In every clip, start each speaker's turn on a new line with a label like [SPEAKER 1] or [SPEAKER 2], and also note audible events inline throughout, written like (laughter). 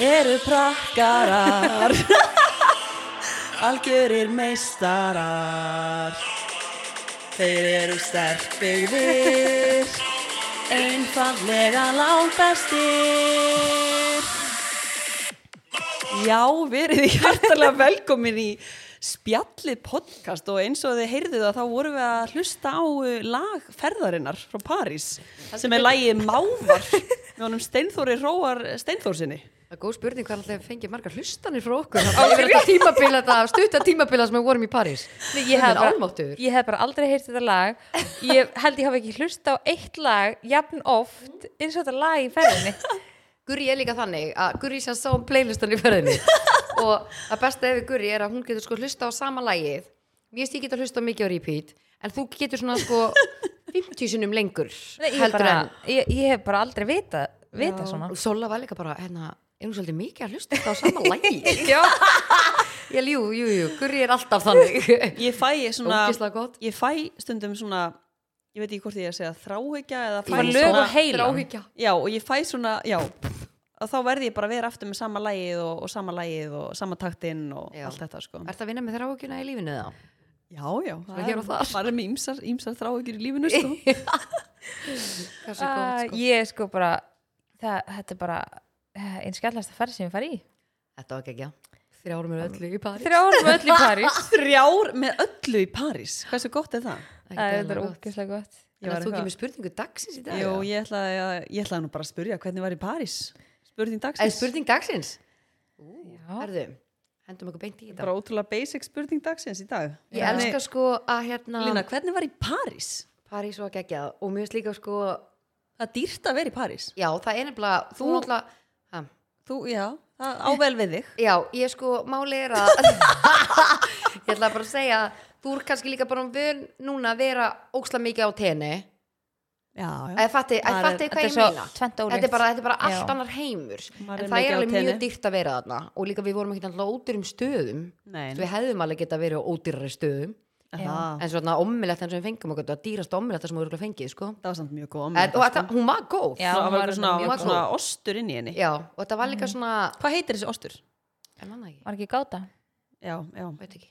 [SPEAKER 1] eru prakkarar (laughs) algjörir meistarar þeir eru sterkbyggðir einfallega langbestir
[SPEAKER 2] Já, verið þið hjartalega velkomin í spjallið podcast og eins og þið heyrðuð að þá vorum við að hlusta á uh, lag ferðarinnar frá París sem er lagið Mávar með honum Steinþóri Róar Steinþórsinni.
[SPEAKER 3] Það er góð spurning hvað alltaf fengið margar hlustanir frá (laughs) okkur á yfir þetta tímabila, þetta stutta tímabila sem við vorum í París.
[SPEAKER 4] Nei, Ég hef,
[SPEAKER 3] Minn
[SPEAKER 4] bara,
[SPEAKER 3] almáttugur.
[SPEAKER 4] ég hef bara aldrei heyrt þetta lag Ég held ég hafa ekki hlusta á eitt lag jafn oft eins og þetta lag í ferðinni
[SPEAKER 3] Guri er líka þannig að Guri sem sá um playlistan í (laughs) ferðinni og að besta ef Guri er að hún getur sko hlusta á sama lagið mér veist ég geta hlusta mikið á repeat en þú getur svona sko (laughs) 50 sinnum lengur
[SPEAKER 4] Nei, ég,
[SPEAKER 3] heldur
[SPEAKER 4] bara,
[SPEAKER 3] en
[SPEAKER 4] ég, ég hef bara aldrei vita, vita svona
[SPEAKER 3] og Sola var líka bara hérna er hún svolítið mikið að hlusta á sama (laughs) lagið
[SPEAKER 4] Já,
[SPEAKER 3] ég ljú, jú, jú, Guri er alltaf þannig
[SPEAKER 2] Ég fæ svona,
[SPEAKER 3] Ógeðslega gott.
[SPEAKER 2] ég fæ stundum svona, ég veit ekki hvort ég er að segja þráhyggja eða fæ
[SPEAKER 4] bara lög og heilan
[SPEAKER 3] Þráhyggja.
[SPEAKER 2] Já, og ég fæ svona, já, að þá verði ég bara að vera aftur með sama lagið og, og sama lagið og sama taktinn og
[SPEAKER 3] Já.
[SPEAKER 2] allt þetta sko.
[SPEAKER 3] Er það að vinna með þrákjuna í lífinu eða?
[SPEAKER 2] Já, já, það
[SPEAKER 3] hér og þar.
[SPEAKER 2] maður er með ímsar, ímsar þráhyggir í lífinu
[SPEAKER 3] (laughs)
[SPEAKER 2] sko.
[SPEAKER 3] Hversu
[SPEAKER 4] uh,
[SPEAKER 3] gott sko?
[SPEAKER 4] Ég sko bara það, Þetta er bara eh, eins skjallasta ferð sem ég fari í
[SPEAKER 3] Þetta var ekki ekki að þrjárum er öllu í París.
[SPEAKER 4] Þegar árum öll í (laughs) París
[SPEAKER 2] Þrjár með öllu í París Hversu gott er það?
[SPEAKER 3] Ekkert
[SPEAKER 4] Það er
[SPEAKER 3] eðlilega gott.
[SPEAKER 4] ógeðslega gott
[SPEAKER 3] En
[SPEAKER 2] Ég var
[SPEAKER 3] ert þú ekki
[SPEAKER 2] eitthvað-
[SPEAKER 3] með spurningu dagsins í dag?
[SPEAKER 2] Jú, ég ætlaði, að, ég ætlaði nú bara að spurja hvernig var í París Spurning
[SPEAKER 3] En
[SPEAKER 2] dagsins
[SPEAKER 3] spurning dagsins?
[SPEAKER 4] Já,
[SPEAKER 3] Herðu, hendum okkur beint í þetta.
[SPEAKER 2] Bara ótrúlega basic spurning dagsins í dag
[SPEAKER 3] Ég elska sko að hérna
[SPEAKER 2] Lína, hvernig var í París?
[SPEAKER 3] París var geggjað og mér finnst líka sko
[SPEAKER 2] Það er dýrt að vera í París
[SPEAKER 3] Já, það er nefnilega, þú
[SPEAKER 2] Þú-
[SPEAKER 3] náttúrulega ha,
[SPEAKER 2] Þú, já, það á vel við þig
[SPEAKER 3] Já, ég sko, máli er að (laughs) Ég ætla bara að segja Þú er kannski líka bara um vön núna að vera óksla mikið á tenni
[SPEAKER 2] Já, já
[SPEAKER 3] Ég fatti
[SPEAKER 2] Maður er-
[SPEAKER 3] hvað ég
[SPEAKER 4] þetta er svo
[SPEAKER 3] meina
[SPEAKER 4] tvennt ólíkt.
[SPEAKER 3] Þetta er bara, þetta er bara
[SPEAKER 4] Já.
[SPEAKER 3] allt annar heimur
[SPEAKER 2] Maður er
[SPEAKER 3] En það
[SPEAKER 2] mikið
[SPEAKER 3] er
[SPEAKER 2] á
[SPEAKER 3] alveg mjög
[SPEAKER 2] tenni.
[SPEAKER 3] dýrt að vera þarna Og líka við vorum ekki alltaf ódýrum stöðum
[SPEAKER 2] Nei,
[SPEAKER 3] Við hefðum alveg geta verið á ódýrari stöðum
[SPEAKER 2] það,
[SPEAKER 3] en svona ommelett sem við fengum okkur, það dýrast ommelett sem við erum fengið, sko
[SPEAKER 2] það var samt mjög góð
[SPEAKER 3] en,
[SPEAKER 2] omeletta,
[SPEAKER 3] og
[SPEAKER 2] sko.
[SPEAKER 3] þetta, hún var góð
[SPEAKER 4] Já,
[SPEAKER 2] Það
[SPEAKER 4] hún
[SPEAKER 2] var
[SPEAKER 4] var
[SPEAKER 2] eitthvað svona,
[SPEAKER 4] mjög
[SPEAKER 2] var
[SPEAKER 3] góð.
[SPEAKER 2] svona ostur inn í henni
[SPEAKER 3] Já, og þetta var líka svona
[SPEAKER 2] Hvað heitir þessi ostur?
[SPEAKER 3] en manna ekki,
[SPEAKER 4] var ekki gáta
[SPEAKER 2] Já, já
[SPEAKER 3] veit ekki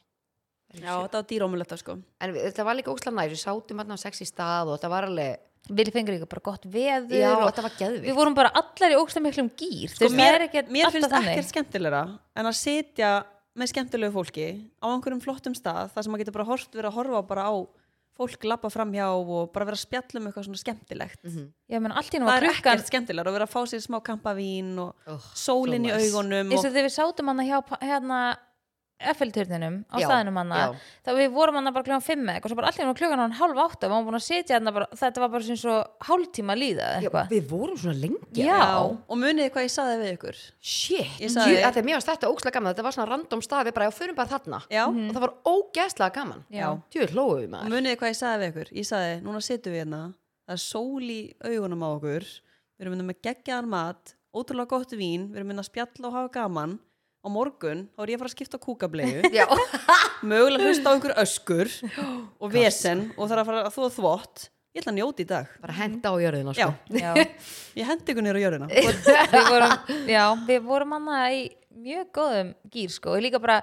[SPEAKER 2] Já, þetta var dýrómuletta sko
[SPEAKER 3] en við- þetta var líka ókslega næri, við sátum hann á sex í stað og þetta var alveg,
[SPEAKER 4] Við fengum líka bara gott veður
[SPEAKER 3] já,
[SPEAKER 4] og
[SPEAKER 3] þetta var
[SPEAKER 4] Við
[SPEAKER 3] geðvik
[SPEAKER 4] vorum bara allar í ógsta miklum gýr
[SPEAKER 2] sko,
[SPEAKER 4] sko,
[SPEAKER 2] mér, mér finnst ekkert skemmtilegra en að sitja með skemmtilegu fólki á einhverjum flottum stað þar sem maður getur bara hort verið að horfa bara á fólk labba framhjá og bara vera að spjalla um eitthvað svona skemmtilegt
[SPEAKER 4] Ég menn allt í nú
[SPEAKER 2] það
[SPEAKER 4] var
[SPEAKER 2] er
[SPEAKER 4] klukkan
[SPEAKER 2] ekkert skemmtilegra að vera að fá sér smá kampavín og
[SPEAKER 3] Oh,
[SPEAKER 2] sólin í
[SPEAKER 3] so nice.
[SPEAKER 2] augunum
[SPEAKER 4] eins
[SPEAKER 2] og,
[SPEAKER 4] og þegar við sátum hann hjá pa- hérna Eiffelturninum á
[SPEAKER 3] Já,
[SPEAKER 4] staðinum hann
[SPEAKER 3] já.
[SPEAKER 4] þá við vorum hann bara klukkan fimm eða eitthvað svo bara allir hann klukkan hann hálf átta við varum búin að sitja hann bara þetta var bara sem svo hálftíma að líða eða
[SPEAKER 3] Já,
[SPEAKER 4] eitthvað
[SPEAKER 3] við vorum svona lengi
[SPEAKER 4] já,
[SPEAKER 2] já, og muniði hvað ég saði við ykkur
[SPEAKER 3] shit,
[SPEAKER 2] Ég
[SPEAKER 3] ég,
[SPEAKER 2] sagði-
[SPEAKER 3] að því að mér varst þetta ókslega gaman þetta var svona random stað, við bara, já, förum bara þarna
[SPEAKER 2] já,
[SPEAKER 3] og það var ógeðslega gaman
[SPEAKER 4] Já.
[SPEAKER 3] tjú, hlóðu við
[SPEAKER 2] og
[SPEAKER 3] maður
[SPEAKER 2] muniði hvað ég saði við ykkur ég saði, núna sitjum við hérna það er sól í augunum á okkur við erum myndið með geggjaðan mat ótrúlega gott vín, við erum myndið að spjalla og hafa gaman á morgun, þá er ég að fara að skipta kúkablegu
[SPEAKER 3] (laughs) já,
[SPEAKER 2] mögulega hlusta á einhver öskur og vesen og þarf að fara að þóða þvott ég ætla að njóta í dag
[SPEAKER 3] bara henda á jörðina
[SPEAKER 2] já,
[SPEAKER 3] sko.
[SPEAKER 4] já.
[SPEAKER 2] (laughs) ég hendi ykkur nýra jörðina
[SPEAKER 4] við vorum, já, við vorum hann í mjög góðum gýr sko og líka bara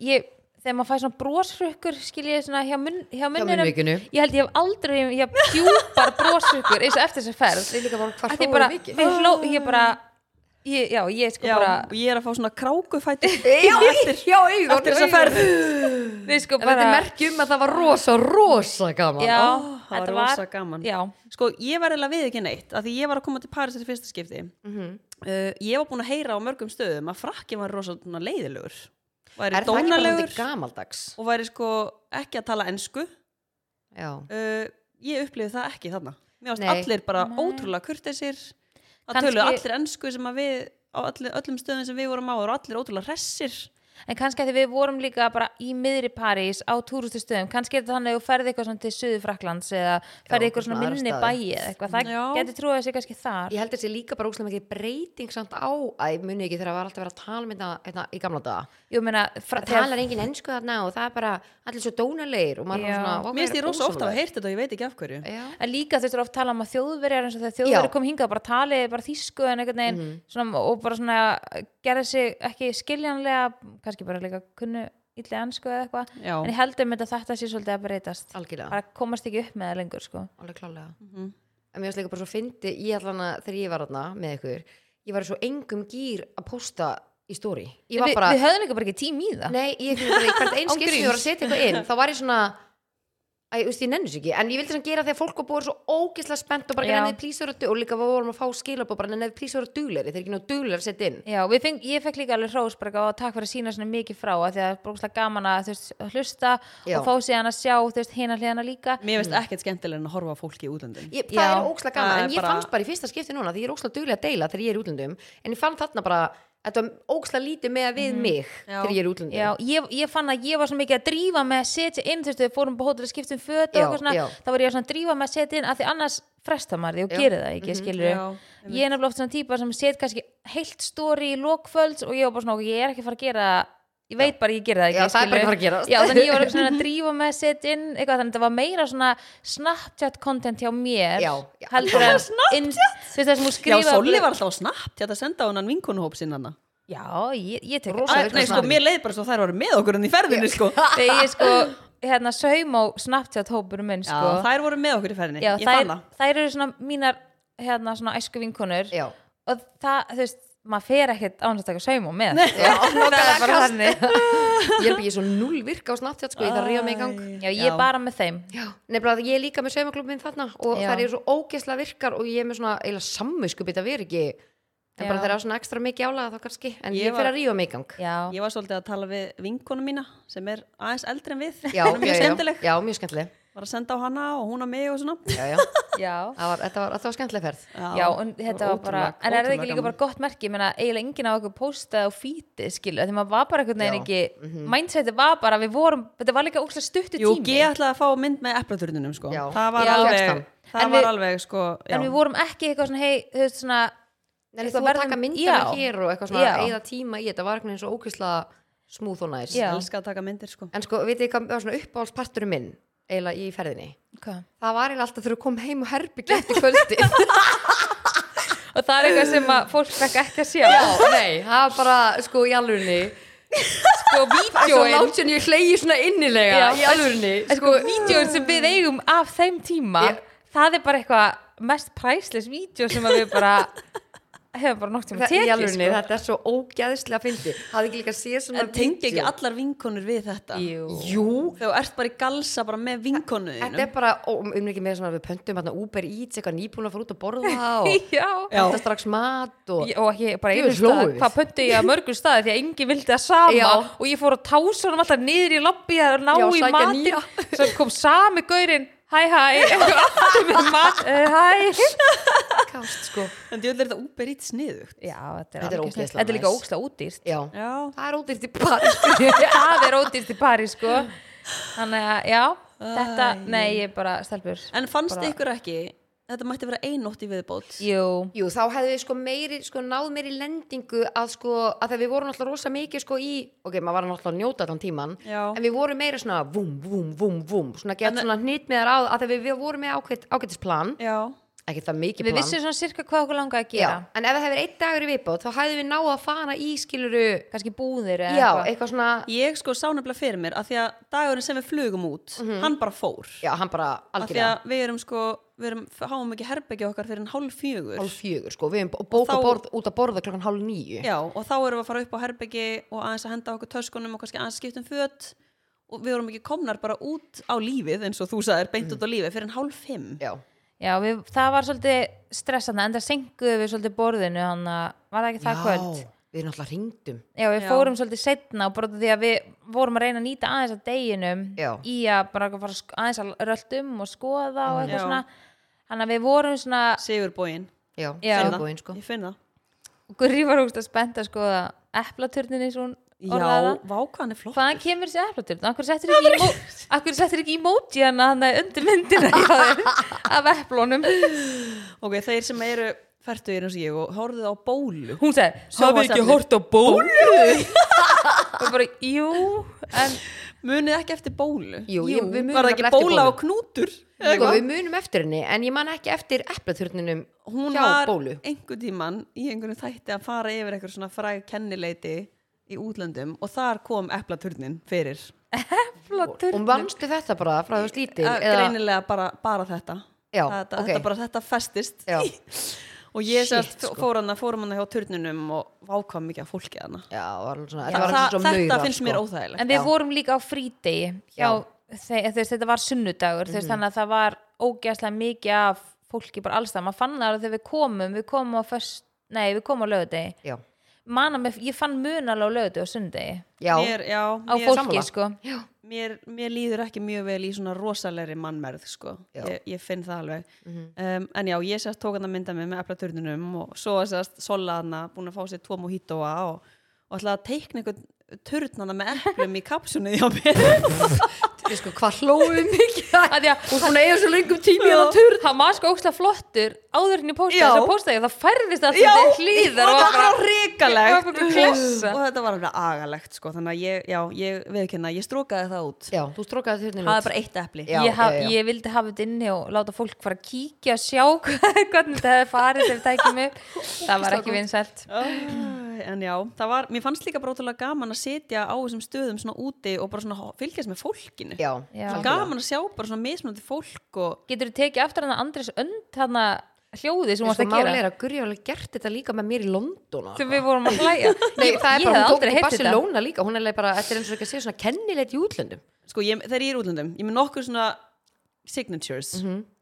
[SPEAKER 4] ég, þegar maður fæði svona brosrukkur skilja ég svona hjá, mun, hjá munninum
[SPEAKER 3] munnvikinu.
[SPEAKER 4] ég held ég hef aldrei ég hef djúpar brosrukkur eins og eftir þessu ferð
[SPEAKER 3] Við líka bara, hvar
[SPEAKER 4] Af því
[SPEAKER 3] hlógum
[SPEAKER 4] bara,
[SPEAKER 3] mikið?
[SPEAKER 4] við hló, ég bara ég, (laughs) já, ég sko
[SPEAKER 2] já,
[SPEAKER 4] bara
[SPEAKER 2] og ég er að fá svona krákufæti
[SPEAKER 3] já, já, augun,
[SPEAKER 2] (laughs) eftir þess að
[SPEAKER 3] augun.
[SPEAKER 2] ferð
[SPEAKER 4] við sko
[SPEAKER 3] En þetta
[SPEAKER 4] bara
[SPEAKER 3] er merkjum að það var rosa, rosa gaman
[SPEAKER 4] já,
[SPEAKER 2] Ó, það var
[SPEAKER 4] þetta
[SPEAKER 2] rosa gaman.
[SPEAKER 4] já,
[SPEAKER 2] sko, ég var eiginlega við ekki neitt af því ég var að koma til Paris þetta fyrsta skipti
[SPEAKER 3] Mhm.
[SPEAKER 2] uh, ég var búin að heyra á mörgum stöðum að frakkin var rosa svona leiðilegur væri
[SPEAKER 3] Er það ekki bara
[SPEAKER 2] dónalegur
[SPEAKER 3] þetta gamaldags?
[SPEAKER 2] og væri sko ekki að tala ensku
[SPEAKER 3] Já,
[SPEAKER 2] uh, ég upplifði það ekki þarna mér varst
[SPEAKER 3] Nei.
[SPEAKER 2] allir bara
[SPEAKER 4] Nei.
[SPEAKER 2] ótrúlega kurteisir það
[SPEAKER 4] Kannski-
[SPEAKER 2] tölu allir ennsku sem að við á allir, öllum stöðum sem við vorum á eru allir ótrúlega hressir
[SPEAKER 4] en kannski að því við vorum líka bara í miðri París á túrústustöðum kannski er þetta þannig að þú ferði eitthvað svona til Suður Fraklands eða ferði eitthvað svona
[SPEAKER 3] svona aðra
[SPEAKER 4] minni
[SPEAKER 3] staði.
[SPEAKER 4] bæi eða eitthvað, það
[SPEAKER 2] Já.
[SPEAKER 4] getur trúið að sé kannski þar
[SPEAKER 3] ég held þessi líka bara ógstlega mikið breyting samt á að muni ekki þegar það var alltaf verið að tala mynda einna, í gamla daga.
[SPEAKER 4] ég meina, fra,
[SPEAKER 3] Það talar engin ennsku þarna og það er bara allir svo dónalegir og maður er
[SPEAKER 4] Já.
[SPEAKER 3] svona... vá,
[SPEAKER 2] mér finnst
[SPEAKER 3] hver
[SPEAKER 2] ég rosa ofta að
[SPEAKER 3] ósammála
[SPEAKER 2] hafa heyrt þetta og ég veit ekki af hverju
[SPEAKER 3] þér? Já.
[SPEAKER 4] En líka þú veist, þú eru oft talað um að þjóðverjar eins og þegar þjóðverjar
[SPEAKER 3] Já.
[SPEAKER 4] kom hingað bara talið bara þýsku en einhvern veginn svona, og bara svona gerði sig ekki skiljanlega kannski bara líka kunnu illa ennsku eða eitthvað
[SPEAKER 2] Já.
[SPEAKER 4] en ég heldur með þetta þetta sé svolítið að breytast
[SPEAKER 3] algjörlega,
[SPEAKER 4] bara komast ekki upp með það lengur sko.
[SPEAKER 3] alveg klálega
[SPEAKER 2] mhm.
[SPEAKER 3] en mér finnst líka bara svo fyndi ég allan að þegar ég var þarna með ykkur ég var í svo engum gýr að posta í stóri ég var
[SPEAKER 4] Vi,
[SPEAKER 3] bara,
[SPEAKER 4] við höfðum líka bara ekki tím í það
[SPEAKER 3] nei, ég finnst bara í
[SPEAKER 4] (laughs)
[SPEAKER 3] hvert
[SPEAKER 4] Án
[SPEAKER 3] einskilt sem ég var að
[SPEAKER 4] gríns.
[SPEAKER 3] setja eitthvað inn, þá var ég svona Æ, þú veist, ég nenni þessu ekki, en ég vildi svona gera þegar fólk var búið svo ógeðslega spennt og bara
[SPEAKER 4] Já.
[SPEAKER 3] nennið plísur og dugleiri og líka við vorum að fá skilabóð bara nennið plísur og dugleiri, þeir eru ekki nú dugleiri að setja inn
[SPEAKER 4] Já, við feng, ég fekk líka alveg hrós bara og takk fyrir að sína svona mikið frá af því að það er brókslega gaman að, þú veist, að hlusta
[SPEAKER 3] Já.
[SPEAKER 4] og fá síðan að sjá þú veist, hina hliðana líka
[SPEAKER 2] Mér veist ekkert skemmtilega en að horfa á fólki í útlöndum.
[SPEAKER 3] ég, það
[SPEAKER 4] Já,
[SPEAKER 3] er ókslega
[SPEAKER 2] það
[SPEAKER 3] gaman,
[SPEAKER 2] er
[SPEAKER 3] en ég
[SPEAKER 2] bara-
[SPEAKER 3] fannst bara í fyrsta skipti núna því ég er ókslega duglega að deila þegar ég er í útlöndum en ég fann þarna bara, þetta var ókslega lítið með að við mig þegar ég er í útlöndum
[SPEAKER 4] Mhm. Já, ég, ég fann að ég var svo mikið að drífa með að setja inn, þú veist, við fórum på hótel að skipta um föt og
[SPEAKER 3] Já,
[SPEAKER 4] eitthvað svona,
[SPEAKER 3] já.
[SPEAKER 4] þá var ég svona að drífa með að setja inn, af því annars fresta maður því og
[SPEAKER 3] Já.
[SPEAKER 4] gerir það ekki, skilur
[SPEAKER 2] Já,
[SPEAKER 4] ég er nefnilega oft svona típa sem set kannski heilt stóri í lokfölds og ég var bara svona, ok, ég er ekki að fara að gera það, ég veit bara að ég gera það ekki,
[SPEAKER 3] Já, það er bara ekki að fara að gerast.
[SPEAKER 4] Já, þannig ég var eitthvað svona að drífa með að setja inn, eitthvað, þannig þetta var meira svona Snapchat content hjá mér,
[SPEAKER 3] Já, já.
[SPEAKER 4] heldur en, in, þú veist, það sem hún
[SPEAKER 2] Já,
[SPEAKER 4] skrifa
[SPEAKER 2] Solli var alltaf snabbt þetta að senda á hennan vinkonuhóp sinn hana.
[SPEAKER 4] Já, ég, ég tek
[SPEAKER 3] Rosa
[SPEAKER 2] Æ,
[SPEAKER 3] virka
[SPEAKER 2] Nei, sko,
[SPEAKER 3] snabbt.
[SPEAKER 2] mér leið bara svo þær voru með okkur enn í ferðinni, sko.
[SPEAKER 4] þegar ég (laughs) sko hérna saum á Snapchat hópur minn
[SPEAKER 2] Já,
[SPEAKER 4] sko
[SPEAKER 2] þær voru með okkur í ferðinni.
[SPEAKER 4] Já,
[SPEAKER 2] ég
[SPEAKER 4] þær,
[SPEAKER 2] fann það.
[SPEAKER 4] þær eru svona mínar hérna svona æsku vinkonur
[SPEAKER 3] Já.
[SPEAKER 4] og það, þú veist, maður fer ekkert án þess að taka saum á með
[SPEAKER 3] (laughs)
[SPEAKER 4] sko.
[SPEAKER 3] Já,
[SPEAKER 4] það
[SPEAKER 3] nákvæmlega,
[SPEAKER 4] er bara
[SPEAKER 3] kast.
[SPEAKER 4] þannig
[SPEAKER 3] ég er bara, ég er svo null virka á Snapchat sko, ég þarf að ríða mig í gang
[SPEAKER 4] Já, ég er bara með þeim
[SPEAKER 3] Já, nefnilega að ég er líka með saumaklubin þarna og
[SPEAKER 4] Já.
[SPEAKER 3] þær eru svo ógeðslega virkar og ég er með svona eiginlega sammiskupið að vera ekki en bara
[SPEAKER 4] Já.
[SPEAKER 3] þeir eru svona ekstra mikið álaga þá kannski en
[SPEAKER 2] Ég
[SPEAKER 3] ég,
[SPEAKER 2] var-
[SPEAKER 3] fer að ríða mig í gang
[SPEAKER 4] Já,
[SPEAKER 2] Ég var svolítið að tala við vinkonu mína sem er aðeins eldri en við.
[SPEAKER 3] Já,
[SPEAKER 2] (laughs) Hún er
[SPEAKER 3] já,
[SPEAKER 2] mjög
[SPEAKER 3] já.
[SPEAKER 2] skemmtileg.
[SPEAKER 3] Já, mjög skemmtileg
[SPEAKER 2] Var að senda á hana og hún á mig og svona.
[SPEAKER 3] Já, já,
[SPEAKER 4] já
[SPEAKER 3] það var, þetta var, þetta var skemmtileg ferð
[SPEAKER 4] Já, en þetta var bara,
[SPEAKER 2] ótrúlega-
[SPEAKER 4] en er það
[SPEAKER 2] ótrúlega
[SPEAKER 4] ekki líka
[SPEAKER 2] gaman.
[SPEAKER 4] bara gott merki, ég meina eiginlega enginn á okkur postaði á fíti, skilu, því maður var bara einhvern
[SPEAKER 3] Já,
[SPEAKER 4] veginn ekki, mindsetið var bara, við vorum, þetta var líka ókslega stuttu
[SPEAKER 2] Jú,
[SPEAKER 4] tími.
[SPEAKER 2] ég ætlaði að fá mynd með eplaturninum sko.
[SPEAKER 3] Já.
[SPEAKER 2] Það var
[SPEAKER 4] Já.
[SPEAKER 2] alveg
[SPEAKER 3] Fékkst
[SPEAKER 2] Það
[SPEAKER 4] En
[SPEAKER 2] var
[SPEAKER 4] við-
[SPEAKER 2] alveg sko já.
[SPEAKER 4] en við vorum ekki eitthvað svona, hei, þú veist svona
[SPEAKER 3] Nei,
[SPEAKER 4] Þú
[SPEAKER 3] þú að
[SPEAKER 4] verðum-
[SPEAKER 3] taka myndina
[SPEAKER 4] já.
[SPEAKER 3] hér og eitthvað svona
[SPEAKER 4] Já.
[SPEAKER 3] eða tíma í þetta var einhvern veginn svo ókvistlega smúð og næs
[SPEAKER 4] Já.
[SPEAKER 2] Elskar að taka myndir sko
[SPEAKER 3] en sko, veitir þið hvað var svona uppáhaldsparturinn minn eiginlega í ferðinni
[SPEAKER 4] hvað?
[SPEAKER 3] það var eiginlega alltaf þegar þú kom heim og herbyggja eftir kvöldi já,
[SPEAKER 4] og það er eitthvað sem að fólk fekk ekki að sjá
[SPEAKER 3] nei, það var bara sko í alvörunni
[SPEAKER 4] sko
[SPEAKER 3] það er svo
[SPEAKER 4] vídjóin
[SPEAKER 3] látt sem ég hlegi svona innilega
[SPEAKER 4] Já.
[SPEAKER 3] í alvörunni
[SPEAKER 4] en sko vídjóin sem við eigum af þeim tíma
[SPEAKER 3] Já.
[SPEAKER 4] það er bara eitthvað mest præslis vídjó sem að við bara (laughs) hefum bara nokt tíma
[SPEAKER 3] það, í
[SPEAKER 4] tekið
[SPEAKER 3] alvörunni,
[SPEAKER 4] sko.
[SPEAKER 3] þetta er svo ógæðislega fyndi hafði ekki líka séð svona
[SPEAKER 2] En tengi ekki
[SPEAKER 3] vídeó?
[SPEAKER 2] allar vinkonur við þetta
[SPEAKER 4] Jú.
[SPEAKER 3] jú,
[SPEAKER 2] Þau ert bara í galsa bara með vinkonu
[SPEAKER 3] þetta
[SPEAKER 2] þínum.
[SPEAKER 3] er bara ó, um ekki meira svona við pöntum hérna Uber Eats eitthvað nýbúin að fara út að (laughs) borða og
[SPEAKER 4] (laughs) já
[SPEAKER 3] þetta strax mat og
[SPEAKER 4] Ég- og ekki bara
[SPEAKER 3] Jú,
[SPEAKER 4] einu
[SPEAKER 3] hlógum
[SPEAKER 4] stað
[SPEAKER 3] við.
[SPEAKER 4] hvað pöntu ég að mörgum staði því að enginn vildi það sama
[SPEAKER 3] Já.
[SPEAKER 4] og ég fór að tása honum alltaf niður í lobby að ná
[SPEAKER 3] Já,
[SPEAKER 4] í
[SPEAKER 3] sækja
[SPEAKER 4] matinn
[SPEAKER 3] nýja.
[SPEAKER 4] svo kom sami gaurinn hæ
[SPEAKER 3] (laughs)
[SPEAKER 4] hæ aftur með mat, eh, hæ
[SPEAKER 3] kast sko
[SPEAKER 2] En djöfull er þetta úber ítt sniðugt
[SPEAKER 4] já, þetta er,
[SPEAKER 3] Þetta er
[SPEAKER 4] algjör
[SPEAKER 3] ógeðslega
[SPEAKER 4] snill. þetta er líka
[SPEAKER 3] næs.
[SPEAKER 4] ókslega útýrt
[SPEAKER 3] já,
[SPEAKER 2] Já
[SPEAKER 3] það er ódýrt í sko. (laughs) Paris
[SPEAKER 4] (laughs) það er ódýrt í París sko þannig að já þetta,
[SPEAKER 2] Æ.
[SPEAKER 4] nei ég er bara stelpur
[SPEAKER 2] En fannst
[SPEAKER 4] Bara-
[SPEAKER 2] ykkur ekki Þetta mætti vera einnótt í viðbót
[SPEAKER 4] jú,
[SPEAKER 3] Jú, þá hefðu við sko meiri, sko náð meiri lendingu að sko, að þegar við vorum alltaf rosa mikið sko í, ok, maður var náttúrulega að njóta allan tíman,
[SPEAKER 2] Já.
[SPEAKER 3] en við vorum meira svona vum, vum, vum, vum, svona gett svona hnýtt með þar að, að þegar við, við vorum með ákveit, ákveitisplan,
[SPEAKER 2] Já
[SPEAKER 3] ekki það mikið
[SPEAKER 4] við
[SPEAKER 3] plan.
[SPEAKER 4] vissum svona sirka hvað okkur langaði að
[SPEAKER 3] Já,
[SPEAKER 4] gera
[SPEAKER 3] en ef það hefur einn dagur í viðbót, þá hefðu við náð að fara í skiluru,
[SPEAKER 4] kannski búðir eða
[SPEAKER 3] já,
[SPEAKER 4] eitthvað.
[SPEAKER 3] eitthvað svona,
[SPEAKER 2] Ég sko sá nefnilega fyrir mér að því að dagurinn sem við flugum út Hann bara fór
[SPEAKER 3] já, hann bara
[SPEAKER 2] Af því
[SPEAKER 3] algjörlega
[SPEAKER 2] að við erum sko Við erum, háum ekki herbyggja okkar fyrir en hálf fjögur
[SPEAKER 3] hálf fjögur, sko, við hefum bóka
[SPEAKER 2] þá-
[SPEAKER 3] borð, út að borða klokkan hálf nýju.
[SPEAKER 2] Já, og þá erum við að fara upp á herbyggi og aðeins að henda okkur töskunum og kannski aðeins skiptum föt og við vorum ekki komnar bara út á lífið eins og þú sagðir beint út á lífið fyrir en hálf fimm
[SPEAKER 3] Mm. Já,
[SPEAKER 4] já við, það var svolítið stressandi enda senguðu við svolítið borðinu þannig að var það ekki það kvöld
[SPEAKER 3] við náttúrulega hringdum.
[SPEAKER 4] já, við
[SPEAKER 2] Já.
[SPEAKER 4] fórum svolítið setna og bara út af því að við vorum að reyna að nýta aðeins að deginum
[SPEAKER 3] Já.
[SPEAKER 4] í að bara fara sk- aðeins að röldum og skoða
[SPEAKER 2] Já.
[SPEAKER 4] og eitthvað svona þannig að við vorum svona
[SPEAKER 2] Sigurbóin,
[SPEAKER 3] Já,
[SPEAKER 4] Já.
[SPEAKER 3] Selbúinn, sko.
[SPEAKER 2] ég finn það
[SPEAKER 4] Gurri var úrst að spenta sko að eplaturnin eins og hún orðaði
[SPEAKER 2] Já,
[SPEAKER 4] það.
[SPEAKER 2] vákan er flott
[SPEAKER 4] Hvaðan kemur þessi eplaturn? Akkur settir ekki, emo akkur settir ekki emoji hana þannig undir myndina hjá þér af eplunum.
[SPEAKER 2] Ok, þeir sem eru færtugir eins og ég og horfðu á bólu
[SPEAKER 4] Hún sagði,
[SPEAKER 2] Hafið ekki
[SPEAKER 4] hort á bólu? Og bara, jú, en
[SPEAKER 2] munið ekki eftir bólu
[SPEAKER 3] Jú,
[SPEAKER 4] Jú.
[SPEAKER 3] ég, við munum
[SPEAKER 2] var það ekki
[SPEAKER 3] nefnilega eftir
[SPEAKER 2] bóla
[SPEAKER 3] bólu.
[SPEAKER 2] og knútur
[SPEAKER 3] Sko, við munum eftir henni, en ég man ekki eftir eplaturninum
[SPEAKER 2] hún
[SPEAKER 3] hjá
[SPEAKER 2] var
[SPEAKER 3] bólu.
[SPEAKER 2] einhvern tíman í einhverju þætti að fara yfir eitthvað svona fræg kennileiti í útlöndum og þar kom eplaturnin fyrir
[SPEAKER 4] Flottur.
[SPEAKER 3] Og vannstu þetta bara frá þú slítið?
[SPEAKER 2] Að greinilega bara, bara þetta
[SPEAKER 3] Já,
[SPEAKER 2] þetta,
[SPEAKER 3] ok.
[SPEAKER 2] þetta bara þetta festist
[SPEAKER 3] Já.
[SPEAKER 2] og ég
[SPEAKER 3] Shit,
[SPEAKER 2] sérst sko. fór hana, fórum hana hjá turninum og vákvað mikið að fólki hana
[SPEAKER 3] Já, var alveg svona,
[SPEAKER 2] Já,
[SPEAKER 3] þetta var alveg
[SPEAKER 2] það,
[SPEAKER 3] svona
[SPEAKER 2] þetta
[SPEAKER 3] maurar,
[SPEAKER 2] finnst
[SPEAKER 3] sko.
[SPEAKER 2] mér óþægilegt
[SPEAKER 4] En við vorum líka á frídegi hjá, þe þú veist, þetta var sunnudagur
[SPEAKER 3] Mhm.
[SPEAKER 4] þú veist, þannig að það var ógæslega mikið af fólki bara alls það, maður fann það alveg þegar við komum við komum á föst, nei, við komum á lögadegi
[SPEAKER 3] Já,
[SPEAKER 4] manna með, ég fann munal á lögadegi og sundegi
[SPEAKER 3] já,
[SPEAKER 2] mér, já,
[SPEAKER 4] á
[SPEAKER 2] mér,
[SPEAKER 4] fólki,
[SPEAKER 3] sammála. (laughs)
[SPEAKER 4] sko
[SPEAKER 3] já.
[SPEAKER 2] mér, mér líður ekki mjög vel í svona rosalegri mannmerð sko.
[SPEAKER 3] Já. Mhm.
[SPEAKER 2] ég, ég finn það alveg um, en já, ég sérst tók hann að mynda mig með eplaturninum og svo sérst Sola hann að búin að fá sér tvo mojitoa og, og ætlaði að teikna einhvern turnana með eplum í kapsunni hjá mér
[SPEAKER 3] Ég sko, hvað hlóðum mikið að
[SPEAKER 4] að því að
[SPEAKER 3] Þú er svona eiga svo lengum tími að það
[SPEAKER 4] turn hann var sko ókslega flottur áður henni
[SPEAKER 2] Já.
[SPEAKER 4] póstaði þess að póstaði það færðist allt
[SPEAKER 2] Já,
[SPEAKER 4] þetta hlýðar
[SPEAKER 2] og
[SPEAKER 4] og
[SPEAKER 2] það
[SPEAKER 4] bara
[SPEAKER 2] var hrikalegt
[SPEAKER 4] Það var bara klessa.
[SPEAKER 2] og þetta var alveg agalegt sko. þannig að ég, já, ég veðkynna, ég strókaði það út
[SPEAKER 3] Já, þú hérna strókaði turninu
[SPEAKER 2] það er bara eitt epli
[SPEAKER 3] Já,
[SPEAKER 4] ég, haf,
[SPEAKER 3] já, já.
[SPEAKER 4] ég vildi hafa þetta inni og láta fólk fara að kíkja og sjá (laughs) hvað- hvernig þetta hefði farið ef það ekki
[SPEAKER 3] (laughs)
[SPEAKER 4] mig það var ekki vinsælt
[SPEAKER 2] Æ, En já, það var, mér fannst líka bara ótrúlega gaman að sitja á þessum stöðum svona úti og bara svona ho- fylgjast með fólkinu.
[SPEAKER 3] Já,
[SPEAKER 4] Já.
[SPEAKER 2] Svo gaman að sjá bara svona mismunandi fólk og
[SPEAKER 4] getur þú tekið aftur hann að Andris önd hann hljóði sem hún varst
[SPEAKER 3] Svo
[SPEAKER 4] að
[SPEAKER 3] máli
[SPEAKER 4] gera
[SPEAKER 3] er að Guri alveg gert þetta líka með mér í London og
[SPEAKER 4] sem
[SPEAKER 3] eitthvað.
[SPEAKER 4] við vorum að
[SPEAKER 3] (laughs)
[SPEAKER 4] hlæja
[SPEAKER 3] Nei,
[SPEAKER 4] ég,
[SPEAKER 3] það er
[SPEAKER 4] ég
[SPEAKER 3] bara,
[SPEAKER 4] hef
[SPEAKER 3] hún tók
[SPEAKER 4] aldrei
[SPEAKER 3] í
[SPEAKER 4] heitt þetta
[SPEAKER 3] Barcelona líka Hún er alveg bara, þetta er eins og ekki að segja svona kennilegt í útlöndum
[SPEAKER 2] sko, ég, þegar ég er í útlöndum, ég er með nokkur svona signatures.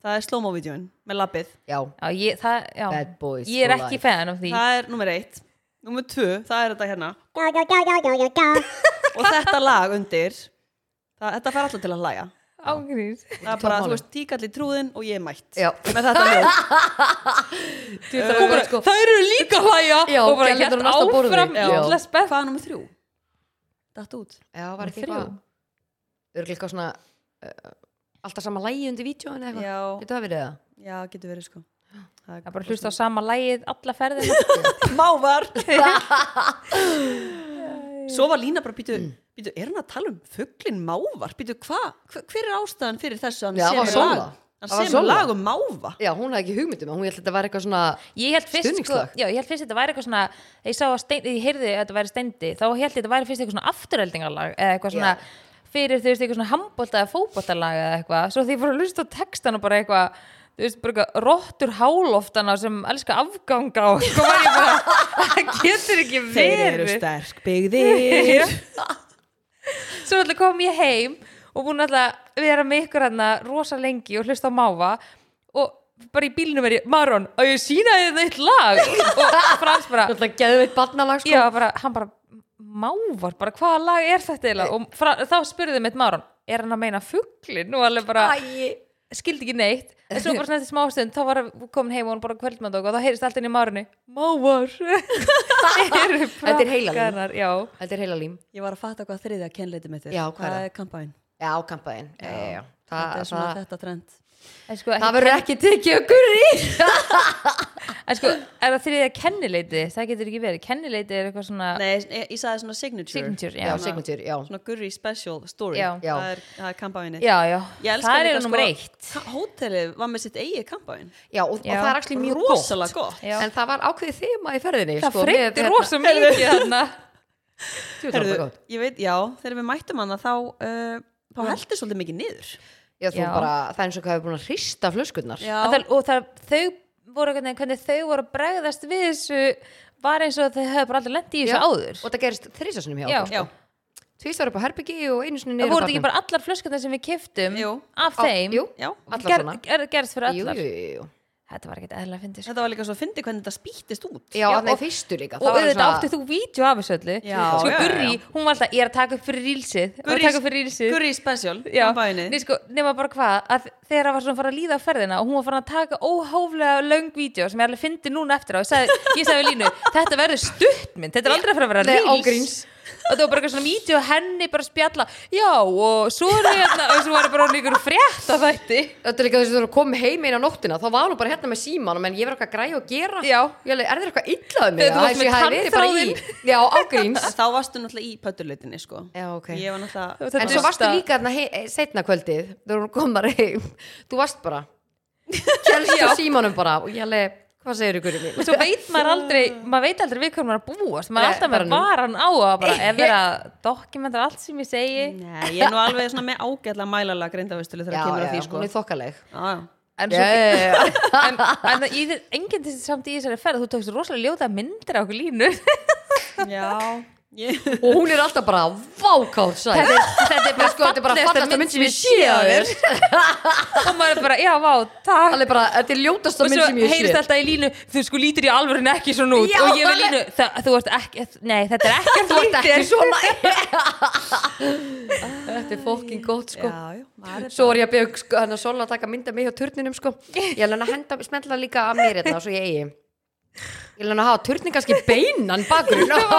[SPEAKER 2] Það er slow-mo videón með labbið.
[SPEAKER 3] Já,
[SPEAKER 4] já, ég, það, já.
[SPEAKER 3] Bad boys
[SPEAKER 4] ég er
[SPEAKER 3] for
[SPEAKER 4] ekki
[SPEAKER 3] life.
[SPEAKER 4] fan af því
[SPEAKER 2] Það er nummer eitt. Nummer tvö, það er þetta hérna. og þetta lag undir, það, þetta fær alltaf til að hlæja.
[SPEAKER 4] ángríns
[SPEAKER 2] Það er bara,
[SPEAKER 3] Tómmáli.
[SPEAKER 2] þú veist, tíkall í trúðin og ég er mætt.
[SPEAKER 3] Já.
[SPEAKER 2] Með þetta hljóð.
[SPEAKER 3] það er sko
[SPEAKER 4] það eru líka að hlæja
[SPEAKER 3] Já,
[SPEAKER 4] og bara
[SPEAKER 3] gerðu
[SPEAKER 4] hér
[SPEAKER 3] þetta á næsta borði.
[SPEAKER 4] áfram
[SPEAKER 3] Já.
[SPEAKER 4] illa spett
[SPEAKER 2] Hvað er nummer þrjú? Datt út.
[SPEAKER 3] Já, var ekki
[SPEAKER 4] Þrjú.
[SPEAKER 3] eitthvað Örglega eitthvað svona uh, Alltaf sama lægi undir vítjóin eða eitthvað
[SPEAKER 2] Já.
[SPEAKER 3] Getur það verið það?
[SPEAKER 2] Já, getur verið sko. Það
[SPEAKER 4] það er bara
[SPEAKER 2] (laughs)
[SPEAKER 4] að hlusta á sama lægið alla ferðina
[SPEAKER 2] mávar (laughs) svo var Lína bara býtu, býtu er hann að tala um fugglin mávar býtu hvað, Hver- hver er ástæðan fyrir þessu að
[SPEAKER 3] Já,
[SPEAKER 2] hann
[SPEAKER 3] það var
[SPEAKER 2] semur lag,
[SPEAKER 3] Sola.
[SPEAKER 2] hann
[SPEAKER 3] Það var
[SPEAKER 2] semur
[SPEAKER 3] Sola.
[SPEAKER 2] lag um máva
[SPEAKER 3] Já, hún hafði ekki hugmyndum Hún held að þetta var eitthvað svona
[SPEAKER 4] ég held fyrst, sko,
[SPEAKER 3] Stuðningslag.
[SPEAKER 4] já, ég held fyrst þetta væri eitthvað svona ég, sá að stein, ég heyrði að þetta væri steindi þá held ég þetta væri fyrst eitthvað svona afturheldingarlag eða eitthvað svona fyrir þú veist eitthvað svona handbólta eða fótbóltalag eða eitthvað svo því ég fór að lusta á textan og bara eitthvað þú veist bara eitthvað rottur háloftana sem elska afganga (laughs) og eitthvað var ég bara það getur ekki
[SPEAKER 2] þeir eru
[SPEAKER 4] verið
[SPEAKER 2] sterk (laughs) byggðir
[SPEAKER 4] svo alltaf kom ég heim og búin alltaf að vera með ykkur hérna rosa lengi og hlusta á máva og bara í bílnum er ég, Maron, að ég sína þið eitt lag og Frans bara,
[SPEAKER 3] Alltaf geðveitt barnalag sko
[SPEAKER 4] já, bara, hann bara mávar, bara hvaða lag er þetta eiginlega og fra, þá spurði mitt Maron er hann að meina fugglin og alveg bara
[SPEAKER 3] Æi
[SPEAKER 4] skildi ekki neitt en svo bara svona eftir smástund, þá var hann komin heim og hann bara kvöldmann og þá heyrist allt inn í Maroni mávar þetta
[SPEAKER 3] Þetta er heila línan.
[SPEAKER 4] já,
[SPEAKER 3] Þetta er heila lím
[SPEAKER 2] ég var að fatta hvað þriðja kennleiti mitt er
[SPEAKER 3] Já, hvað er
[SPEAKER 2] það
[SPEAKER 3] það?
[SPEAKER 2] er kampæn
[SPEAKER 3] Já, kampaðinn Já, já, já
[SPEAKER 2] þetta
[SPEAKER 3] Það,
[SPEAKER 2] er svona
[SPEAKER 3] það,
[SPEAKER 2] þetta trend
[SPEAKER 4] En sko,
[SPEAKER 3] það verður ekki tekið á Guri
[SPEAKER 4] (laughs) En sko, er það þriðja kennileiti? Það getur ekki verið. Kennileiti er eitthvað svona
[SPEAKER 2] nei, ég, ég sagði svona signature,
[SPEAKER 4] signature.
[SPEAKER 3] Já,
[SPEAKER 4] Já, já,
[SPEAKER 3] signature, já
[SPEAKER 2] svona gurri special story
[SPEAKER 4] Já.
[SPEAKER 3] Já.
[SPEAKER 2] það er, það er kampæni
[SPEAKER 4] já. það
[SPEAKER 3] sko.
[SPEAKER 4] er
[SPEAKER 2] líka, sko,
[SPEAKER 4] nummer eitt.
[SPEAKER 2] ka- hótelið var með sitt eigi kampæn
[SPEAKER 3] Já, og, og
[SPEAKER 4] Já.
[SPEAKER 3] það er actually mjög gott
[SPEAKER 2] rosalega gott
[SPEAKER 4] Já.
[SPEAKER 3] En sko, það var ákveðið þema í ferðinni
[SPEAKER 4] Það
[SPEAKER 3] sko, með
[SPEAKER 4] freyti
[SPEAKER 3] hérna- (laughs)
[SPEAKER 4] rosa mikið þarna.
[SPEAKER 3] Djú, það var
[SPEAKER 2] Herðu,
[SPEAKER 3] gott.
[SPEAKER 2] ég veit, já, þegar við mættum hana þá, uh, þá heldur svolítið mikið niður
[SPEAKER 3] Já, þú
[SPEAKER 4] Já.
[SPEAKER 3] bara, það er eins og hvað hefur búin að hrista flöskunnar
[SPEAKER 2] já,
[SPEAKER 4] Og, það, og það, þau voru hvernig, hvernig þau voru að bregðast við þessu var eins og þau höfðu bara aldrei lent í þessu áður.
[SPEAKER 3] Og það gerist þrísasunum hjá
[SPEAKER 4] Já.
[SPEAKER 3] okkur
[SPEAKER 2] já,
[SPEAKER 3] Tvísar upp á herbyggi og einu sinni
[SPEAKER 4] Það
[SPEAKER 3] niður á
[SPEAKER 4] voru þetta ekki
[SPEAKER 3] barnum.
[SPEAKER 4] bara allar flöskunnar sem við kiftum
[SPEAKER 2] Jú.
[SPEAKER 4] af
[SPEAKER 3] Á-
[SPEAKER 4] þeim.
[SPEAKER 3] Jú,
[SPEAKER 2] já
[SPEAKER 3] allar
[SPEAKER 4] Ger,
[SPEAKER 3] svona.
[SPEAKER 4] er, gerðst fyrir
[SPEAKER 3] Jú,
[SPEAKER 4] allar.
[SPEAKER 3] jú, jú, jú.
[SPEAKER 4] Þetta var ekkert sko. eðla að fyndi.
[SPEAKER 2] þetta var líka svo að fyndi hvernig þetta spýttist út
[SPEAKER 3] Já,
[SPEAKER 4] Já,
[SPEAKER 3] þannig
[SPEAKER 4] og-
[SPEAKER 3] fyrstu líka
[SPEAKER 4] Og auðvitað átti þú vídeo af þessu öllu.
[SPEAKER 2] Já,
[SPEAKER 4] sko,
[SPEAKER 2] já, já,
[SPEAKER 4] Gurri, hún var alltaf, ég er að taka upp fyrir rílsið. Ég er að
[SPEAKER 2] Gurrý-
[SPEAKER 4] taka upp fyrir rílsið.
[SPEAKER 2] Gurri special,
[SPEAKER 4] Já,
[SPEAKER 2] kampænið
[SPEAKER 4] nei, sko, nema bara hvað að þegar það var svona að fara að líða á ferðina og hún var farin að taka óhóflega löng vídeo sem ég alveg fyndi núna eftir á, ég sagði, ég sagði við Línu þetta verður stuttmynd, þetta er aldrei að fara að vera
[SPEAKER 3] Nei,
[SPEAKER 4] reels
[SPEAKER 3] ágríns.
[SPEAKER 4] og það var bara eitthvað svona mítið og henni bara að spjalla já og svo er það hérna og svo var það bara líkur frétt af þætti
[SPEAKER 3] Þetta er líka þess að þú kom heim einn á nóttina þá var hún bara hérna með símanum en ég var eitthvað græð og gera
[SPEAKER 4] Já.
[SPEAKER 3] Ég alveg, er þér eitthvað illað mig?
[SPEAKER 4] Þegar þú varst
[SPEAKER 3] Æ, svo ég
[SPEAKER 4] með
[SPEAKER 3] hafi verið bara í- Já, ágríns
[SPEAKER 4] (laughs)
[SPEAKER 2] En þá varstu náttúrulega í pötturleitinni sko
[SPEAKER 3] Já, ok.
[SPEAKER 2] ég var náttúrulega
[SPEAKER 3] En svo varstu líka þarna hei- eh, seinna kvöldið þegar hún kom þar heim Þú varst
[SPEAKER 4] (laughs)
[SPEAKER 3] bara Kjælst á símanum bara og ég alveg, hvað segir ykkur mín?
[SPEAKER 4] svo veit maður aldrei, maður veit aldrei við hvað maður er að búast,
[SPEAKER 3] Nei,
[SPEAKER 4] maður er alltaf
[SPEAKER 3] bara
[SPEAKER 4] með
[SPEAKER 3] nú.
[SPEAKER 4] varan á að
[SPEAKER 3] (laughs)
[SPEAKER 4] bara ef vera dokumentar allt sem ég segi
[SPEAKER 2] Nei, ég er nú alveg svona með ágætla mælalega greindavistölu þegar
[SPEAKER 3] Já,
[SPEAKER 2] að kemur
[SPEAKER 3] já,
[SPEAKER 2] að því sko
[SPEAKER 3] hún er þokkaleg
[SPEAKER 2] Já, já.
[SPEAKER 4] en,
[SPEAKER 3] Já,
[SPEAKER 4] svo,
[SPEAKER 3] já, já, já.
[SPEAKER 4] en, en í þér, enginn til samt í þessari ferð, þú tókst rosalega ljóta myndir á okkur línu
[SPEAKER 2] Já, ég
[SPEAKER 3] og hún er alltaf bara vákátt sæt
[SPEAKER 4] Þetta er- þetta er bara
[SPEAKER 3] sko, þetta er bara
[SPEAKER 4] fallegasta
[SPEAKER 3] fallasta mynd sem ég sé
[SPEAKER 4] af
[SPEAKER 3] að
[SPEAKER 4] þér.
[SPEAKER 3] þér
[SPEAKER 4] og maður er bara, já, vá, takk
[SPEAKER 3] Alveg bara, þetta er ljótasta
[SPEAKER 4] og
[SPEAKER 3] mynd
[SPEAKER 4] svo
[SPEAKER 3] sem ég
[SPEAKER 4] heyrist
[SPEAKER 3] sé
[SPEAKER 4] alltaf í línu þú sko lítir í alvörin ekki svona út
[SPEAKER 3] Já,
[SPEAKER 4] og ég við
[SPEAKER 3] alveg.
[SPEAKER 4] línu, það, þú ert ekki nei, þetta er ekki
[SPEAKER 3] Þú ert ekki svona Þetta er fokkin gott sko
[SPEAKER 2] Já, já, maður er
[SPEAKER 3] Svo var ég að byggja sko, hann að Sola að taka mynda mig á turninum sko Ég er hann að henda, smetla líka að mér þetta svo ég eigi Ég er hann að hafa turnin kannski beinan bakur Það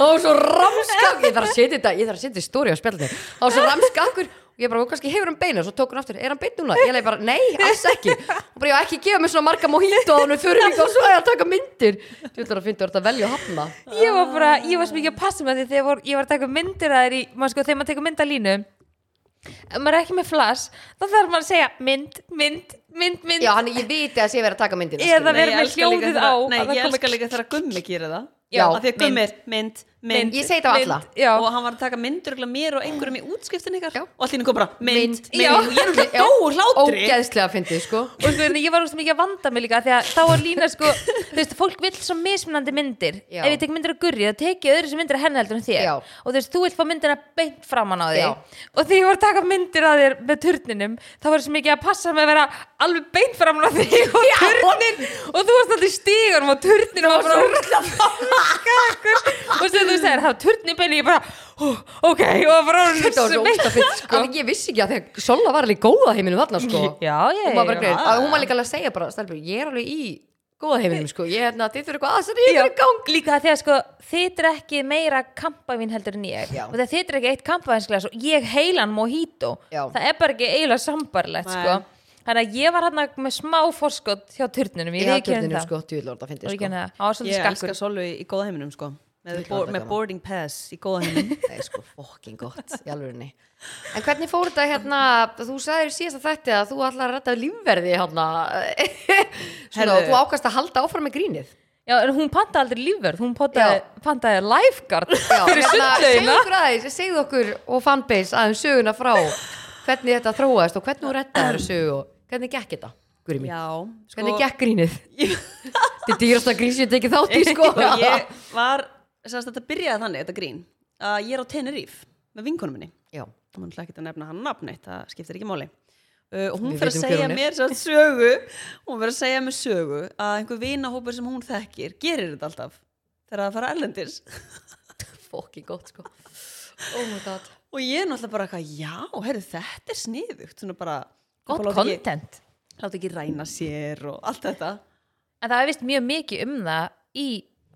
[SPEAKER 3] var svo ramskakur Ég þarf að setja þetta, ég þarf að setja þetta í stóri á spjaldinu Það var svo ramskakur og ég bara, "Og kannski hefur hann beina Svo tók hann aftur, er hann beinn núna? Ég leiði bara, nei, alls ekki Og bara, ég ekki gefa mér svona marga mojito á hann við förum hingað og svo er ég að taka myndir Þú ætlar að finna þú ert að velja og hafna
[SPEAKER 4] ég var bara, ég var svo mikið að passa með því þegar vor, ég var að taka myndir að þér í maður sko, þegar maður tekur mynd að línu ef maður er ekki með flash, þá þarf maður að segja mynd, mynd, mynd, mynd
[SPEAKER 3] Já, hann, ég viti að sé verið að taka myndina
[SPEAKER 4] Eða
[SPEAKER 3] skilurðu.
[SPEAKER 4] við-
[SPEAKER 2] Nei, ég
[SPEAKER 4] vera með
[SPEAKER 2] elska líka
[SPEAKER 4] hljóðið
[SPEAKER 2] þegar-
[SPEAKER 4] á,
[SPEAKER 2] Nei,
[SPEAKER 4] að það
[SPEAKER 2] ég
[SPEAKER 4] komi-
[SPEAKER 2] elska líka þegar gummi gerir það
[SPEAKER 3] Já,
[SPEAKER 2] Af því að gummi er mynd, mynd,
[SPEAKER 3] Ég segi þetta á
[SPEAKER 4] mynd,
[SPEAKER 3] alla.
[SPEAKER 4] já.
[SPEAKER 2] og hann var að taka myndur og mér og einhverjum í útskiptin ykkar
[SPEAKER 3] Já.
[SPEAKER 2] og allir kom bara mynd,
[SPEAKER 3] Mynd.
[SPEAKER 2] mynd, og ég er alveg
[SPEAKER 3] Já.
[SPEAKER 2] dó úr hlátri
[SPEAKER 3] Ógeðslega fyndið, sko
[SPEAKER 4] og sko, ég var úrst mikið að vanda mig líka því að þá var lína
[SPEAKER 3] (laughs)
[SPEAKER 4] sko, þú veist, fólk vill svo mismunandi myndir,
[SPEAKER 3] Já.
[SPEAKER 4] ef ég tek myndir að gurri þá tek ég öðru sem myndir að henni heldur en þér
[SPEAKER 3] Já.
[SPEAKER 4] og þú veist, þú vilt fá myndina beint framan á því
[SPEAKER 3] Já.
[SPEAKER 4] og þegar ég var að taka myndir að þér með turninum, þá var svo mikið að passa með að vera alveg beint framan á því og turnin, og þú varst alltaf í stígunum og turnin var bara Skakur. og sem þú segir, það var turnin beinu ég bara, "Ó, ok og bara orðin
[SPEAKER 3] Þetta var svo
[SPEAKER 4] svo beint, (laughs)
[SPEAKER 3] ógeðslega fyndið, sko En Ég vissi ekki að þegar Sola var alveg í góða heiminum þarna, sko
[SPEAKER 4] já,
[SPEAKER 3] Hún var bara
[SPEAKER 4] já, já
[SPEAKER 3] greið Hún var líka alveg að segja bara, stelpur, ég er alveg í góða heiminum, sko Ég er hérna, þið þurfum eitthvað aðsar, ég er í gang
[SPEAKER 4] líka þegar sko þið er ekki meira kampavín heldur en ég
[SPEAKER 3] Já.
[SPEAKER 4] og þegar þið er ekki eitt kampavínsglas og ég heilan mojito,
[SPEAKER 3] Já.
[SPEAKER 4] það er bara ekki eiginlega sambarlegt
[SPEAKER 2] Nei.
[SPEAKER 4] sko þannig að ég var hann með smá forskot hjá turnunum, ég
[SPEAKER 3] Ég er
[SPEAKER 4] viðkjörn
[SPEAKER 3] kjörnum,
[SPEAKER 4] það
[SPEAKER 3] sko, djúðlór, það
[SPEAKER 4] og
[SPEAKER 3] fyndið,
[SPEAKER 4] ég
[SPEAKER 3] sko
[SPEAKER 4] kjörn það, það var
[SPEAKER 2] ég
[SPEAKER 4] svolítið
[SPEAKER 2] elska
[SPEAKER 4] skakkur
[SPEAKER 2] Solveig í góða heiminum sko með,
[SPEAKER 3] Líka
[SPEAKER 2] bo
[SPEAKER 3] alltaf
[SPEAKER 2] með
[SPEAKER 3] gaman.
[SPEAKER 2] boarding pass í góða heiminum
[SPEAKER 3] Það er sko fokkin gott, í alvörinni En hvernig fór þetta hérna, þú sagðir síðast að þetta að þú ætlar að retta lífverði hérna (laughs) Svona,
[SPEAKER 2] Herðu.
[SPEAKER 3] og þú ákast að halda áfram með grínið
[SPEAKER 4] já, en hún pantaði aldrei lífverð, hún pantaði, pantaði
[SPEAKER 3] (laughs)
[SPEAKER 4] lifeguard
[SPEAKER 3] Já,
[SPEAKER 4] fyrir
[SPEAKER 3] hérna, segðu
[SPEAKER 4] sundlaugina
[SPEAKER 3] okkur aðeins, segðu okkur og fanbase aðeins söguna frá hvernig þetta þróaðist og hvernig þú rettaði þessu og hvernig gekk þetta, guri mín
[SPEAKER 2] já, sko
[SPEAKER 3] hvernig gekk grínið þetta er dýrasta grín sem ég tekið þátt
[SPEAKER 2] (laughs)
[SPEAKER 3] (laughs) í sko
[SPEAKER 2] ég var, sérst þetta byrjaði þannig þetta grín, að ég er á Tenerife með vinkonum minni
[SPEAKER 3] já,
[SPEAKER 2] og mann ætla ekki að nefna hann nafneitt, það skiptir ekki máli uh, og hún
[SPEAKER 3] Við
[SPEAKER 2] fyrir að
[SPEAKER 3] vitum hver
[SPEAKER 2] segja
[SPEAKER 3] hún er.
[SPEAKER 2] mér svo sögu hún fyrir að segja mér sögu að einhver vinahópur sem hún þekkir gerir þetta alltaf þegar það fara erlendis
[SPEAKER 3] fokki gott sko oh my god
[SPEAKER 2] og ég er náttúrulega bara eitthvað, já, heyrðu, þetta er sniðugt svona bara,
[SPEAKER 4] gott
[SPEAKER 2] bara láta ekki,
[SPEAKER 4] content
[SPEAKER 2] láta ekki ræna sér og allt þetta
[SPEAKER 4] en það er vist mjög mikið um það í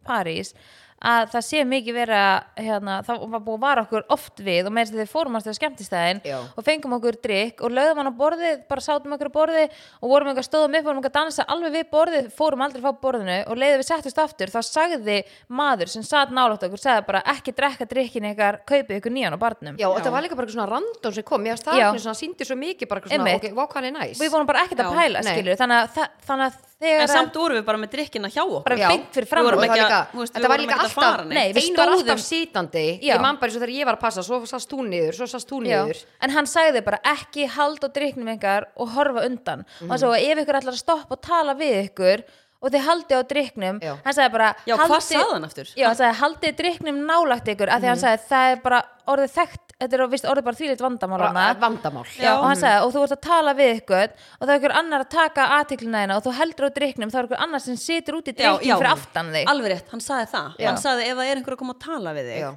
[SPEAKER 4] París að það sé mikið vera hérna, það var búið að vara okkur oft við og meðan þeir fórum að stöða skemmtistæðin
[SPEAKER 3] Já.
[SPEAKER 4] og fengum okkur drikk og lögðum hann á borðið bara sátum okkur á borðið og vorum eitthvað stóðum upp vorum eitthvað að dansa alveg við borðið fórum aldrei frá borðinu og leiðum við settust aftur þá sagði maður sem satt nálátt okkur sagði bara ekki drekka drikkin ykkar kaupið ykkur nýjan á barnum
[SPEAKER 3] já, og þetta var líka bara eitthvað svona random sem kom ég að
[SPEAKER 4] Já.
[SPEAKER 3] staðnir svona, síndi svo mikið bara eitthvað svona,
[SPEAKER 4] Einmitt.
[SPEAKER 3] ok, vá hvað hann er næs
[SPEAKER 4] við vorum bara ekkert að
[SPEAKER 2] Já,
[SPEAKER 4] pæla
[SPEAKER 3] nei.
[SPEAKER 4] skilur þannig að, þa- þannig að þegar
[SPEAKER 2] en samt vorum við bara með drikkina hjá okkur
[SPEAKER 4] bara
[SPEAKER 3] Já.
[SPEAKER 4] beint fyrir
[SPEAKER 2] Við
[SPEAKER 4] fram
[SPEAKER 2] vorum
[SPEAKER 3] Og það
[SPEAKER 2] ekki að-
[SPEAKER 3] líka,
[SPEAKER 2] þú veist, við
[SPEAKER 3] þetta var
[SPEAKER 2] vorum
[SPEAKER 3] líka
[SPEAKER 2] ekkert að
[SPEAKER 3] alltaf
[SPEAKER 2] fara neitt.
[SPEAKER 4] Nei, við
[SPEAKER 3] einu var alltaf
[SPEAKER 4] stóðum-
[SPEAKER 3] sitandi
[SPEAKER 4] Já.
[SPEAKER 3] ég man bara eins og þegar ég var að passa, svo sast hún niður svo sast hún
[SPEAKER 4] Já,
[SPEAKER 3] niður
[SPEAKER 4] en hann sagði bara ekki halda á driknum ykkar og horfa undan og hann sagði ef ykkur ætlar að stoppa og tala við ykkur og þið haldið á driknum
[SPEAKER 3] Já.
[SPEAKER 4] hann sagði bara
[SPEAKER 2] Já, hvað
[SPEAKER 4] haldið-
[SPEAKER 2] sagði hann aftur?
[SPEAKER 4] Já, hann sagði haldið driknum nálagt ykkur af því
[SPEAKER 3] Mhm.
[SPEAKER 4] hann sagði það er bara orðið þekkt þetta er vist orðið bara þvílitt vandamál
[SPEAKER 3] bara eh,
[SPEAKER 4] hana.
[SPEAKER 3] vandamál
[SPEAKER 4] Já, og hann sagði, og þú ert að tala við ykkur og það er ykkur annar að taka aðtiklina þína og þú heldur á driknum, þá er ykkur annar sem situr út í driknum fyrir aftan þig
[SPEAKER 2] alveg rétt, hann sagði það
[SPEAKER 4] Já.
[SPEAKER 2] hann sagði ef það er einhver að koma að tala við þig
[SPEAKER 3] Já.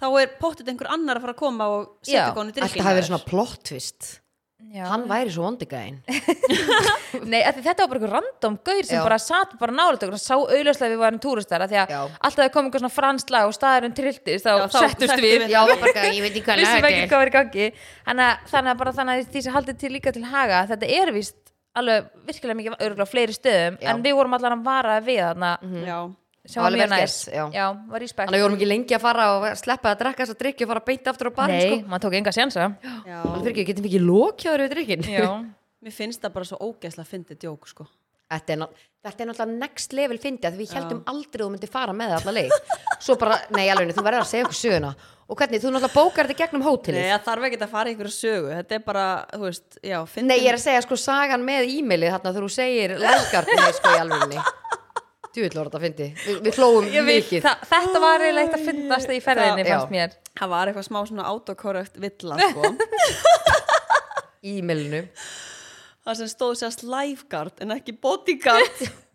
[SPEAKER 2] þá er pottet einhver annar að fara að koma og
[SPEAKER 4] Já.
[SPEAKER 2] setja konu
[SPEAKER 3] Þetta
[SPEAKER 2] drikkina
[SPEAKER 3] hafi verið svona plot twist
[SPEAKER 4] Já.
[SPEAKER 3] hann væri svo
[SPEAKER 4] (laughs)
[SPEAKER 3] vondigæðin
[SPEAKER 4] Nei, af því þetta var bara einhver random gaur sem
[SPEAKER 3] Já.
[SPEAKER 4] bara satt bara nálega og sá auðljóslega við varum túristar af því að
[SPEAKER 3] Já.
[SPEAKER 4] alltaf það kom einhver svona franskt lag og staðurinn trilltist þá,
[SPEAKER 2] Já, þá
[SPEAKER 4] settust
[SPEAKER 2] settum
[SPEAKER 4] við,
[SPEAKER 2] við-
[SPEAKER 3] já, var bara, eitthvað, ég veit ekki hvað
[SPEAKER 4] vissum
[SPEAKER 3] lag
[SPEAKER 4] ekki
[SPEAKER 3] þetta
[SPEAKER 4] hvað var í gangi þannig að, þannig að bara þannig að því sem haldið til líka til haga þetta er víst alveg virkilega mikið örgulega á fleiri stöðum
[SPEAKER 3] Já. Mhm.
[SPEAKER 4] en við vorum allar að vara við þarna
[SPEAKER 2] Mm. já,
[SPEAKER 4] sem var
[SPEAKER 3] Alveg
[SPEAKER 4] mjög
[SPEAKER 3] vel
[SPEAKER 4] næs
[SPEAKER 3] gert, já.
[SPEAKER 4] var í
[SPEAKER 3] þannig að við vorum ekki lengi að fara og sleppa að drekka þess að drikki og fara að beita aftur á barinn
[SPEAKER 4] Nei,
[SPEAKER 3] sko.
[SPEAKER 4] maður tók enga sjansa
[SPEAKER 2] já.
[SPEAKER 3] alveg fyrir ekki, getum við ekki lokjáður við drikkin (laughs)
[SPEAKER 4] Já,
[SPEAKER 2] Mér finnst það bara svo ógeðslega fyndið djók sko.
[SPEAKER 3] þetta er, ná- þetta er náttúrulega next level fyndi að við heldum aldrei að þú myndir fara með það alla leið svo bara, nei alveg, þú verður að segja okkur söguna og hvernig, þú náttúrulega bókar þetta í gegnum hótelið
[SPEAKER 2] Nei, það þarf ekki að fara í einhverju sögu Þetta er bara, þú veist, já, fyndið
[SPEAKER 3] Nei, ég er að segja sko sagan með e-mailið þarna þegar þú segir laggarni sko í alvegni Djúvill var þetta fyndi Vi, Við hlóum mikið
[SPEAKER 4] Þa, þetta var eiginlega eitt að fyndast í ferðinni
[SPEAKER 3] Já.
[SPEAKER 4] fannst mér (laughs)
[SPEAKER 2] Það var eitthvað smá svona autokorrekt villa sko.
[SPEAKER 3] e-mailinu
[SPEAKER 2] Það sem stóð sérst lifeguard en ekki bodyguard
[SPEAKER 4] (laughs)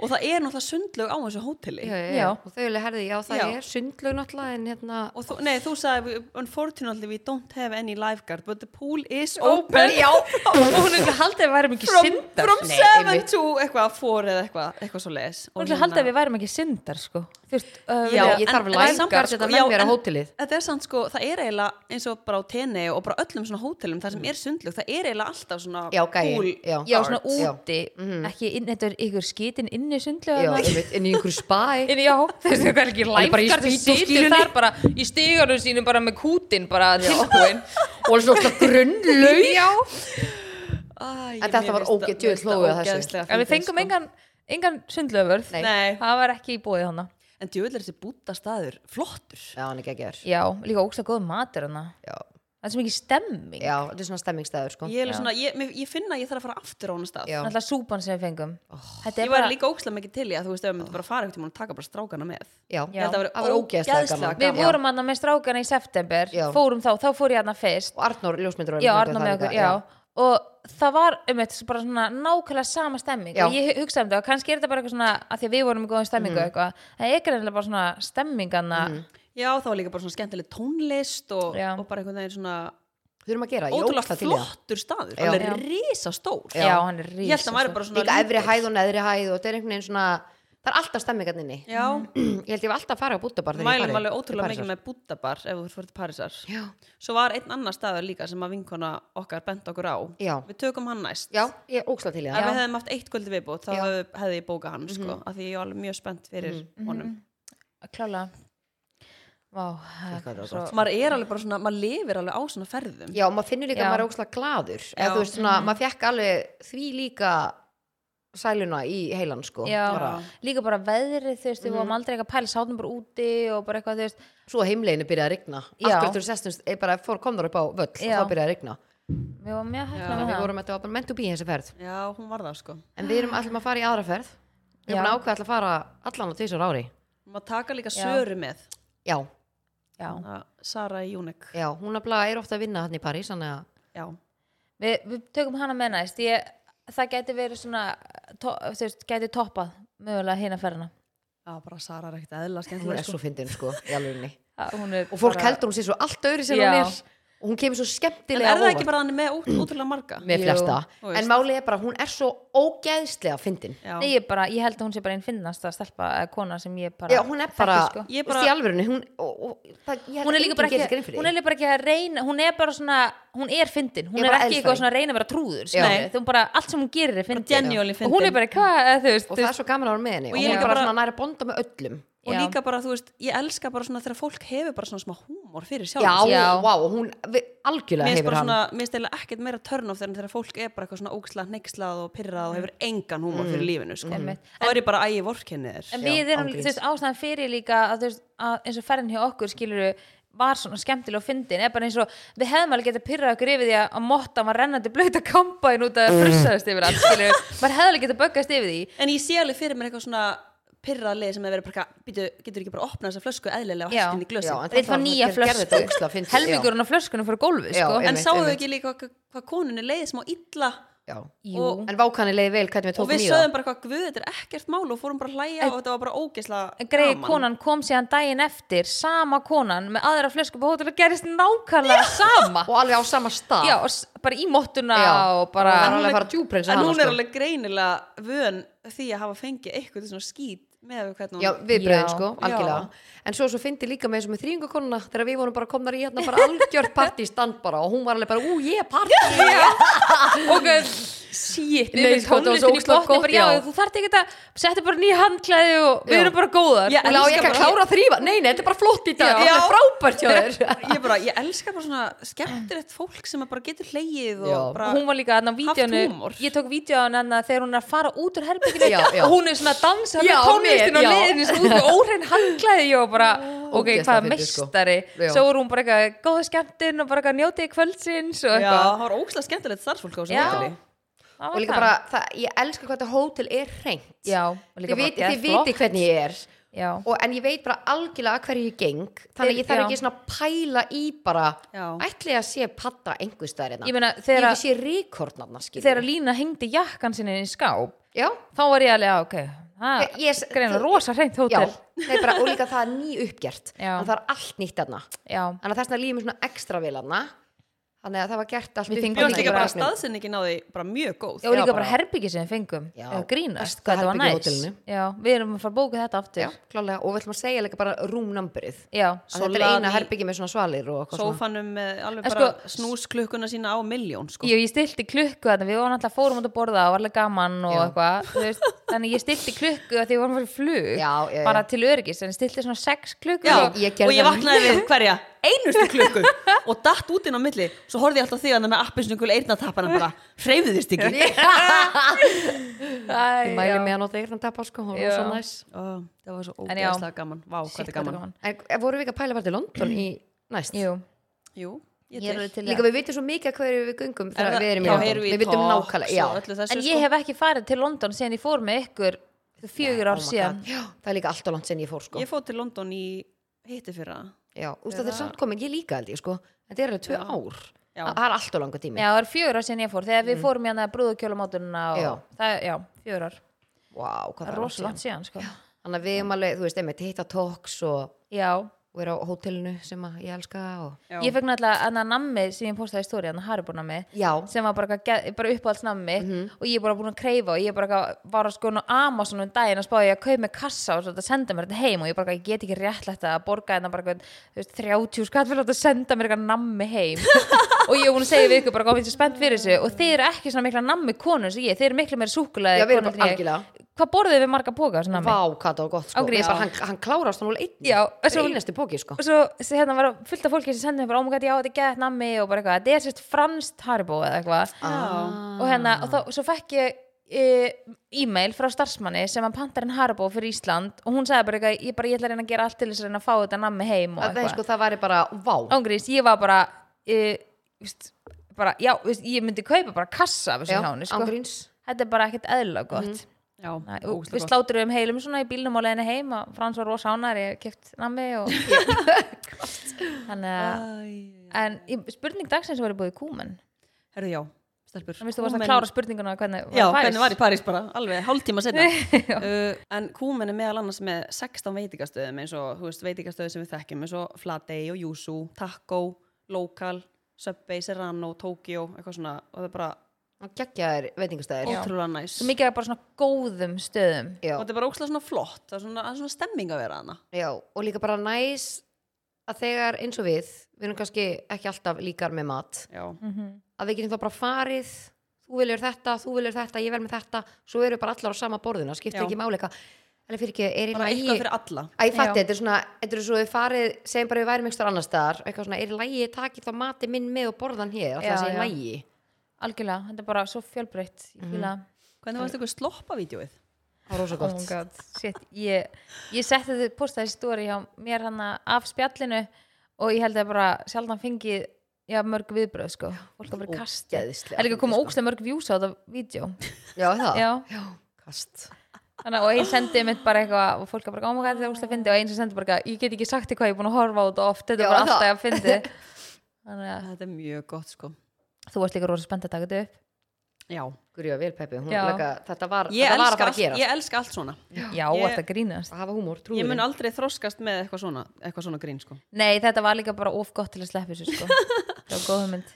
[SPEAKER 2] Og það er náttúrulega sundlög á þessu hóteli
[SPEAKER 4] Já.
[SPEAKER 3] Og þau vilja herði, já það
[SPEAKER 2] Já.
[SPEAKER 3] er sundlög náttúrulega en hérna
[SPEAKER 2] Og þú, nei, þú sagði, "We- unfortunately we don't have any lifeguard But the pool is
[SPEAKER 4] Open,
[SPEAKER 2] open
[SPEAKER 4] já Og hún hefði haldið að við værum ekki
[SPEAKER 2] From,
[SPEAKER 4] syndar
[SPEAKER 2] from
[SPEAKER 3] Nei,
[SPEAKER 2] seven
[SPEAKER 3] einmitt.
[SPEAKER 2] to eitthvað, four eða eitthvað, eitthvað svo leis
[SPEAKER 4] Hún hefði haldið að við værum ekki syndar sko Þú veist, uh,
[SPEAKER 3] Já,
[SPEAKER 4] vilja-
[SPEAKER 3] ég
[SPEAKER 4] en-
[SPEAKER 3] þarf
[SPEAKER 4] en-
[SPEAKER 3] lifeguard
[SPEAKER 4] samt-
[SPEAKER 3] þetta með
[SPEAKER 2] sko, já,
[SPEAKER 3] mér á
[SPEAKER 2] en
[SPEAKER 3] hótelið.
[SPEAKER 2] Þetta er samt sko, það er eiginlega eins og bara á tenni og bara öllum svona hótelum þar sem er sundlug, það er eiginlega alltaf svona
[SPEAKER 3] Mm. Já, gæi,
[SPEAKER 2] pool
[SPEAKER 3] já.
[SPEAKER 4] Já, svona
[SPEAKER 3] Guards, já. Mhm.
[SPEAKER 4] úti, ekki inn, þetta er ykkur skitin inni
[SPEAKER 3] Já,
[SPEAKER 4] sundlega
[SPEAKER 3] einmitt, inn í einhverju spæ
[SPEAKER 4] En já, þessi það er ekki
[SPEAKER 3] er bara í
[SPEAKER 4] lifeguard sem situr
[SPEAKER 3] spýtuskýlunni.
[SPEAKER 4] þar bara í stigarnum sínum bara með kútin bara
[SPEAKER 3] (laughs)
[SPEAKER 4] tilbúin
[SPEAKER 3] Og alveg svona grunnlaug
[SPEAKER 4] Já,
[SPEAKER 2] Æ,
[SPEAKER 3] En þetta var ógeð- djöfull hlógu að þessu.
[SPEAKER 4] en við fengum engan, engan sundlöfurð
[SPEAKER 3] sko. Nei.
[SPEAKER 2] Nei,
[SPEAKER 4] Það var ekki í búið hana
[SPEAKER 2] sko. en djöðlega þessi búta staður flottur
[SPEAKER 3] Já, hann er geggjör
[SPEAKER 4] Já, líka ógst að góða matur hana
[SPEAKER 3] Já,
[SPEAKER 4] Það er svo mikið stemming
[SPEAKER 3] já þetta er svona stemmingstæður sko
[SPEAKER 2] Ég, er alveg svona, ég, mér- ég finna að ég þarf að fara aftur á hana stað
[SPEAKER 3] Já. Oh.
[SPEAKER 4] Alltaf súpan sem við fengum Þetta
[SPEAKER 2] Ég
[SPEAKER 4] er
[SPEAKER 2] var
[SPEAKER 4] bara,
[SPEAKER 2] líka ókslega mikið til í að þú veist ef við myndum bara fara eitthvað og taka bara strákana með
[SPEAKER 3] Já,
[SPEAKER 4] Já.
[SPEAKER 3] þetta
[SPEAKER 2] Það
[SPEAKER 3] var
[SPEAKER 2] var
[SPEAKER 3] ógeðslega
[SPEAKER 2] ógeðslega
[SPEAKER 3] gaman
[SPEAKER 4] við vorum hana með strákana í september
[SPEAKER 3] Já.
[SPEAKER 4] Fórum þá, þá fór ég hana fyrst
[SPEAKER 3] Og Arnór, ljósmyndur
[SPEAKER 4] Já, Arna með okkur, já. Og það var um eitt bara svona nákvæmlega sama stemming
[SPEAKER 3] Já.
[SPEAKER 4] og ég hugsaði um það og kannski er þetta bara eitthvað svona að því að við vorum í góðum stemmingu
[SPEAKER 3] Mhm.
[SPEAKER 4] mm. eitthvað, það er greinlega bara svona stemmingana
[SPEAKER 2] Já, það var líka bara svona skemmtileg tónlist og,
[SPEAKER 4] Já.
[SPEAKER 2] og bara einhvern veginn svona
[SPEAKER 3] Þurfum að gera, ég
[SPEAKER 2] ótrúlega
[SPEAKER 3] ógeðslega til í það
[SPEAKER 2] flottur staður
[SPEAKER 3] Já.
[SPEAKER 2] Hann er risastór
[SPEAKER 4] já. hann er
[SPEAKER 2] Ég held að
[SPEAKER 4] rísa
[SPEAKER 2] hann væri bara svona
[SPEAKER 3] Líka efri
[SPEAKER 2] lítill.
[SPEAKER 3] hæð og neðri hæð og þetta er einhvern veginn svona Það er alltaf stemmingarninni
[SPEAKER 2] Já,
[SPEAKER 3] Ég held ég var alltaf að fara á bútabar þegar ég
[SPEAKER 2] mælum
[SPEAKER 3] fari
[SPEAKER 2] alveg ótrúlega mikið með bútabar ef þú fyrir til Parísar
[SPEAKER 3] Já,
[SPEAKER 2] Svo var einn annar staður líka sem að vinkona okkar bent okkur á.
[SPEAKER 3] Já.
[SPEAKER 2] Við tökum hann næst.
[SPEAKER 3] já, Mhm. ég er óksla til í
[SPEAKER 2] Ef
[SPEAKER 3] það
[SPEAKER 2] við hefðum haft eitt kvöldi viðbútt þá hefði, hefði ég bókað hann sko, af því ég var alveg mjög spennt fyrir
[SPEAKER 3] Mhm.
[SPEAKER 2] honum.
[SPEAKER 4] klála Vá, það
[SPEAKER 3] hvað þetta var
[SPEAKER 4] er svo
[SPEAKER 2] Maður er alveg bara svona, maður lifir alveg á svona ferðum.
[SPEAKER 3] Já, maður finnur líka
[SPEAKER 4] Já.
[SPEAKER 3] að maður er óksla gladur
[SPEAKER 2] Já.
[SPEAKER 3] Eða þú veist svona, maður fekk alveg því líka sæluna í heilan sko
[SPEAKER 4] Já,
[SPEAKER 3] bara, Mhm.
[SPEAKER 4] líka bara veðrið, þú veist, við vorum aldrei eitthvað að pæla sátum bara úti og bara eitthvað, þú veist
[SPEAKER 3] Svo heimleginu byrjaði að rigna
[SPEAKER 4] Já.
[SPEAKER 3] Akkur þú sestum, ég bara fór komður upp á völl
[SPEAKER 4] Já.
[SPEAKER 3] og þá byrjaði að rigna
[SPEAKER 4] Við varum mjög hefna
[SPEAKER 3] Þannig
[SPEAKER 4] með
[SPEAKER 3] við
[SPEAKER 4] það
[SPEAKER 3] vorum þetta var bara mennt og bí þessi ferð
[SPEAKER 2] Já, hún var það sko.
[SPEAKER 3] En við erum allum að fara í aðra ferð Við
[SPEAKER 4] Já.
[SPEAKER 3] erum ákveð alltaf að fara allan á tvisar ári
[SPEAKER 2] Maður taka líka
[SPEAKER 4] Já.
[SPEAKER 2] söru með.
[SPEAKER 3] Já,
[SPEAKER 4] Já,
[SPEAKER 2] Það- Sara í Júnik.
[SPEAKER 3] já, hún nefnilega er ofta að vinna hann í París Þannig að
[SPEAKER 2] Já.
[SPEAKER 4] við, við tökum hana með næst ég, Það gæti verið svona to, þú veist, gæti toppað mögulega hina ferðina
[SPEAKER 2] Já, bara Sara er ekkert eðla
[SPEAKER 3] hún
[SPEAKER 2] skemmtilega
[SPEAKER 3] er
[SPEAKER 2] sko.
[SPEAKER 3] svo fyndin sko í alvegni
[SPEAKER 4] Það- hún er
[SPEAKER 3] og fólk
[SPEAKER 4] bara-
[SPEAKER 3] heldur hún sé svo allt öðru sem
[SPEAKER 4] Já.
[SPEAKER 3] hún er og hún kemur svo
[SPEAKER 2] En
[SPEAKER 3] skemmtilega
[SPEAKER 2] er það
[SPEAKER 3] á
[SPEAKER 2] ekki
[SPEAKER 3] óvart
[SPEAKER 2] bara hann með ótrú- ótrúlega marga?
[SPEAKER 3] með
[SPEAKER 4] Jú,
[SPEAKER 3] flesta,
[SPEAKER 2] þú veist.
[SPEAKER 3] en málið er bara að hún er svo ógeðslega fyndin
[SPEAKER 2] Já.
[SPEAKER 4] Nei, ég, bara, ég held að hún sé bara einn finnast að stelpa eða kona sem ég bara
[SPEAKER 3] já, hún er bara,
[SPEAKER 4] þekki, sko.
[SPEAKER 2] Ég
[SPEAKER 3] þú
[SPEAKER 2] bara-
[SPEAKER 3] veist, í alvörunni hún, og, og, það, ég held
[SPEAKER 4] hún er líka
[SPEAKER 3] enginn
[SPEAKER 4] bara
[SPEAKER 3] geri sér
[SPEAKER 4] ekki,
[SPEAKER 3] grein fyrir
[SPEAKER 4] hún er
[SPEAKER 3] því.
[SPEAKER 4] líka bara ekki að reyna hún er bara svona, hún er fyndin hún
[SPEAKER 3] Ég
[SPEAKER 4] er
[SPEAKER 3] bara
[SPEAKER 4] ekki
[SPEAKER 3] elska
[SPEAKER 4] eitthvað
[SPEAKER 3] þig.
[SPEAKER 4] svona að reyna að vera trúður
[SPEAKER 3] Já.
[SPEAKER 4] skilurðu. þú bara, allt sem hún gerir er fyndin
[SPEAKER 2] genuinely
[SPEAKER 4] og hún er
[SPEAKER 2] fyndin.
[SPEAKER 4] bara, hvað, eða þú veist
[SPEAKER 3] og
[SPEAKER 4] þú
[SPEAKER 3] það
[SPEAKER 4] veist,
[SPEAKER 3] er svo gaman á hún með henni
[SPEAKER 2] Og
[SPEAKER 3] og
[SPEAKER 2] ég
[SPEAKER 3] hún
[SPEAKER 2] líka
[SPEAKER 3] er bara
[SPEAKER 2] bara-
[SPEAKER 3] svona næra bonda með öllum
[SPEAKER 2] Og
[SPEAKER 4] Já.
[SPEAKER 2] líka bara, þú veist, ég elska bara svona þegar fólk hefur bara svona smá húmor fyrir sjálf.
[SPEAKER 3] já,
[SPEAKER 4] Já.
[SPEAKER 3] vá, hún við, algjörlega
[SPEAKER 2] Mér finnst
[SPEAKER 3] hefur
[SPEAKER 2] bara
[SPEAKER 3] hann
[SPEAKER 2] svona, mér finnst eða ekkert meira törn of þegar þegar fólk er bara eitthvað svona ógslað, neykslað og pyrrað og hefur engan húmor fyrir lífinu, sko.
[SPEAKER 4] Mm. Einmitt.
[SPEAKER 2] Þá er ég bara ægi vorkennið þér.
[SPEAKER 4] en við
[SPEAKER 3] Já,
[SPEAKER 4] erum,
[SPEAKER 3] án
[SPEAKER 4] þú
[SPEAKER 3] gríns.
[SPEAKER 4] veist, ástæðan fyrir líka að, þú veist, að eins og ferðin hjá okkur skilur var svona skemmtileg og fyndin er bara eins og við hefðum alveg getað pyrrað okkur yfir því að, að motta var rennandi blöyta kampaðin út
[SPEAKER 3] Mm.
[SPEAKER 4] að frussaðast yfir allt
[SPEAKER 3] (laughs)
[SPEAKER 4] skilur maður hefði alveg getað böggast yfir því
[SPEAKER 2] En ég sé alveg fyrir mér eitthvað svona pyrrað lið sem hefur verið bara, eitthvað, býtu, getur ekki bara að opna þessa flösku eðlilega og
[SPEAKER 4] Já.
[SPEAKER 2] hægt inn í
[SPEAKER 3] Já,
[SPEAKER 2] glössin.
[SPEAKER 3] en
[SPEAKER 4] við
[SPEAKER 3] þetta
[SPEAKER 4] fá
[SPEAKER 3] var-
[SPEAKER 4] nýja
[SPEAKER 3] gerði þetta ógeðslega
[SPEAKER 4] flösku
[SPEAKER 3] fyndið, já.
[SPEAKER 4] helmingurinn af flöskunum fór gólfi
[SPEAKER 3] Já,
[SPEAKER 4] sko.
[SPEAKER 2] En
[SPEAKER 3] einmitt,
[SPEAKER 2] sáðu
[SPEAKER 3] einmitt.
[SPEAKER 2] ekki líka hvað, hvað konunni leiði smá illa
[SPEAKER 3] já.
[SPEAKER 4] Jú.
[SPEAKER 2] Og-
[SPEAKER 3] en vákanni leiði vel hvernig við
[SPEAKER 2] og
[SPEAKER 3] tókum
[SPEAKER 2] við
[SPEAKER 3] í það
[SPEAKER 2] sögðum bara eitthvað guð, þetta er ekkert mál og fórum bara að hlæja og þetta var bara ógeðslega
[SPEAKER 4] greiði
[SPEAKER 2] gaman.
[SPEAKER 4] konan kom síðan daginn eftir sama konan með aðra flösku på hótel og gerist nákvæmlega sama
[SPEAKER 3] og alveg á sama stað
[SPEAKER 4] já, og s- bara í móttuna
[SPEAKER 3] Já.
[SPEAKER 4] og bara
[SPEAKER 3] Hún var alveg að
[SPEAKER 4] (laughs)
[SPEAKER 3] fara djúpra eins og
[SPEAKER 2] en
[SPEAKER 3] hana,
[SPEAKER 2] hún er
[SPEAKER 3] sko.
[SPEAKER 2] alveg greinilega vön því að hafa fengið eitthvað svona skít með við hvernig hún
[SPEAKER 3] Já, viðbröðin
[SPEAKER 4] Já.
[SPEAKER 3] sko, algjörlega En svo svo fyndi líka með þessum með þrýingakonuna þegar við vorum bara komnar í hérna bara algjört partí stand bara og hún var alveg bara, ú, ég er partí
[SPEAKER 4] og
[SPEAKER 2] sítt
[SPEAKER 3] Nei,
[SPEAKER 4] við með
[SPEAKER 3] sko, þetta var svo
[SPEAKER 4] tónlistin í
[SPEAKER 3] ógeðslega gott,
[SPEAKER 4] botni bara, já,
[SPEAKER 3] já.
[SPEAKER 4] þú þarft ekki að setja bara nýja handklæði og við
[SPEAKER 3] Já.
[SPEAKER 4] erum bara
[SPEAKER 2] Já,
[SPEAKER 4] góðar já,
[SPEAKER 3] Hún á
[SPEAKER 2] elska
[SPEAKER 3] ég ekki að
[SPEAKER 2] bara-
[SPEAKER 3] klára að þrýfa Nei, nei, þetta er bara flott í dag,
[SPEAKER 2] Já.
[SPEAKER 3] þetta er frábært (laughs) hjá þér
[SPEAKER 2] ég, bara, ég elska bara svona skemmtilegt fólk sem að bara getur hlegið og
[SPEAKER 3] Já.
[SPEAKER 2] bara
[SPEAKER 4] hún var líka hann á vídjónu
[SPEAKER 2] húmor.
[SPEAKER 4] ég tók vídjónu hann þegar hún er að fara út úr herbygginu
[SPEAKER 3] Já, já.
[SPEAKER 4] og hún er svona að dansa
[SPEAKER 3] Já,
[SPEAKER 4] með tónlistin
[SPEAKER 3] með,
[SPEAKER 4] og
[SPEAKER 3] já.
[SPEAKER 4] leiðinu sko, út og óhrein handklæði og bara ok,
[SPEAKER 3] ógeðslega
[SPEAKER 4] hvað
[SPEAKER 3] fyndið, sko.
[SPEAKER 4] meistari
[SPEAKER 3] Já.
[SPEAKER 4] svo er hún bara eitthvað góða skemmtin og bara eitthvað njótið kvöldsins og
[SPEAKER 2] Já,
[SPEAKER 4] eitthvað
[SPEAKER 2] það var ógeðslega skemmtilegt starfsfólk á þessum
[SPEAKER 4] Já.
[SPEAKER 2] hóteli
[SPEAKER 4] Það var
[SPEAKER 3] Og líka
[SPEAKER 4] það.
[SPEAKER 3] bara, það, ég elska hvað þetta hótel er hreint
[SPEAKER 4] já, og líka
[SPEAKER 3] Þið viti,
[SPEAKER 4] bara
[SPEAKER 3] þið viti hvernig ég er
[SPEAKER 4] já,
[SPEAKER 3] og, En ég veit bara algjörlega hverju ég geng Þannig að ég þarf
[SPEAKER 4] Já.
[SPEAKER 3] ekki svona að pæla í bara
[SPEAKER 2] Já.
[SPEAKER 3] Ætli að sé patta einhver staðar
[SPEAKER 4] Ég
[SPEAKER 3] hérna
[SPEAKER 4] meina, þegar-
[SPEAKER 3] Ég ekki sé rekordnarna
[SPEAKER 4] þegar Lína hengdi jakkan sinni í skáp
[SPEAKER 3] Já,
[SPEAKER 4] þá var ég alveg, "Ah, ok það
[SPEAKER 3] Ég- ég-
[SPEAKER 4] greina
[SPEAKER 3] þú-
[SPEAKER 4] rosa hreint
[SPEAKER 3] já,
[SPEAKER 4] hótel
[SPEAKER 3] Nei, bara, og líka það er ný uppgjert
[SPEAKER 4] Já.
[SPEAKER 3] En það er allt nýtt þarna
[SPEAKER 4] já,
[SPEAKER 3] Þannig að þess vegna líður mér svona ekstra vel þarna Þannig að það var gert allt
[SPEAKER 4] Við
[SPEAKER 3] upp
[SPEAKER 4] fengum
[SPEAKER 2] Mér
[SPEAKER 3] þarna
[SPEAKER 2] finnst
[SPEAKER 3] í
[SPEAKER 2] líka bara
[SPEAKER 3] vagninn.
[SPEAKER 2] staðsynningi náði bara mjög góð
[SPEAKER 4] já, og líka
[SPEAKER 3] bara-
[SPEAKER 4] bara herbyggi sem við fengum
[SPEAKER 3] Já,
[SPEAKER 4] já, grínast,
[SPEAKER 3] besta
[SPEAKER 4] hvað þetta var
[SPEAKER 3] herbergi í
[SPEAKER 4] næs
[SPEAKER 3] hótelinu.
[SPEAKER 4] já, við erum að fara að bóka þetta aftur
[SPEAKER 3] Já, klálega, og við ætlum að segja líka bara rúmnamburið
[SPEAKER 4] já,
[SPEAKER 3] Að Þetta
[SPEAKER 2] Sola
[SPEAKER 3] er eina
[SPEAKER 2] ný-
[SPEAKER 3] herbyggi með svona svalir og eitthvað svona
[SPEAKER 2] Sófanum með alveg
[SPEAKER 4] En
[SPEAKER 2] bara
[SPEAKER 4] sko-
[SPEAKER 2] snúsklukkuna sína á miljón sko.
[SPEAKER 4] Ég, ég stilti klukku þannig, við vorum alltaf fórum út að borða og var alveg gaman og
[SPEAKER 3] Já.
[SPEAKER 4] eitthvað þú veist, þannig ég stilti klukku að því við vorum fyrir flug
[SPEAKER 3] Já, já, já.
[SPEAKER 4] bara til öryggis, en ég stilti svona sex klukku
[SPEAKER 2] Já,
[SPEAKER 4] og-
[SPEAKER 3] ég gerði
[SPEAKER 2] og ég
[SPEAKER 3] það
[SPEAKER 2] vaknaði við hverja einustu klukku og datt út inn á milli svo horfði ég alltaf á þig að það með appinsnugul eirnatappana bara hreyfiðist ekki
[SPEAKER 4] Æ,
[SPEAKER 3] Ég mæli
[SPEAKER 4] já.
[SPEAKER 3] með að nota eyrna tappa sko, hún var
[SPEAKER 4] Já.
[SPEAKER 3] svo næs
[SPEAKER 2] Ó, það var svo
[SPEAKER 4] En já.
[SPEAKER 2] ógeðslega gaman Vá, hvað
[SPEAKER 4] Shit,
[SPEAKER 2] þetta er gaman
[SPEAKER 3] En eh, vorum við ekki að pæla bara til London í næst?
[SPEAKER 4] Jú,
[SPEAKER 2] Jú, ég,
[SPEAKER 4] ég er
[SPEAKER 2] til
[SPEAKER 4] alveg til í
[SPEAKER 3] Líka
[SPEAKER 4] það.
[SPEAKER 3] við vitum svo mikið að hverju við göngum
[SPEAKER 2] Er
[SPEAKER 3] þegar
[SPEAKER 2] það-
[SPEAKER 3] við erum í
[SPEAKER 2] já,
[SPEAKER 3] London.
[SPEAKER 2] heyrum við í
[SPEAKER 3] Við vitum
[SPEAKER 2] talks
[SPEAKER 3] nákvæmlega,
[SPEAKER 2] og
[SPEAKER 3] já.
[SPEAKER 2] öllu þessu,
[SPEAKER 4] en
[SPEAKER 2] sko.
[SPEAKER 4] ég hef ekki farið til London síðan ég fór með ykkur fjögur
[SPEAKER 3] Oh my
[SPEAKER 4] ár síðan
[SPEAKER 3] God. Já, það er líka alltaf langt sinn ég fór sko.
[SPEAKER 2] Ég fóð til London í hitti fyrra
[SPEAKER 3] Já, úst, það er samt komin, ég líka held ég sko. En það er alveg tvö ár.
[SPEAKER 2] Já.
[SPEAKER 3] Það er alltaf langa tími.
[SPEAKER 4] Já, það er fjögur ár síðan ég fór þegar við fórum hérna brúðukjólamótununa og
[SPEAKER 3] Mm. Já.
[SPEAKER 4] það, já, fjögur ár,
[SPEAKER 3] Vá, hvað
[SPEAKER 4] það
[SPEAKER 3] það
[SPEAKER 4] er
[SPEAKER 3] er langt
[SPEAKER 4] rosalega
[SPEAKER 3] síðan.
[SPEAKER 4] langt síðan sko. já.
[SPEAKER 3] Þannig að við erum alveg, þú veist, einmitt hitta talks og vera á hótelinu sem að ég elska og...
[SPEAKER 2] Já.
[SPEAKER 4] ég fekk náttúrulega annað nammi sem ég postaði í hérna, stóri, hann Haribo nammi
[SPEAKER 3] Já,
[SPEAKER 4] sem var bara, eitthvað geð- bara uppáhaldsnammi
[SPEAKER 3] Mhm.
[SPEAKER 4] og ég er bara búin að kreyfa og ég er bara eitthvað- var að sko nú Amazon um daginn að spá ég að kaupa með kassa og svo þetta senda mér þetta heim og ég bara, ég get ekki réttlætt að borga þetta bara eitthvað, þú veist, 30 skatt fyrir þetta senda mér eitthvað nammi heim
[SPEAKER 3] (laughs)
[SPEAKER 4] og ég er búin að segja við ykkur bara komið svo spennt fyrir þessu og þið eru ekki svona mikla nammi konur sem ég, þið eru miklu meira súkulega
[SPEAKER 3] Já, við erum bara algjörlega.
[SPEAKER 4] hvað borðið við marga póka þessu nammi?
[SPEAKER 3] vá, hvað það var gott sko.
[SPEAKER 4] Ángríns.
[SPEAKER 3] Ég bara, hann, hann klárast hann alveg einn.
[SPEAKER 4] Já,
[SPEAKER 3] það
[SPEAKER 4] svo-
[SPEAKER 3] er einasti bóki sko.
[SPEAKER 4] og svo sem hérna var fullt af fólki sem sendið mér bara, oh my god, já, þetta er gett nammi og bara eitthvað, þetta er sérst franskt Haribo eða eitthvað
[SPEAKER 3] Ah.
[SPEAKER 4] og hérna, og þá, svo fekk ég e, e-mail frá starfsmanni sem að pantar en Haribo fyrir Ísland og hún sagði bara eitthvað, ég bara, ég ætla að reyna að gera allt til þess að reyna að fá þetta nammi heim
[SPEAKER 3] Að
[SPEAKER 4] og
[SPEAKER 3] Það er
[SPEAKER 4] eitthvað
[SPEAKER 3] sko, það væri bara, vá.
[SPEAKER 4] ángriðis, ég var bara e, víst, bara, já, víst, ég myndi kaupa bara kassa af
[SPEAKER 3] Já, Mhm.
[SPEAKER 4] þessu hjáni, sko
[SPEAKER 3] ángríns.
[SPEAKER 4] þetta er bara ekkert eðla gott mm
[SPEAKER 2] Já,
[SPEAKER 4] við sláturum um heilum svona í bílnum á leiðinni heim og Frans var rosa ánar, ég keft nammi
[SPEAKER 3] (laughs)
[SPEAKER 4] og þannig að En í- spurning dagsins var í búið kúmen
[SPEAKER 2] Herðu já, stelpur
[SPEAKER 4] Þannig að þú varst að
[SPEAKER 2] Kúmen-
[SPEAKER 4] klára spurninguna hvernig var
[SPEAKER 2] Já,
[SPEAKER 4] París.
[SPEAKER 2] hvernig var í París bara, alveg hálftíma
[SPEAKER 4] (laughs)
[SPEAKER 2] setna uh, En kúmen er meðal annars með 16 veitingastöðum eins og þú veist, veitingastöðu sem við þekkjum eins og Flatey og Yuzu, Taco, Local, Subway, Serrano, Tokyo eitthvað svona og það er bara
[SPEAKER 3] Gekkjaðir veitingastæðir.
[SPEAKER 2] ótrúlega næs
[SPEAKER 4] Svo mikið af bara svona góðum stöðum
[SPEAKER 3] Já.
[SPEAKER 2] og þetta er bara ókslega svona flott það er svona, það er svona stemming að vera hana
[SPEAKER 3] Já, og líka bara næs að þegar eins og við, við erum kannski ekki alltaf líkar með mat,
[SPEAKER 2] já.
[SPEAKER 3] að við getum þá bara farið, þú viljur þetta, þú viljur þetta, ég vel með þetta, svo eru bara allar á sama borðuna, skiptir
[SPEAKER 2] Já.
[SPEAKER 3] ekki máli eitthvað. Eller fyrir ekki, er í
[SPEAKER 2] bara
[SPEAKER 3] lagi...
[SPEAKER 2] eitthvað fyrir alla
[SPEAKER 3] Æ, ég fatti,
[SPEAKER 4] Já.
[SPEAKER 3] þetta er svona, þetta er svo við farið, segjum bara við værum einhver annars staðar, eitthvað svona, er í lagi, takið þá mati minn með og borðan hér, alltaf
[SPEAKER 4] Já,
[SPEAKER 3] það sé í
[SPEAKER 4] já.
[SPEAKER 3] lagi.
[SPEAKER 4] Algjörlega, þetta er bara svo fjölbreytt Ég fíla
[SPEAKER 2] hvernig varst eitthvað sloppavídjóið?
[SPEAKER 3] Það var rosa
[SPEAKER 4] Oh
[SPEAKER 3] gott.
[SPEAKER 4] my god, shit Ég, ég setti þetta postaði stóri hjá mér hann af spjallinu og ég held að bara sjálfan fengið já, mörg viðbröð sko Fólk að bara kasta
[SPEAKER 3] ógeðslega
[SPEAKER 4] Það er líka að koma
[SPEAKER 3] fyndið, sko.
[SPEAKER 4] ógstlega mörg views á þetta vídeo
[SPEAKER 3] Já, það.
[SPEAKER 4] Já.
[SPEAKER 3] kast.
[SPEAKER 4] Þannig, og einn sendi mitt bara eitthvað og fólk er bara, oh my god, þetta er úrslega fyndi og einn sem sendi bara, eitthvað, ég get ekki sagt þér hvað ég er búin að horfa á þetta oft þetta
[SPEAKER 3] Já,
[SPEAKER 4] er bara
[SPEAKER 3] það.
[SPEAKER 4] alltaf að fyndi Þannig að
[SPEAKER 2] þetta er mjög gott sko
[SPEAKER 4] þú varst líka rosa spennt að taka þetta upp
[SPEAKER 2] Já,
[SPEAKER 3] Gurja vel Peppi, hún
[SPEAKER 4] Já.
[SPEAKER 3] leika, þetta var,
[SPEAKER 2] ég
[SPEAKER 3] þetta
[SPEAKER 2] elska,
[SPEAKER 3] var að fara að
[SPEAKER 2] allt,
[SPEAKER 3] gera
[SPEAKER 2] ég elska allt svona
[SPEAKER 4] já,
[SPEAKER 2] Ég-
[SPEAKER 4] þetta grínast
[SPEAKER 3] að hafa húmór, trúið
[SPEAKER 2] Ég mun aldrei þroskast með eitthvað svona, eitthvað svona grín sko.
[SPEAKER 4] nei, þetta var líka bara of gott til að sleppa þessu sko. það var góð mynd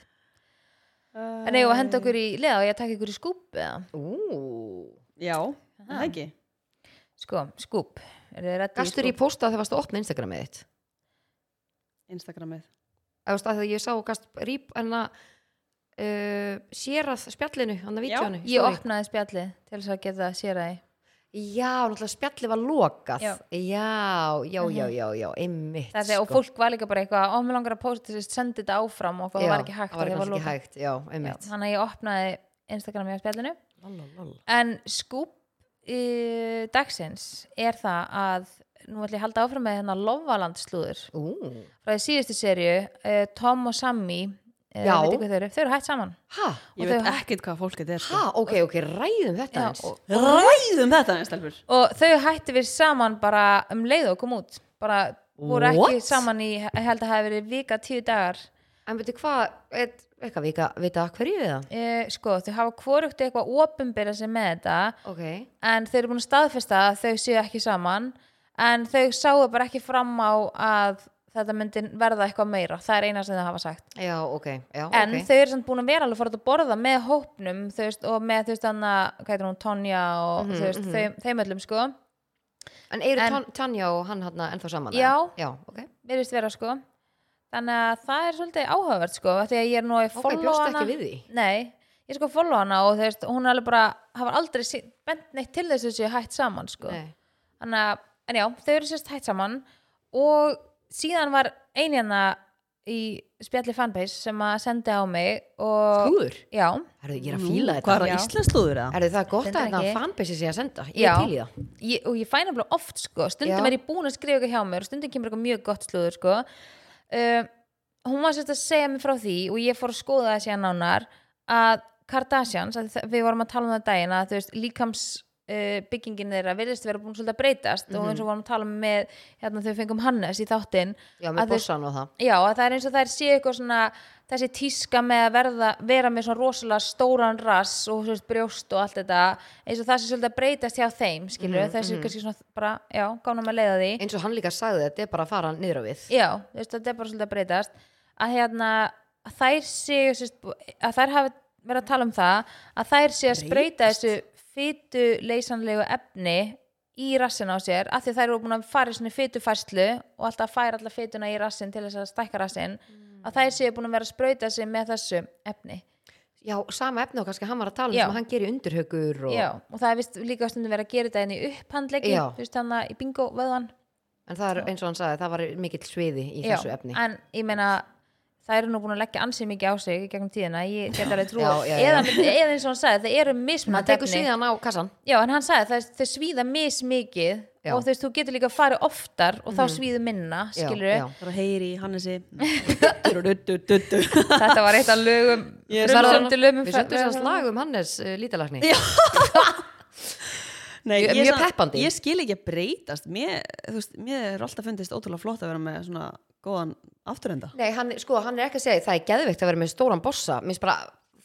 [SPEAKER 4] en eigum við að henda okkur í leða og ég að taka ykkur í skúp eða?
[SPEAKER 3] Ú,
[SPEAKER 2] Já, það ekki
[SPEAKER 4] sko, skúp eru þið rætti
[SPEAKER 3] gastur í posta þegar varstu að opna Instagramið þitt
[SPEAKER 2] Instagramið
[SPEAKER 3] að veist að þegar ég sá gast rýp en að uh, sér að spjallinu, hann
[SPEAKER 2] Já,
[SPEAKER 3] að vítjónu
[SPEAKER 4] ég opnaði spjallið til þess að geta sér að
[SPEAKER 3] já, náttúrulega spjallið var lokað já,
[SPEAKER 4] Já.
[SPEAKER 3] já, já, já, já, einmitt sko.
[SPEAKER 4] það er og fólk var líka bara eitthvað ó, mér langar að posta þessi, sendi þetta áfram og eitthvað, það var ekki hægt
[SPEAKER 3] það var
[SPEAKER 4] og
[SPEAKER 3] kannski
[SPEAKER 4] lokað.
[SPEAKER 3] ekki hægt, já,
[SPEAKER 4] Já,
[SPEAKER 3] einmitt
[SPEAKER 4] þannig að ég opnaði Instagram hjá spjallinu
[SPEAKER 3] Lalla, lalla.
[SPEAKER 4] en skúp uh, dagsins er það að nú ætlum ég að halda áfram með hérna Lofaland slúður
[SPEAKER 3] Ú,
[SPEAKER 4] frá því síðustu serju uh, Tom og Sammy
[SPEAKER 3] Já.
[SPEAKER 4] uh, þau, eru, þau eru hægt saman
[SPEAKER 3] ha,
[SPEAKER 2] Ég
[SPEAKER 4] Og
[SPEAKER 2] veit
[SPEAKER 4] þau-
[SPEAKER 2] ekkert hvað fólk þetta er sko.
[SPEAKER 3] ha, ok, ok, ræðum þetta
[SPEAKER 4] Já,
[SPEAKER 3] eins
[SPEAKER 4] og,
[SPEAKER 2] Ræðum þetta einn stelpur
[SPEAKER 4] og þau hættu við saman bara um leið og kom út bara voru ekki
[SPEAKER 3] What?
[SPEAKER 4] saman í ég held að það hafi verið vika tíu dagar
[SPEAKER 3] en veitu hvað, eit- eitthvað vika, vita að hverju við það
[SPEAKER 4] uh, sko þau hafa hvorugt eitthvað opinbera sig með þetta
[SPEAKER 3] ok,
[SPEAKER 4] en þau eru búin að staðfesta að þau séu ekki saman en þau sáu bara ekki fram á að þetta myndi verða eitthvað meira það er eina sem þau hafa sagt
[SPEAKER 3] já, ok, já,
[SPEAKER 4] en
[SPEAKER 3] Ah, ok
[SPEAKER 4] þau eru samt búin að vera alveg farið að borða með hópnum þú veist, og með þú veist hann hvað heitir hún, Tonja og
[SPEAKER 3] Mhm,
[SPEAKER 4] þú veist,
[SPEAKER 3] mhm.
[SPEAKER 4] þeim, þeim öllum sko
[SPEAKER 3] En eru
[SPEAKER 4] En-
[SPEAKER 3] en, Tanja og hann hann ennþá saman?
[SPEAKER 4] Já.
[SPEAKER 3] eða? Já, ok.
[SPEAKER 4] verðist vera sko þannig að það er svolítið áhugavert sko af því að ég er nú að
[SPEAKER 3] Ok,
[SPEAKER 4] follow
[SPEAKER 3] bjóstu
[SPEAKER 4] hana
[SPEAKER 3] ekki við því?
[SPEAKER 4] nei, ég sko follow hana og þú veist, hún er alveg bara hafa aldrei sýnt- bent neitt til þess að þessu hætt saman sko
[SPEAKER 3] Nei.
[SPEAKER 4] þannig að, en já, þau eru sérst hægt saman og síðan var einjana í spjalli fanbase sem að sendi á mig og,
[SPEAKER 3] Húður?
[SPEAKER 4] já,
[SPEAKER 3] Herðu, ég er að fíla þetta.
[SPEAKER 2] Hvað er
[SPEAKER 4] Já.
[SPEAKER 2] það íslensk slúður eða?
[SPEAKER 3] Herðu, það er gott að
[SPEAKER 4] Stendur
[SPEAKER 3] þetta
[SPEAKER 4] ekki.
[SPEAKER 3] fanbase sé að senda. Ég
[SPEAKER 4] já
[SPEAKER 3] er til í það.
[SPEAKER 4] ég, og ég fæna bara oft sko, stundum
[SPEAKER 3] Já.
[SPEAKER 4] er ég búin að skrifa eitthvað hjá mér og stundum kemur eitthvað mjög gott slúður sko uh, hún var sérst að segja mér frá því og ég fór að skoða það síðan nánar að Kardashians, að þe- við vorum að tala um það daginn að þú veist, líkams uh, byggingin þeirra virðist vera búin svolítið að breytast
[SPEAKER 3] Mhm.
[SPEAKER 4] og eins og vorum að tala um með hérna þau fengum Hannes í þáttinn
[SPEAKER 3] Já,
[SPEAKER 4] Að
[SPEAKER 3] með
[SPEAKER 4] þau-
[SPEAKER 3] bossan og það.
[SPEAKER 4] Já, að það er eins og þær séu eitthvað svona þessi tíska með að verða, vera með svona rosalega stóran rass og þú veist, brjóst og allt þetta eins og það sé svolítið að breytast hjá þeim skilur, mm þessi kannski svona bara, já, gána með leiða því
[SPEAKER 3] Eins og hann líka sagði þetta er bara að fara niður á við.
[SPEAKER 4] Já, þú veist, þetta er bara svolítið að breytast að hérna, að þær séu þú veist, að þær hafi verið að tala um það að þær séu að spreita þessu fytu leysanlegu efni í rassin á sér, af því að þær eru búin að fara í svona fytufærslu og alltaf að færa alltaf fytuna í rassin til þess að stækka rassin að þær séu búin að vera að sprauta sig með þessu efni
[SPEAKER 3] Já, sama efni og kannski hann var að tala um
[SPEAKER 4] Já.
[SPEAKER 3] sem hann gerir undurhaugur og...
[SPEAKER 4] Já, og það er vist líka stundum verið að gera þetta inn í upphandleggi,
[SPEAKER 3] Já.
[SPEAKER 4] þú veist þannig í bingo vöðan
[SPEAKER 3] En það er eins og hann sagði, það var mikill sviði í þessu efni.
[SPEAKER 4] en ég meina það eru nú búin að leggja ansið mikið á sig í gegnum tíðina, ég get alveg trú
[SPEAKER 3] Já,
[SPEAKER 4] á-
[SPEAKER 3] já, já.
[SPEAKER 4] eða, eða eins og hann sagði, það eru
[SPEAKER 3] Hann
[SPEAKER 4] mismunandi
[SPEAKER 3] tekur síðan á kassan.
[SPEAKER 4] já, en hann sagði, það, þau svíða mismikið
[SPEAKER 3] Já. Mhm.
[SPEAKER 4] og þú veist, þú getur líka að fara oftar og þá svíðu minna,
[SPEAKER 3] Já,
[SPEAKER 4] skilur
[SPEAKER 3] já.
[SPEAKER 2] Það er að heyri í
[SPEAKER 3] (laughs)
[SPEAKER 2] Hannesi Duttu-duttu-duttu.
[SPEAKER 4] (laughs) þetta var eitt af lögum
[SPEAKER 2] Ég
[SPEAKER 4] frumsömdu
[SPEAKER 2] svaraði-
[SPEAKER 4] lögum
[SPEAKER 3] Við söndum þess að lag um Hannes uh, lítalagni.
[SPEAKER 2] (laughs) Nei,
[SPEAKER 3] Mjög- mjög
[SPEAKER 2] ég, samt-
[SPEAKER 3] peppandi.
[SPEAKER 2] ég skil ekki að breytast mér, þú veist, mér er alltaf fundist ótrúlega flott að vera með svona góðan afturenda
[SPEAKER 3] Nei, hann, sko, hann er ekki að segja, það er geðveikt að vera með stóran bossa, Mér finnst bara,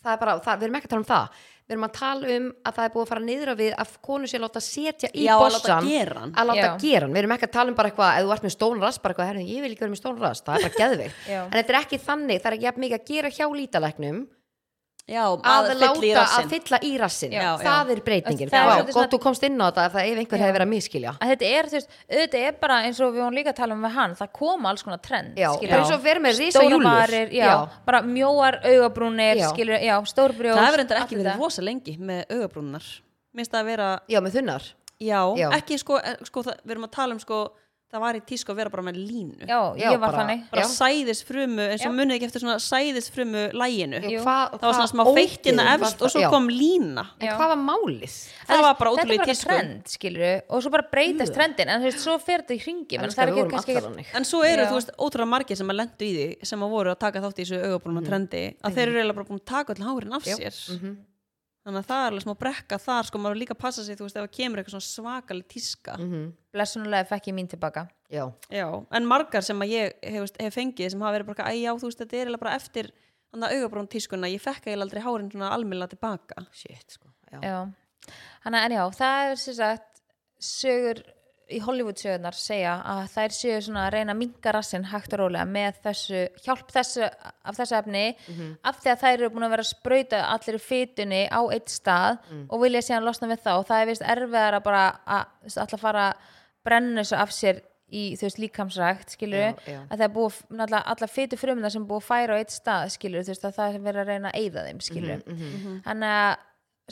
[SPEAKER 3] það er bara, það, við erum ekki að tala um það, við erum að tala um að það er búið að fara niður á við að konu sé að láta setja í
[SPEAKER 2] Já, að láta
[SPEAKER 3] bossan,
[SPEAKER 2] gera hann.
[SPEAKER 3] að láta
[SPEAKER 4] Já.
[SPEAKER 3] gera hann. við erum ekki að tala um bara eitthvað, ef þú ert með stóran rass, bara eitthvað, herrðu, ég vil ekki vera með stóran rass, það er bara geðveikt,
[SPEAKER 4] Já.
[SPEAKER 3] en þetta er ekki þannig, það er ekki jafn mikið að gera hjá lítalæknum,
[SPEAKER 2] Já,
[SPEAKER 3] að,
[SPEAKER 2] fylla í
[SPEAKER 3] láta
[SPEAKER 2] rassinn.
[SPEAKER 3] að fylla í rassin,
[SPEAKER 2] Já,
[SPEAKER 3] það er breytingin,
[SPEAKER 4] Það er
[SPEAKER 3] Vá,
[SPEAKER 4] svolítið svona-
[SPEAKER 3] gott þú komst inn á þetta, ef það ef einhver hefði verið að miskilja.
[SPEAKER 4] að þetta er, þú veist, auðvitað er bara eins og við vorum líka að tala um með hann, það koma alls konar trend,
[SPEAKER 3] Já,
[SPEAKER 4] skilurðu.
[SPEAKER 3] bara eins og vera með risa
[SPEAKER 4] Stórar
[SPEAKER 3] júllur.
[SPEAKER 4] varir, já,
[SPEAKER 3] Já.
[SPEAKER 4] bara mjóar augabrúnir,
[SPEAKER 3] Já.
[SPEAKER 4] skilur, já, stórbrjóst
[SPEAKER 2] Það hefur endur
[SPEAKER 4] allt
[SPEAKER 2] ekki
[SPEAKER 4] þetta.
[SPEAKER 2] verið rosa lengi með augabrúnar minnst það að vera,
[SPEAKER 3] Já, með þunnar.
[SPEAKER 2] já,
[SPEAKER 3] Já.
[SPEAKER 2] ekki sko, eh, sko það, við erum að tala um sko það var í tísku að vera bara með línu
[SPEAKER 4] Já,
[SPEAKER 3] Já,
[SPEAKER 4] ég var
[SPEAKER 3] bara-
[SPEAKER 4] þannig
[SPEAKER 2] bara
[SPEAKER 3] Já.
[SPEAKER 2] sæðisfrumu, eins og
[SPEAKER 4] Já.
[SPEAKER 2] munið ekki eftir svona sæðisfrumu læginu
[SPEAKER 3] Já, hvað-
[SPEAKER 2] það var svona
[SPEAKER 3] hvað
[SPEAKER 2] smá feittina
[SPEAKER 3] ógeðið var
[SPEAKER 2] efst og
[SPEAKER 3] það?
[SPEAKER 2] svo
[SPEAKER 3] Já.
[SPEAKER 2] kom lína
[SPEAKER 3] En
[SPEAKER 4] Já.
[SPEAKER 3] hvað var málið?
[SPEAKER 2] það var bara
[SPEAKER 4] Þetta er
[SPEAKER 2] ótrúlega í
[SPEAKER 4] bara
[SPEAKER 2] tísku
[SPEAKER 4] trend, skilur og svo bara breytast trendin en þú veist, svo fer þetta í hringi menn
[SPEAKER 3] Elskar,
[SPEAKER 4] það er
[SPEAKER 3] við
[SPEAKER 4] ekki
[SPEAKER 3] vorum
[SPEAKER 4] kannski
[SPEAKER 3] allar
[SPEAKER 4] ekki
[SPEAKER 3] þannig.
[SPEAKER 2] En svo eru,
[SPEAKER 4] Já.
[SPEAKER 2] þú veist, ótrúlega margir sem að lendu í því sem að voru að taka þátt í þessu
[SPEAKER 3] Mm.
[SPEAKER 2] augabrúna trendi að þeir eru eiginlega bara búin að taka öll hárin af sér
[SPEAKER 4] Mm-hmm,
[SPEAKER 2] þannig að það er alveg smá brekka þar sko, maður verður líka að passa sig, þú veist, ef það kemur eitthvað svona svakalig tíska
[SPEAKER 4] mm-hmm. blessunulega fekk ég mín tilbaka
[SPEAKER 3] Mhm, Já.
[SPEAKER 2] Já, en margar sem að ég hef, veist, hef fengið sem hafa verið bara, eitthvað, æ já, þú veist, þetta er eiginlega bara eftir þannig að augabrón tískuna, ég fekk eiginlega aldrei hárin svona almilla tilbaka
[SPEAKER 3] shit sko já.
[SPEAKER 4] Já. Þannig að enjá, það er sem sagt sögur í Hollywood sögurnar segja að þær séu svona að reyna að minga rassinn hægt og rólega með þessu hjálp þessu, af þessu efni
[SPEAKER 3] Mhm.
[SPEAKER 4] af því að þær eru búin að vera að sprauta allir í fytunni á eitt stað
[SPEAKER 3] Mm.
[SPEAKER 4] og vilja síðan losna við þá og það er vist erfiðar að bara að, alltaf fara að brenna þessu af sér í þú veist líkamsrækt skilur
[SPEAKER 3] Já, já.
[SPEAKER 4] að það er búið náttúrulega allar fytu frumina sem er búið að færa á eitt stað skilur þú veist að það er verið að reyna að eyða þeim skilur
[SPEAKER 3] Mhm,
[SPEAKER 4] þannig að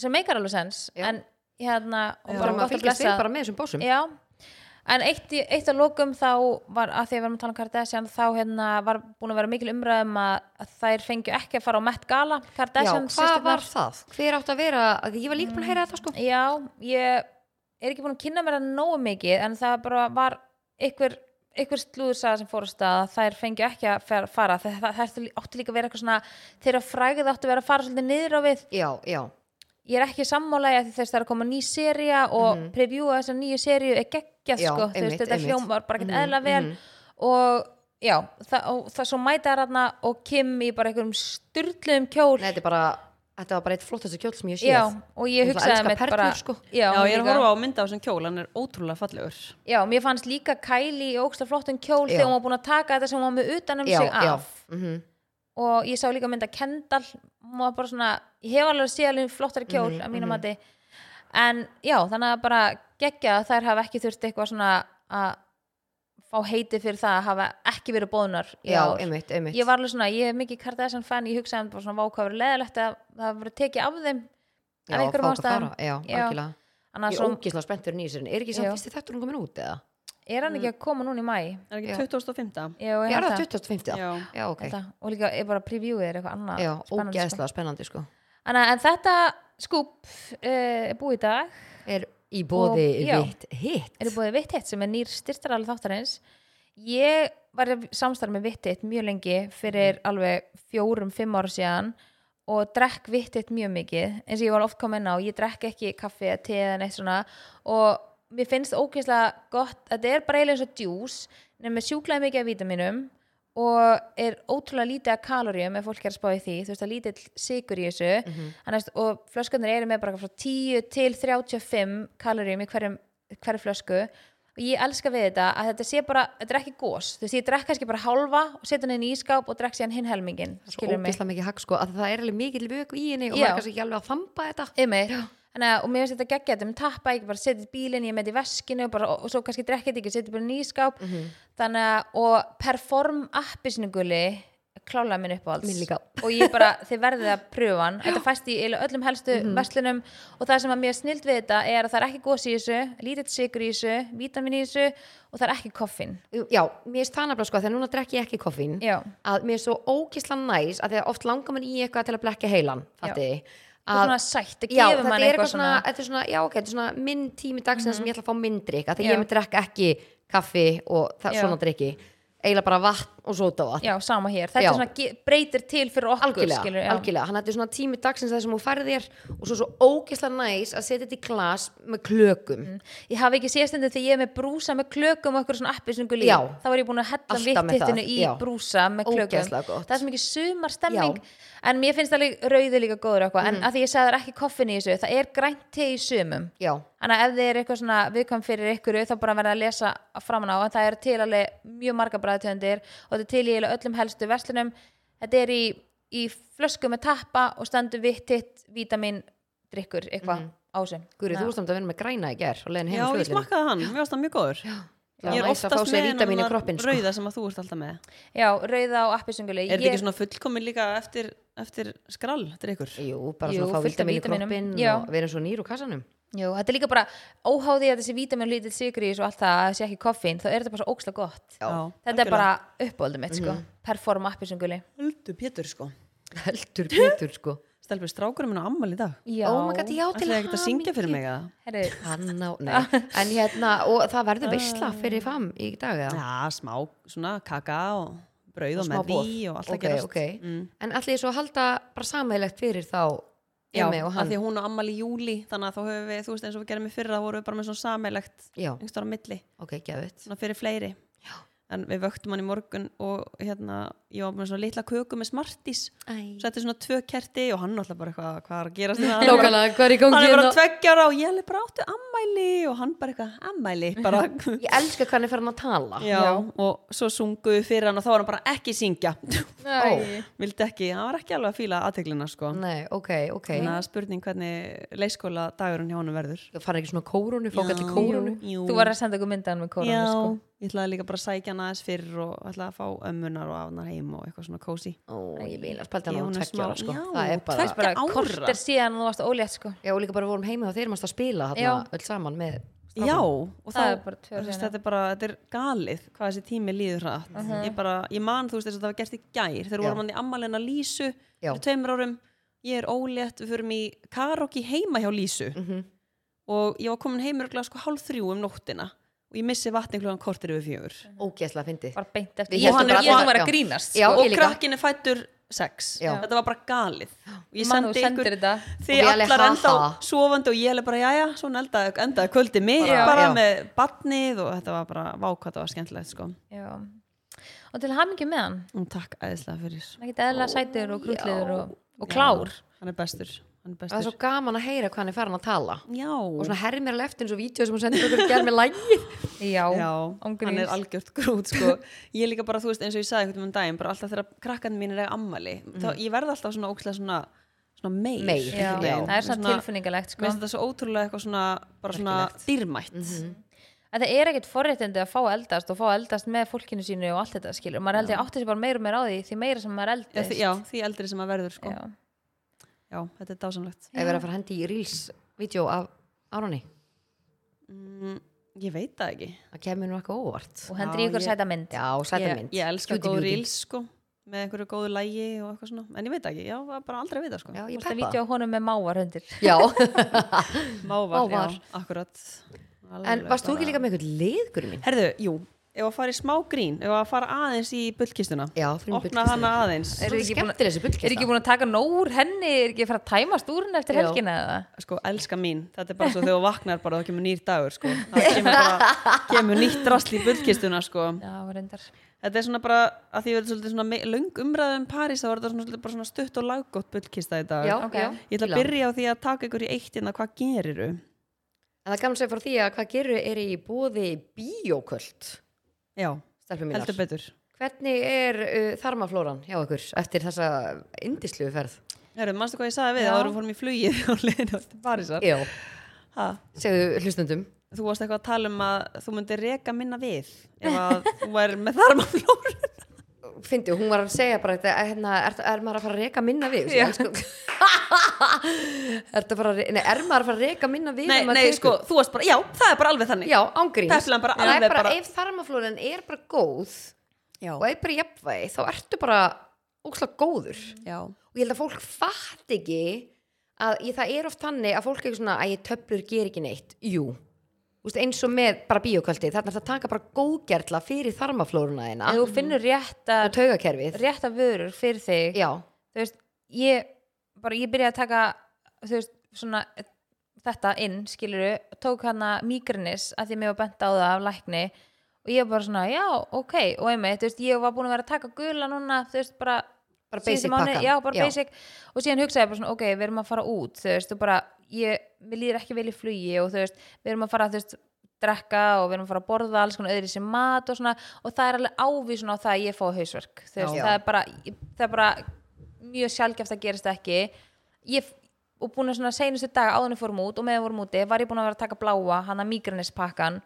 [SPEAKER 4] sem meikar alveg sens
[SPEAKER 3] Já.
[SPEAKER 4] en hérna og
[SPEAKER 3] bara maður
[SPEAKER 4] gott að
[SPEAKER 3] fylgjast
[SPEAKER 4] blessa.
[SPEAKER 3] við bara með þessum bósum
[SPEAKER 4] Já, en eitt, í- eitt að lokum þá var að því að við varum að tala um Kardashian þá hérna var búin að vera mikil umræðum að, að þær fengju ekki að fara á Met Gala
[SPEAKER 3] Já,
[SPEAKER 4] Kardashian
[SPEAKER 3] hvað var
[SPEAKER 4] um systurnar. Mm.
[SPEAKER 3] það? Hver átt að vera, að ég var líka búin að heyra þetta sko
[SPEAKER 4] Já, ég er ekki búin að kynna mér það nógu mikið en það bara var einhver ykkur slúðursaga sem fór að stað að þær fengju ekki að fer- fara það, það, það átti líka að vera eitthvað svona þeirra frægið áttu að vera að fara svolítið niður á við
[SPEAKER 3] Já, já,
[SPEAKER 4] ég er ekki sammálaði að þess það er að koma ný seria og mm -hmm. previewa þessa nýju serju er geggjað
[SPEAKER 3] Mhm. Já,
[SPEAKER 4] sko, þú
[SPEAKER 3] einmitt,
[SPEAKER 4] veist, þetta
[SPEAKER 3] einmitt. Mhm,
[SPEAKER 4] hljómar bara ekkert eðla vel og já, það, og það svo mæta þarna og Kim í bara einhverjum styrluðum kjól
[SPEAKER 3] Nei, þetta er bara, þetta var bara eitt flottastu kjóll sem ég séð
[SPEAKER 4] já, og ég
[SPEAKER 3] Ég ætla að
[SPEAKER 4] hugsaði
[SPEAKER 3] elska
[SPEAKER 4] mitt
[SPEAKER 3] perlur,
[SPEAKER 4] bara
[SPEAKER 3] sko.
[SPEAKER 4] já,
[SPEAKER 2] Já, ég er að
[SPEAKER 4] líka-
[SPEAKER 2] horfa á mynda á þessum kjól, hann er ótrúlega fallegur
[SPEAKER 4] já, mér fannst líka Kylie í óksla flottum kjól
[SPEAKER 3] Já.
[SPEAKER 4] þegar hún var búin að taka þetta sem hún var með utan um
[SPEAKER 3] já,
[SPEAKER 4] sig af
[SPEAKER 3] já, mhm,
[SPEAKER 4] og ég sá líka mynda Kendall hún var bara svona, ég hef alveg séð alveg flottari kjól
[SPEAKER 3] Mhm,
[SPEAKER 4] að mínu mati en já, þannig að bara geggja að þær hafa ekki þurft eitthvað svona að fá heiti fyrir það að hafa ekki verið bóðnar í
[SPEAKER 3] já,
[SPEAKER 4] ár.
[SPEAKER 3] einmitt, einmitt
[SPEAKER 4] ég var alveg svona, ég er mikið Kardashian fan ég hugsaði um bara svona vákvæður leðalegt að það hafa verið tekið af þeim
[SPEAKER 3] já,
[SPEAKER 4] af einhverjum
[SPEAKER 3] fá okkur
[SPEAKER 4] ástæðum
[SPEAKER 3] fara, Já,
[SPEAKER 4] Já.
[SPEAKER 3] algjörlega
[SPEAKER 4] annars
[SPEAKER 3] Ég er
[SPEAKER 4] svo
[SPEAKER 3] ógislega spenntur í nýsirinn Er ekki samt
[SPEAKER 4] Já.
[SPEAKER 3] fyrsti þáttur hún komin út eða?
[SPEAKER 4] er hann ekki að koma núna í mæ
[SPEAKER 2] Er
[SPEAKER 3] Já.
[SPEAKER 2] ekki 2005?
[SPEAKER 4] Jú,
[SPEAKER 3] Mm. Ég
[SPEAKER 4] held
[SPEAKER 3] er það
[SPEAKER 4] það.
[SPEAKER 3] 2050
[SPEAKER 2] Já.
[SPEAKER 3] já ok
[SPEAKER 4] Þetta. og líka er bara previewið er eitthvað annað
[SPEAKER 3] Já,
[SPEAKER 4] spennandi, sko.
[SPEAKER 3] ógeðslega spennandi sko
[SPEAKER 4] Þannig að- en þetta skúp uh, búið í dag
[SPEAKER 3] Er í bóði
[SPEAKER 4] Og- já.
[SPEAKER 3] vitt hitt
[SPEAKER 4] eru búið Vitt hitt sem er nýr styrtarali þáttarins ég var í samstarf með Vitt hitt mjög lengi fyrir alveg fjórum, fimm ára síðan og drekk Vitt hitt mjög mikið eins og ég var oft komin á, ég drekk ekki kaffi eða te eða neitt svona og mér finnst ógeðslega gott þetta er bara eiginlega eins og djús nema sjúklaði mikið af vítaminum og er ótrúlega lítið af kaloríum ef fólk er að spá í því, þú veist að lítill sigur í þessu mm
[SPEAKER 3] Mhm.
[SPEAKER 4] og flöskunir eru með bara frá 10 til 35 kaloríum í hverjum, hverju flösku og ég elska við þetta að þetta sé bara, þetta er ekki gós þú veist ég drekk kannski bara hálfa og setja hann inn í ískáp og drekk síðan hinn helmingin
[SPEAKER 3] Svo ógeðslega mikið hagg sko að Það er alveg mikið vöku í henni og
[SPEAKER 4] Já.
[SPEAKER 3] maður er kannski ekki alveg að þamba þetta
[SPEAKER 4] Einmitt. Þannig að, og mér finnst þetta geggja þetta með tappa, ég bara setið bílinn, ég með þetta í veskinu og bara, og, og svo kannski drekkið þetta ekki, setið bara nýskáp
[SPEAKER 3] Mhm.
[SPEAKER 4] mm -hmm. þannig að, og perform appi sinuguli klála minn uppáhalds
[SPEAKER 3] Mín líka.
[SPEAKER 4] og ég
[SPEAKER 3] (laughs)
[SPEAKER 4] bara, þið verðið að pröfa hann þetta fæst í eiginlega öllum helstu
[SPEAKER 3] Mhm.
[SPEAKER 4] mm verslunum og það sem að mér snild við þetta er að það er ekki gos í þessu, lítill sigur í þessu vítamin í þessu og það er ekki koffin
[SPEAKER 3] Já, mér er það nefnilega sko Þegar núna drekki ég ekki koffín
[SPEAKER 4] já,
[SPEAKER 3] að mér er svo ógislan næs að því að oft langar mann í eitthvað til að blekja heilan fattiði
[SPEAKER 4] það er svona sætt það
[SPEAKER 3] Já,
[SPEAKER 4] gefur
[SPEAKER 3] þetta
[SPEAKER 4] mann
[SPEAKER 3] er
[SPEAKER 4] eitthvað
[SPEAKER 3] eitthvað svona,
[SPEAKER 4] svona,
[SPEAKER 3] þetta er svona, já ok, þetta er svona minn tími dagsins sem ég ætla að fá minn drikk, af því
[SPEAKER 4] Já.
[SPEAKER 3] ég myndi drekka ekki kaffi og það,
[SPEAKER 4] Já.
[SPEAKER 3] svona drikki, eiginlega bara vatn og sótavatn.
[SPEAKER 4] já, sama hér, þetta
[SPEAKER 3] Já.
[SPEAKER 4] er svona ge- breytir til fyrir okkur
[SPEAKER 3] Algjörlega,
[SPEAKER 4] skilur, já.
[SPEAKER 3] algjörlega, hann þetta er svona tími dagsins það sem hún færði þér og svo svo ógislega næs að setja þetta í glas með klökum.
[SPEAKER 4] ég hafi ekki séð stundu þegar ég er með brúsa með klökum og okkur svona appi sem gulí
[SPEAKER 3] Já.
[SPEAKER 4] þá var ég búin að hella
[SPEAKER 3] Alltaf með
[SPEAKER 4] vittittinu
[SPEAKER 3] það,
[SPEAKER 4] í
[SPEAKER 3] já.
[SPEAKER 4] brúsa með klökum
[SPEAKER 3] Ógeðslega gott.
[SPEAKER 4] það er sem ekki sumar stemming en mér finnst alveg rauðu líka góður og
[SPEAKER 3] Mm.
[SPEAKER 4] eitthvað en að því ég sagði það er ekki koffin í þessu það er grænt te í sumum
[SPEAKER 3] Já,
[SPEAKER 4] Þannig að ef þið er eitthvað svona viðkvæm fyrir ykkur þá bara verða að lesa framan á en það eru til alveg mjög marga bræðtöndir og þetta er til í eiginlega öllum helstu verslunum þetta er í, í flösku með tappa og stendur vittitt vítamin drikkur eitthvað
[SPEAKER 3] Mhm.
[SPEAKER 4] á þessum
[SPEAKER 3] Guri,
[SPEAKER 4] Þannig
[SPEAKER 3] þú
[SPEAKER 4] að-
[SPEAKER 3] varst samt að vinna með græna í ger og
[SPEAKER 2] Já,
[SPEAKER 3] leiðin heim á
[SPEAKER 2] ég
[SPEAKER 3] flugvöllinn.
[SPEAKER 2] smakkaði hann, mér varst það mjög góður
[SPEAKER 3] Það
[SPEAKER 2] Ég
[SPEAKER 3] var
[SPEAKER 2] er
[SPEAKER 3] næs að fá
[SPEAKER 2] oftast
[SPEAKER 3] sér
[SPEAKER 2] með
[SPEAKER 3] vítamín í
[SPEAKER 2] þennan
[SPEAKER 3] kroppinn, sko.
[SPEAKER 2] rauða sem að þú ert alltaf með Er
[SPEAKER 4] Já, rauða og appisunguli
[SPEAKER 2] þetta ekki svona fullkomin líka eftir, eftir skrall, þetta er ykkur?
[SPEAKER 3] Jú, bara
[SPEAKER 4] Jú,
[SPEAKER 3] svona fá
[SPEAKER 4] fullt af
[SPEAKER 3] viltamín í
[SPEAKER 4] vítamínum.
[SPEAKER 3] kroppin
[SPEAKER 4] Já.
[SPEAKER 3] og vera svo nýr úr kassanum. (laughs)
[SPEAKER 4] Jú, þetta er líka bara óháði að þessi vítamin lítið sigri og allt það að þessi ekki koffín, þá er þetta bara svo óksla gott
[SPEAKER 3] Já.
[SPEAKER 4] Þetta er bara uppáldum mitt, sko Perform appisunguli
[SPEAKER 2] Höldu Pétur sko
[SPEAKER 3] Heldur betur, sko.
[SPEAKER 2] Stelbur strákurum minn á ammal í dag
[SPEAKER 4] Já,
[SPEAKER 3] Oh my god, já, til
[SPEAKER 2] Það er ekkert að syngja fyrir mig að
[SPEAKER 4] Herri,
[SPEAKER 3] Hann á,
[SPEAKER 2] Ah.
[SPEAKER 3] nei, en hérna, og það verður veistla fyrir fam í dag, eða?
[SPEAKER 2] Já, smá, svona kaka og brauð
[SPEAKER 3] Og
[SPEAKER 2] og
[SPEAKER 3] smá
[SPEAKER 2] með
[SPEAKER 3] boð.
[SPEAKER 2] því og allt að
[SPEAKER 3] Ok,
[SPEAKER 2] gerast Mm.
[SPEAKER 3] ok. En allir þið svo að halda bara samæðilegt fyrir þá
[SPEAKER 2] Já,
[SPEAKER 3] Emmi og
[SPEAKER 2] af
[SPEAKER 3] hann.
[SPEAKER 2] því að hún á ammal í júli þannig að þá höfum við, þú veist eins og við gerum í fyrra þá vorum við bara með svona sameilegt
[SPEAKER 3] Já,
[SPEAKER 2] einhverstaðar á milli,
[SPEAKER 3] ok, gefið.
[SPEAKER 2] svona fyrir fleiri Já. en við vöktum hann í morgun og hérna ég var með svona litla köku með smartis
[SPEAKER 3] Æ.
[SPEAKER 2] setti svona tvö kerti og hann alltaf bara eitthvað hvað er að gerast
[SPEAKER 3] (laughs)
[SPEAKER 2] hérna?" Hann bara-
[SPEAKER 3] Nákvæmlega, hvað er í gangi
[SPEAKER 2] hann er bara
[SPEAKER 3] hérna?
[SPEAKER 2] tveggjara og ég er bara áttu ammæli og hann bara eitthvað ammæli bara,
[SPEAKER 3] (laughs) Ég elska hvað hann er farin að tala
[SPEAKER 2] já, og svo sungu við fyrir hann og þá var hann bara ekki syngja
[SPEAKER 4] Æ.
[SPEAKER 2] vildi ekki, hann var ekki alveg að fíla aðteglina sko.
[SPEAKER 3] Nei, ok, ok
[SPEAKER 2] þannig að spurning hvernig leikskóla dagurinn hjá hann verður
[SPEAKER 3] Það fann ekki svona kórunu, fók allir kórunu
[SPEAKER 2] Jú.
[SPEAKER 4] Þú var að senda okkur myndaðan
[SPEAKER 2] Já,
[SPEAKER 4] með koronu sko.
[SPEAKER 2] ég ætlaði líka bara að sækja hann aðeins fyrr og ætlaði að fá ömmunar og afnar heim og eitthvað svona kósi
[SPEAKER 3] Ó, ég vil að spælta
[SPEAKER 2] Já,
[SPEAKER 3] hann á
[SPEAKER 2] hún er smá-
[SPEAKER 3] tveggja ára sko
[SPEAKER 2] já,
[SPEAKER 3] Það er bara
[SPEAKER 2] tveggja-
[SPEAKER 4] Bara
[SPEAKER 2] Ára.
[SPEAKER 4] kort er síðan þú varst ólétt sko.
[SPEAKER 3] Já, og líka bara vorum heima og þeir mannst að spila
[SPEAKER 4] Já.
[SPEAKER 3] þarna öll saman með
[SPEAKER 2] Já, og
[SPEAKER 4] Það
[SPEAKER 2] þá-
[SPEAKER 4] er bara tvö
[SPEAKER 2] þú
[SPEAKER 4] ár
[SPEAKER 2] veist,
[SPEAKER 4] síðan.
[SPEAKER 2] þetta er bara, þetta er galið hvað þessi tími líður hratt
[SPEAKER 4] Mhm.
[SPEAKER 2] ég, bara, ég man þú veist þess að það var gert í gær þegar
[SPEAKER 3] Já.
[SPEAKER 2] vorum hann í ammalina hérna Lísu
[SPEAKER 3] Já.
[SPEAKER 2] fyrir tveimur árum, ég er ólétt við förum í karaoke heima hjá Lísu
[SPEAKER 3] Mhm.
[SPEAKER 2] og ég var komin heimuruglega sko hálf þrjú um nóttina og ég missi vatni klugan kortir yfir fjögur
[SPEAKER 3] ógeðslega fyndi
[SPEAKER 4] Bara beint eftir
[SPEAKER 3] Við
[SPEAKER 4] Ég
[SPEAKER 3] héldum
[SPEAKER 4] held
[SPEAKER 3] bara
[SPEAKER 4] að þú
[SPEAKER 3] allan-
[SPEAKER 4] var að
[SPEAKER 3] já.
[SPEAKER 4] grínast
[SPEAKER 3] Já,
[SPEAKER 4] sko.
[SPEAKER 2] og
[SPEAKER 3] ég líka.
[SPEAKER 2] krakkin er fættur sex
[SPEAKER 3] Já.
[SPEAKER 2] þetta var bara galið og ég
[SPEAKER 4] Man, þú
[SPEAKER 2] sendi
[SPEAKER 4] sendir
[SPEAKER 2] ykkur
[SPEAKER 4] þetta.
[SPEAKER 2] þið
[SPEAKER 3] Og við alveg
[SPEAKER 2] allar
[SPEAKER 3] ha,
[SPEAKER 2] ennþá
[SPEAKER 3] ha.
[SPEAKER 2] sofandi og ég alveg bara jæja, svona endaði, endaði kvöldi mig
[SPEAKER 3] Bara-
[SPEAKER 2] bara,
[SPEAKER 3] já.
[SPEAKER 2] með barnið og þetta var bara vákvæða það var skemmtilegt sko
[SPEAKER 4] Já. Og til hamingi með hann
[SPEAKER 2] og takk æðislega fyrir
[SPEAKER 4] Það geta eðla sætur og krútlegur og, og klár
[SPEAKER 2] Já, hann er bestur, hann er
[SPEAKER 3] Það er
[SPEAKER 2] bestur.
[SPEAKER 3] svo gaman að heyra hvað hann er farin að tala
[SPEAKER 2] já,
[SPEAKER 3] og svona herri mér alveg eftir eins og vídeo sem hún sendur okkur gerð með lægi
[SPEAKER 4] Já,
[SPEAKER 2] já hann er
[SPEAKER 4] ángríns
[SPEAKER 2] algjört grút
[SPEAKER 3] (laughs)
[SPEAKER 2] sko. ég er líka bara, þú veist, eins og ég sagði einhvern veginn um daginn, bara alltaf þegar krakkan mín er eiga ammali þá ég verð alltaf svona ókslega svona svona meir,
[SPEAKER 3] Mm. Meir,
[SPEAKER 4] Já,
[SPEAKER 2] einhvern veginn.
[SPEAKER 4] það er svona tilfinningalegt
[SPEAKER 2] mér
[SPEAKER 4] sko.
[SPEAKER 2] finnst þetta svo ótrúlega eitthvað svona bara svona dýrmætt
[SPEAKER 3] Mhm,
[SPEAKER 4] að það er ekkert forréttindi að fá að eldast og fá að eldast með fólkinu sínu og allt þetta skilur maður heldur átti sér bara meira og meira á því því meira sem maður
[SPEAKER 2] já,
[SPEAKER 4] eldist
[SPEAKER 2] því, já, því eldri sem að verður sko.
[SPEAKER 4] Já.
[SPEAKER 2] já. þetta er dásamlegt
[SPEAKER 3] (laughs) Ef við erum að fara að hendi í Reels vídeo af Ároni
[SPEAKER 2] ég veit það ekki
[SPEAKER 3] Það kemur nú eitthvað óvart
[SPEAKER 4] og hendur í
[SPEAKER 2] Já,
[SPEAKER 4] ykkur
[SPEAKER 2] ég-
[SPEAKER 4] sæta mynd
[SPEAKER 3] Já, sæta
[SPEAKER 2] ég,
[SPEAKER 3] mynd
[SPEAKER 2] ég elska
[SPEAKER 3] Cutie
[SPEAKER 2] góð
[SPEAKER 3] Beauty.
[SPEAKER 2] reels sko, með einhverju góðu lægi og eitthvað svona, en ég veit það ekki, já, var bara aldrei að vita sko.
[SPEAKER 3] Já,
[SPEAKER 4] Þú
[SPEAKER 3] ég
[SPEAKER 4] veist að
[SPEAKER 3] peppa
[SPEAKER 4] vítja á honum með mávar hundir
[SPEAKER 3] (laughs) Já,
[SPEAKER 2] mávar,
[SPEAKER 3] Mávar.
[SPEAKER 2] já, akkurat
[SPEAKER 3] en varst þú ekki líka með eitthvað liðgur mín?
[SPEAKER 2] herðu, jú, ef að fara í smá grín ef að fara aðeins í bullkistuna
[SPEAKER 3] Já, fyrir um
[SPEAKER 2] opna
[SPEAKER 3] bullkistuna.
[SPEAKER 2] hana aðeins
[SPEAKER 3] Er
[SPEAKER 4] Svolítið
[SPEAKER 3] ekki
[SPEAKER 4] skemmtileg
[SPEAKER 3] skemmtileg þessi
[SPEAKER 4] er ekki
[SPEAKER 3] bullkista?
[SPEAKER 4] búin að taka nóg úr henni er ekki að fara að tæmast úr henni eftir
[SPEAKER 3] Já.
[SPEAKER 4] helgina eða
[SPEAKER 2] sko, elska mín, þetta er bara svo þegar þú vaknar bara þá kemur nýr dagur (laughs) sko það kemur, bara, kemur nýtt drasl í bullkistuna sko
[SPEAKER 4] já, reyndar
[SPEAKER 2] þetta er svona bara, að því verður svolítið svona löng umræðum París, þá var þetta svona, svolítið bara svona stutt og laggótt bullkista í dag
[SPEAKER 3] Já,
[SPEAKER 4] Ok.
[SPEAKER 3] já
[SPEAKER 2] ég ætla
[SPEAKER 3] fíla.
[SPEAKER 2] að byrja á því að taka ykkur í eitt innan hvað geriru
[SPEAKER 3] En það er gaman að segja frá því að hvað gerur er í bóði bíóköld
[SPEAKER 2] já,
[SPEAKER 3] Stelpum mínar
[SPEAKER 2] heldur betur
[SPEAKER 3] Hvernig er uh, þarmaflóran hjá ykkur eftir þessa indislu ferð?
[SPEAKER 2] Herru, manstu hvað ég sagði við
[SPEAKER 4] Já.
[SPEAKER 2] þá erum við fórum í flugið og leiðin til Parísar
[SPEAKER 3] Já,
[SPEAKER 2] ha,
[SPEAKER 3] segðu hlustundum
[SPEAKER 2] þú varst eitthvað að tala um að þú myndir reka minna við ef að þú væri með
[SPEAKER 3] (laughs)
[SPEAKER 2] þarmaflór
[SPEAKER 3] Fyndi, hún var að segja bara þetta eh, hérna, er, er maður að fara að reka minna við? Já sko, (laughs) er, fara, að re- nei, er maður að fara að reka minna við?
[SPEAKER 2] nei,
[SPEAKER 3] ef maður
[SPEAKER 2] nei,
[SPEAKER 3] tekur-
[SPEAKER 2] sko, þú varst bara, já, það er bara alveg þannig
[SPEAKER 3] Já, ángríns
[SPEAKER 2] Teflan bara
[SPEAKER 3] Það er
[SPEAKER 2] alveg
[SPEAKER 3] bara,
[SPEAKER 2] bara-
[SPEAKER 3] ef þarmaflóran er bara góð
[SPEAKER 2] Já.
[SPEAKER 3] og er bara í jafnvægi þá ertu bara ókslega góður
[SPEAKER 2] já,
[SPEAKER 3] og ég held að fólk fatt ekki að ég, það er oft þannig að fólk er eitthvað svona að ég töflur ger ekki neitt jú, Úst, eins og með bara bíókvöldi þarna er það að taka bara góðgerla fyrir þarmaflóruna þina
[SPEAKER 4] en þú finnur rétta,
[SPEAKER 3] Ah. og taugakerfið
[SPEAKER 4] rétta vörur fyrir þig
[SPEAKER 3] já,
[SPEAKER 4] þú veist, ég bara, ég byrjaði að taka þú veist, svona þetta inn, skiluru, tók hana mígrinis að því mér var bent á það af lækni og ég var bara svona, já, ok og einmitt, þú veist, ég var búin að vera að taka gula núna, þú veist, bara
[SPEAKER 3] bara
[SPEAKER 4] síðustu
[SPEAKER 3] basic
[SPEAKER 4] mánuði-
[SPEAKER 3] pakkan
[SPEAKER 4] já, bara basic og síðan hugsaði ég bara svona, ok, við erum að fara út þú veist, og bara, ég, mér líður ekki vel í flugi og þú veist, við erum að fara, þú veist drekka og við erum að fara að borða alls konar öðri sem mat og svona, og það er alveg ávísun á það að ég fá hausverk, þú veist,
[SPEAKER 3] Já.
[SPEAKER 4] það er bara það er bara mjög sjálfgeft að gerist ekki ég, og búin að svona seinustu daga áðunni fórum út og meðan við vorum úti, var ég búin að vera að taka bláa hana mígranispakkan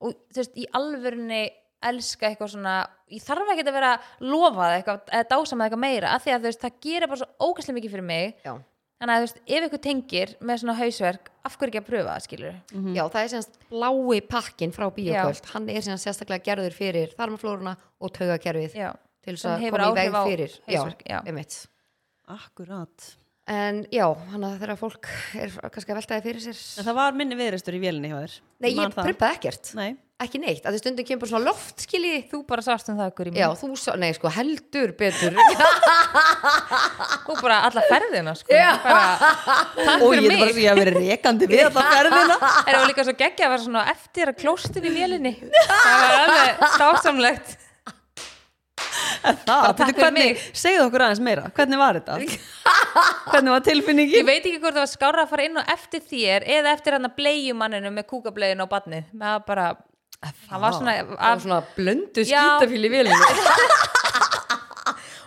[SPEAKER 4] og þú veist, í alvörunni elska eitthvað svona, ég þarf ekki að vera lofað eitthvað, eða dása með eitthvað meira af því að þú veist, það gerir bara svo ógæslega mikið fyrir mig
[SPEAKER 3] já.
[SPEAKER 4] þannig að þú veist, ef eitthvað tengir með svona hausverk, af hverju ekki að pröfa það skilur
[SPEAKER 3] já, það er semst blái pakkin frá bíókvöld hann er semst sérstaklega gerður fyrir þarmaflóruna og taugakerfið
[SPEAKER 4] já,
[SPEAKER 3] til þess
[SPEAKER 4] Sem
[SPEAKER 3] að
[SPEAKER 4] hefur
[SPEAKER 3] koma í
[SPEAKER 4] áhrif
[SPEAKER 3] veg
[SPEAKER 4] á
[SPEAKER 3] fyrir
[SPEAKER 4] hausverk, já.
[SPEAKER 3] einmitt.
[SPEAKER 2] akkurat
[SPEAKER 3] en já, hann að þegar fólk er kannski að veltaði fyrir sér
[SPEAKER 2] en það var minni viðreistur í vélinni hjá þér
[SPEAKER 3] nei,
[SPEAKER 2] man
[SPEAKER 3] ég
[SPEAKER 2] það.
[SPEAKER 3] prumpaði ekkert
[SPEAKER 2] nei,
[SPEAKER 3] ekki neitt, að því stundum kemur bara svona loft skilji,
[SPEAKER 4] þú bara sást um það ykkur í
[SPEAKER 3] já,
[SPEAKER 4] mér
[SPEAKER 3] þú sá, nei sko, heldur
[SPEAKER 4] (laughs)
[SPEAKER 3] betur
[SPEAKER 4] þú bara alla ferðina sko bara, takk
[SPEAKER 2] og
[SPEAKER 4] fyrir
[SPEAKER 2] ég er
[SPEAKER 4] mig
[SPEAKER 2] bara því að vera rekandi við
[SPEAKER 4] (laughs)
[SPEAKER 2] þetta ferðina
[SPEAKER 4] Það var líka svo geggja að vera svona eftir að klóstin í vélinni. Það var alveg dásamlegt.
[SPEAKER 2] Það,
[SPEAKER 4] Bara takk
[SPEAKER 2] veitu
[SPEAKER 4] fyrir
[SPEAKER 2] hvernig,
[SPEAKER 4] mig.
[SPEAKER 2] segðu okkur aðeins meira hvernig var
[SPEAKER 4] (laughs)
[SPEAKER 2] þetta? hvernig var tilfinningin?
[SPEAKER 4] Ég veit ekki hvort það var skára að fara inn og eftir þér eða eftir hann að bleju manninu með kúkablegin á badni. Það var bara, það var svona,
[SPEAKER 3] Það
[SPEAKER 4] af,
[SPEAKER 3] var svona blöndu
[SPEAKER 4] Já.
[SPEAKER 3] skýtafíl í vélinu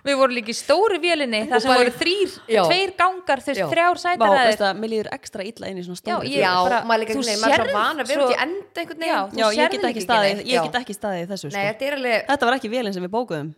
[SPEAKER 4] við vorum líka í stóru vélinni þar sem
[SPEAKER 3] bara-
[SPEAKER 4] voru þrýr,
[SPEAKER 3] Já.
[SPEAKER 4] tveir gangar, þú
[SPEAKER 3] Já.
[SPEAKER 4] veist, þrjár
[SPEAKER 2] Vá,
[SPEAKER 4] sætaræðir.
[SPEAKER 2] veist að mér líður ekstra illa inn í svona stóru
[SPEAKER 4] Já, ég-
[SPEAKER 3] Já,
[SPEAKER 4] bara-
[SPEAKER 3] maður líka
[SPEAKER 4] þú
[SPEAKER 3] einhvern veginn, maður er
[SPEAKER 4] sérð
[SPEAKER 3] svo van að vera
[SPEAKER 4] svo-
[SPEAKER 3] út í enda einhvern
[SPEAKER 4] Já,
[SPEAKER 3] veginn
[SPEAKER 4] þú
[SPEAKER 2] Já, ég
[SPEAKER 4] sérð
[SPEAKER 2] get
[SPEAKER 4] líka
[SPEAKER 2] ekki
[SPEAKER 4] ekki
[SPEAKER 2] staðið,
[SPEAKER 4] neitt,
[SPEAKER 3] já.
[SPEAKER 2] ég get ekki staðið í þessu
[SPEAKER 3] Nei,
[SPEAKER 2] sko.
[SPEAKER 3] þetta er alveg
[SPEAKER 2] Þetta var ekki vélinn sem við bókuðum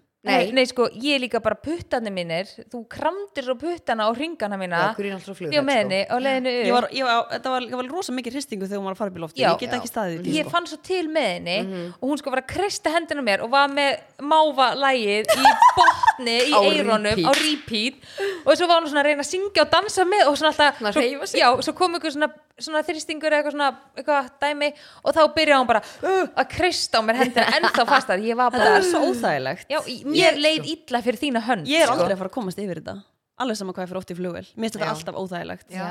[SPEAKER 3] Nei.
[SPEAKER 4] Nei. Nei, sko, ég líka bara puttana mínir þú kramdir á puttana og ringana mína
[SPEAKER 3] Já, Gurrí er alltaf á flugvelli,
[SPEAKER 4] ég var með
[SPEAKER 3] sko.
[SPEAKER 4] henni og leiðinu upp
[SPEAKER 2] Ég var, ég var, þetta var, var rosa mikið hristingu þegar hún var að fara upp í lofti,
[SPEAKER 4] Já.
[SPEAKER 2] ég get ekki staðið í því,
[SPEAKER 4] ég
[SPEAKER 2] sko.
[SPEAKER 4] fann svo til með henni og hún sko var að kreista hendina á mér og var með máva lægið í botni í
[SPEAKER 3] Á
[SPEAKER 4] eironum
[SPEAKER 3] repeat.
[SPEAKER 4] á repeat og svo var hún svona að reyna að syngja og dansa með og svona alltaf
[SPEAKER 3] Svona að hreyfa sig.
[SPEAKER 4] já, svo kom einhver svona, svona þristingur eða eitthvað svona eitthvað dæmi og þá byrjaði hún bara uh, að kreista á mér hendina ennþá fastar ég var
[SPEAKER 2] Þetta
[SPEAKER 4] bara
[SPEAKER 2] er svo óþægilegt
[SPEAKER 4] já, í- mér leið illa fyrir þína hönd
[SPEAKER 2] Ég er
[SPEAKER 4] sko.
[SPEAKER 2] aldrei að fara að komast yfir þetta Alveg sama hvað ég fyrir oft í flugvel Mér finnst þetta alltaf óþægilegt
[SPEAKER 4] Já.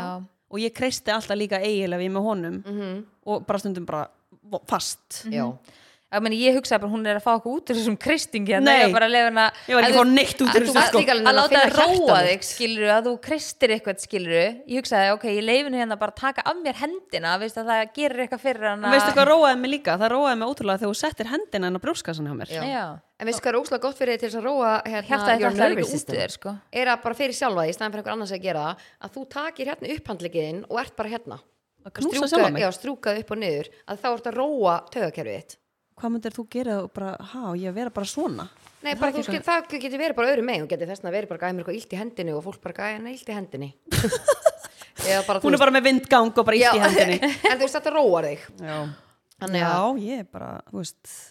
[SPEAKER 2] Og ég kreisti alltaf líka eiginlega við með honum
[SPEAKER 3] Mhm.
[SPEAKER 2] Og bara stundum bara vo- fast
[SPEAKER 3] Já,
[SPEAKER 4] Mhm. Ég, meni, ég hugsaði bara hún er að fá okkur út úr þessum kristingi hérna,
[SPEAKER 2] Nei.
[SPEAKER 4] ég var bara að leiða hana
[SPEAKER 2] Ég var ekki
[SPEAKER 4] að
[SPEAKER 2] að fá neitt út úr
[SPEAKER 3] að
[SPEAKER 2] þessu
[SPEAKER 3] þú-
[SPEAKER 2] sko
[SPEAKER 3] líka- alveg
[SPEAKER 4] að
[SPEAKER 3] að
[SPEAKER 4] láta
[SPEAKER 3] finna
[SPEAKER 4] það róa
[SPEAKER 3] hjarta
[SPEAKER 4] þig skilur að þú kristir eitthvað skilur ég hugsaði ok, ég leifinu hérna bara að taka af mér hendina veist að það gerir eitthvað fyrir hana
[SPEAKER 2] Veistu hvað róaði mig líka? Það róaði mig ótrúlega þegar þú settir hendina en á brjóskassan hjá mér
[SPEAKER 3] já.
[SPEAKER 4] Já.
[SPEAKER 3] En veistu hvað er óslega gott fyrir þig til þess að róa hérna,
[SPEAKER 4] hjarta þetta
[SPEAKER 3] your
[SPEAKER 4] alltaf
[SPEAKER 3] nervous
[SPEAKER 4] ekki út úr
[SPEAKER 3] system?
[SPEAKER 4] þér sko.
[SPEAKER 3] Er að bara fyrir sjálfa því, í staðan fyrir einhver annars að gera það, að þú takir hérna upphandlikiðin og ert bara hérna
[SPEAKER 2] Knúsa sjálf
[SPEAKER 3] Strjúka-
[SPEAKER 2] mig
[SPEAKER 3] Já, strúkað upp og niður að þá ert að róa taugakerfið þitt
[SPEAKER 2] Hvað myndir þú gera og bara, há, ég að vera bara svona Það
[SPEAKER 3] Nei,
[SPEAKER 2] er
[SPEAKER 3] bara,
[SPEAKER 2] ekki
[SPEAKER 3] þú skil, það getur verið bara öðru megin þú getur þess að verið bara gæði mér eitthvað illt í hendinni og fólk bara gæði henni illt í hendinni Eða bara, þú
[SPEAKER 2] Hún er bara með vindgang og bara
[SPEAKER 3] Já, (laughs)
[SPEAKER 2] ítt í hendinni
[SPEAKER 3] en þú veist þetta róar þig
[SPEAKER 2] Já,
[SPEAKER 3] Þannig
[SPEAKER 2] já
[SPEAKER 3] að-
[SPEAKER 2] ég er bara, þú veist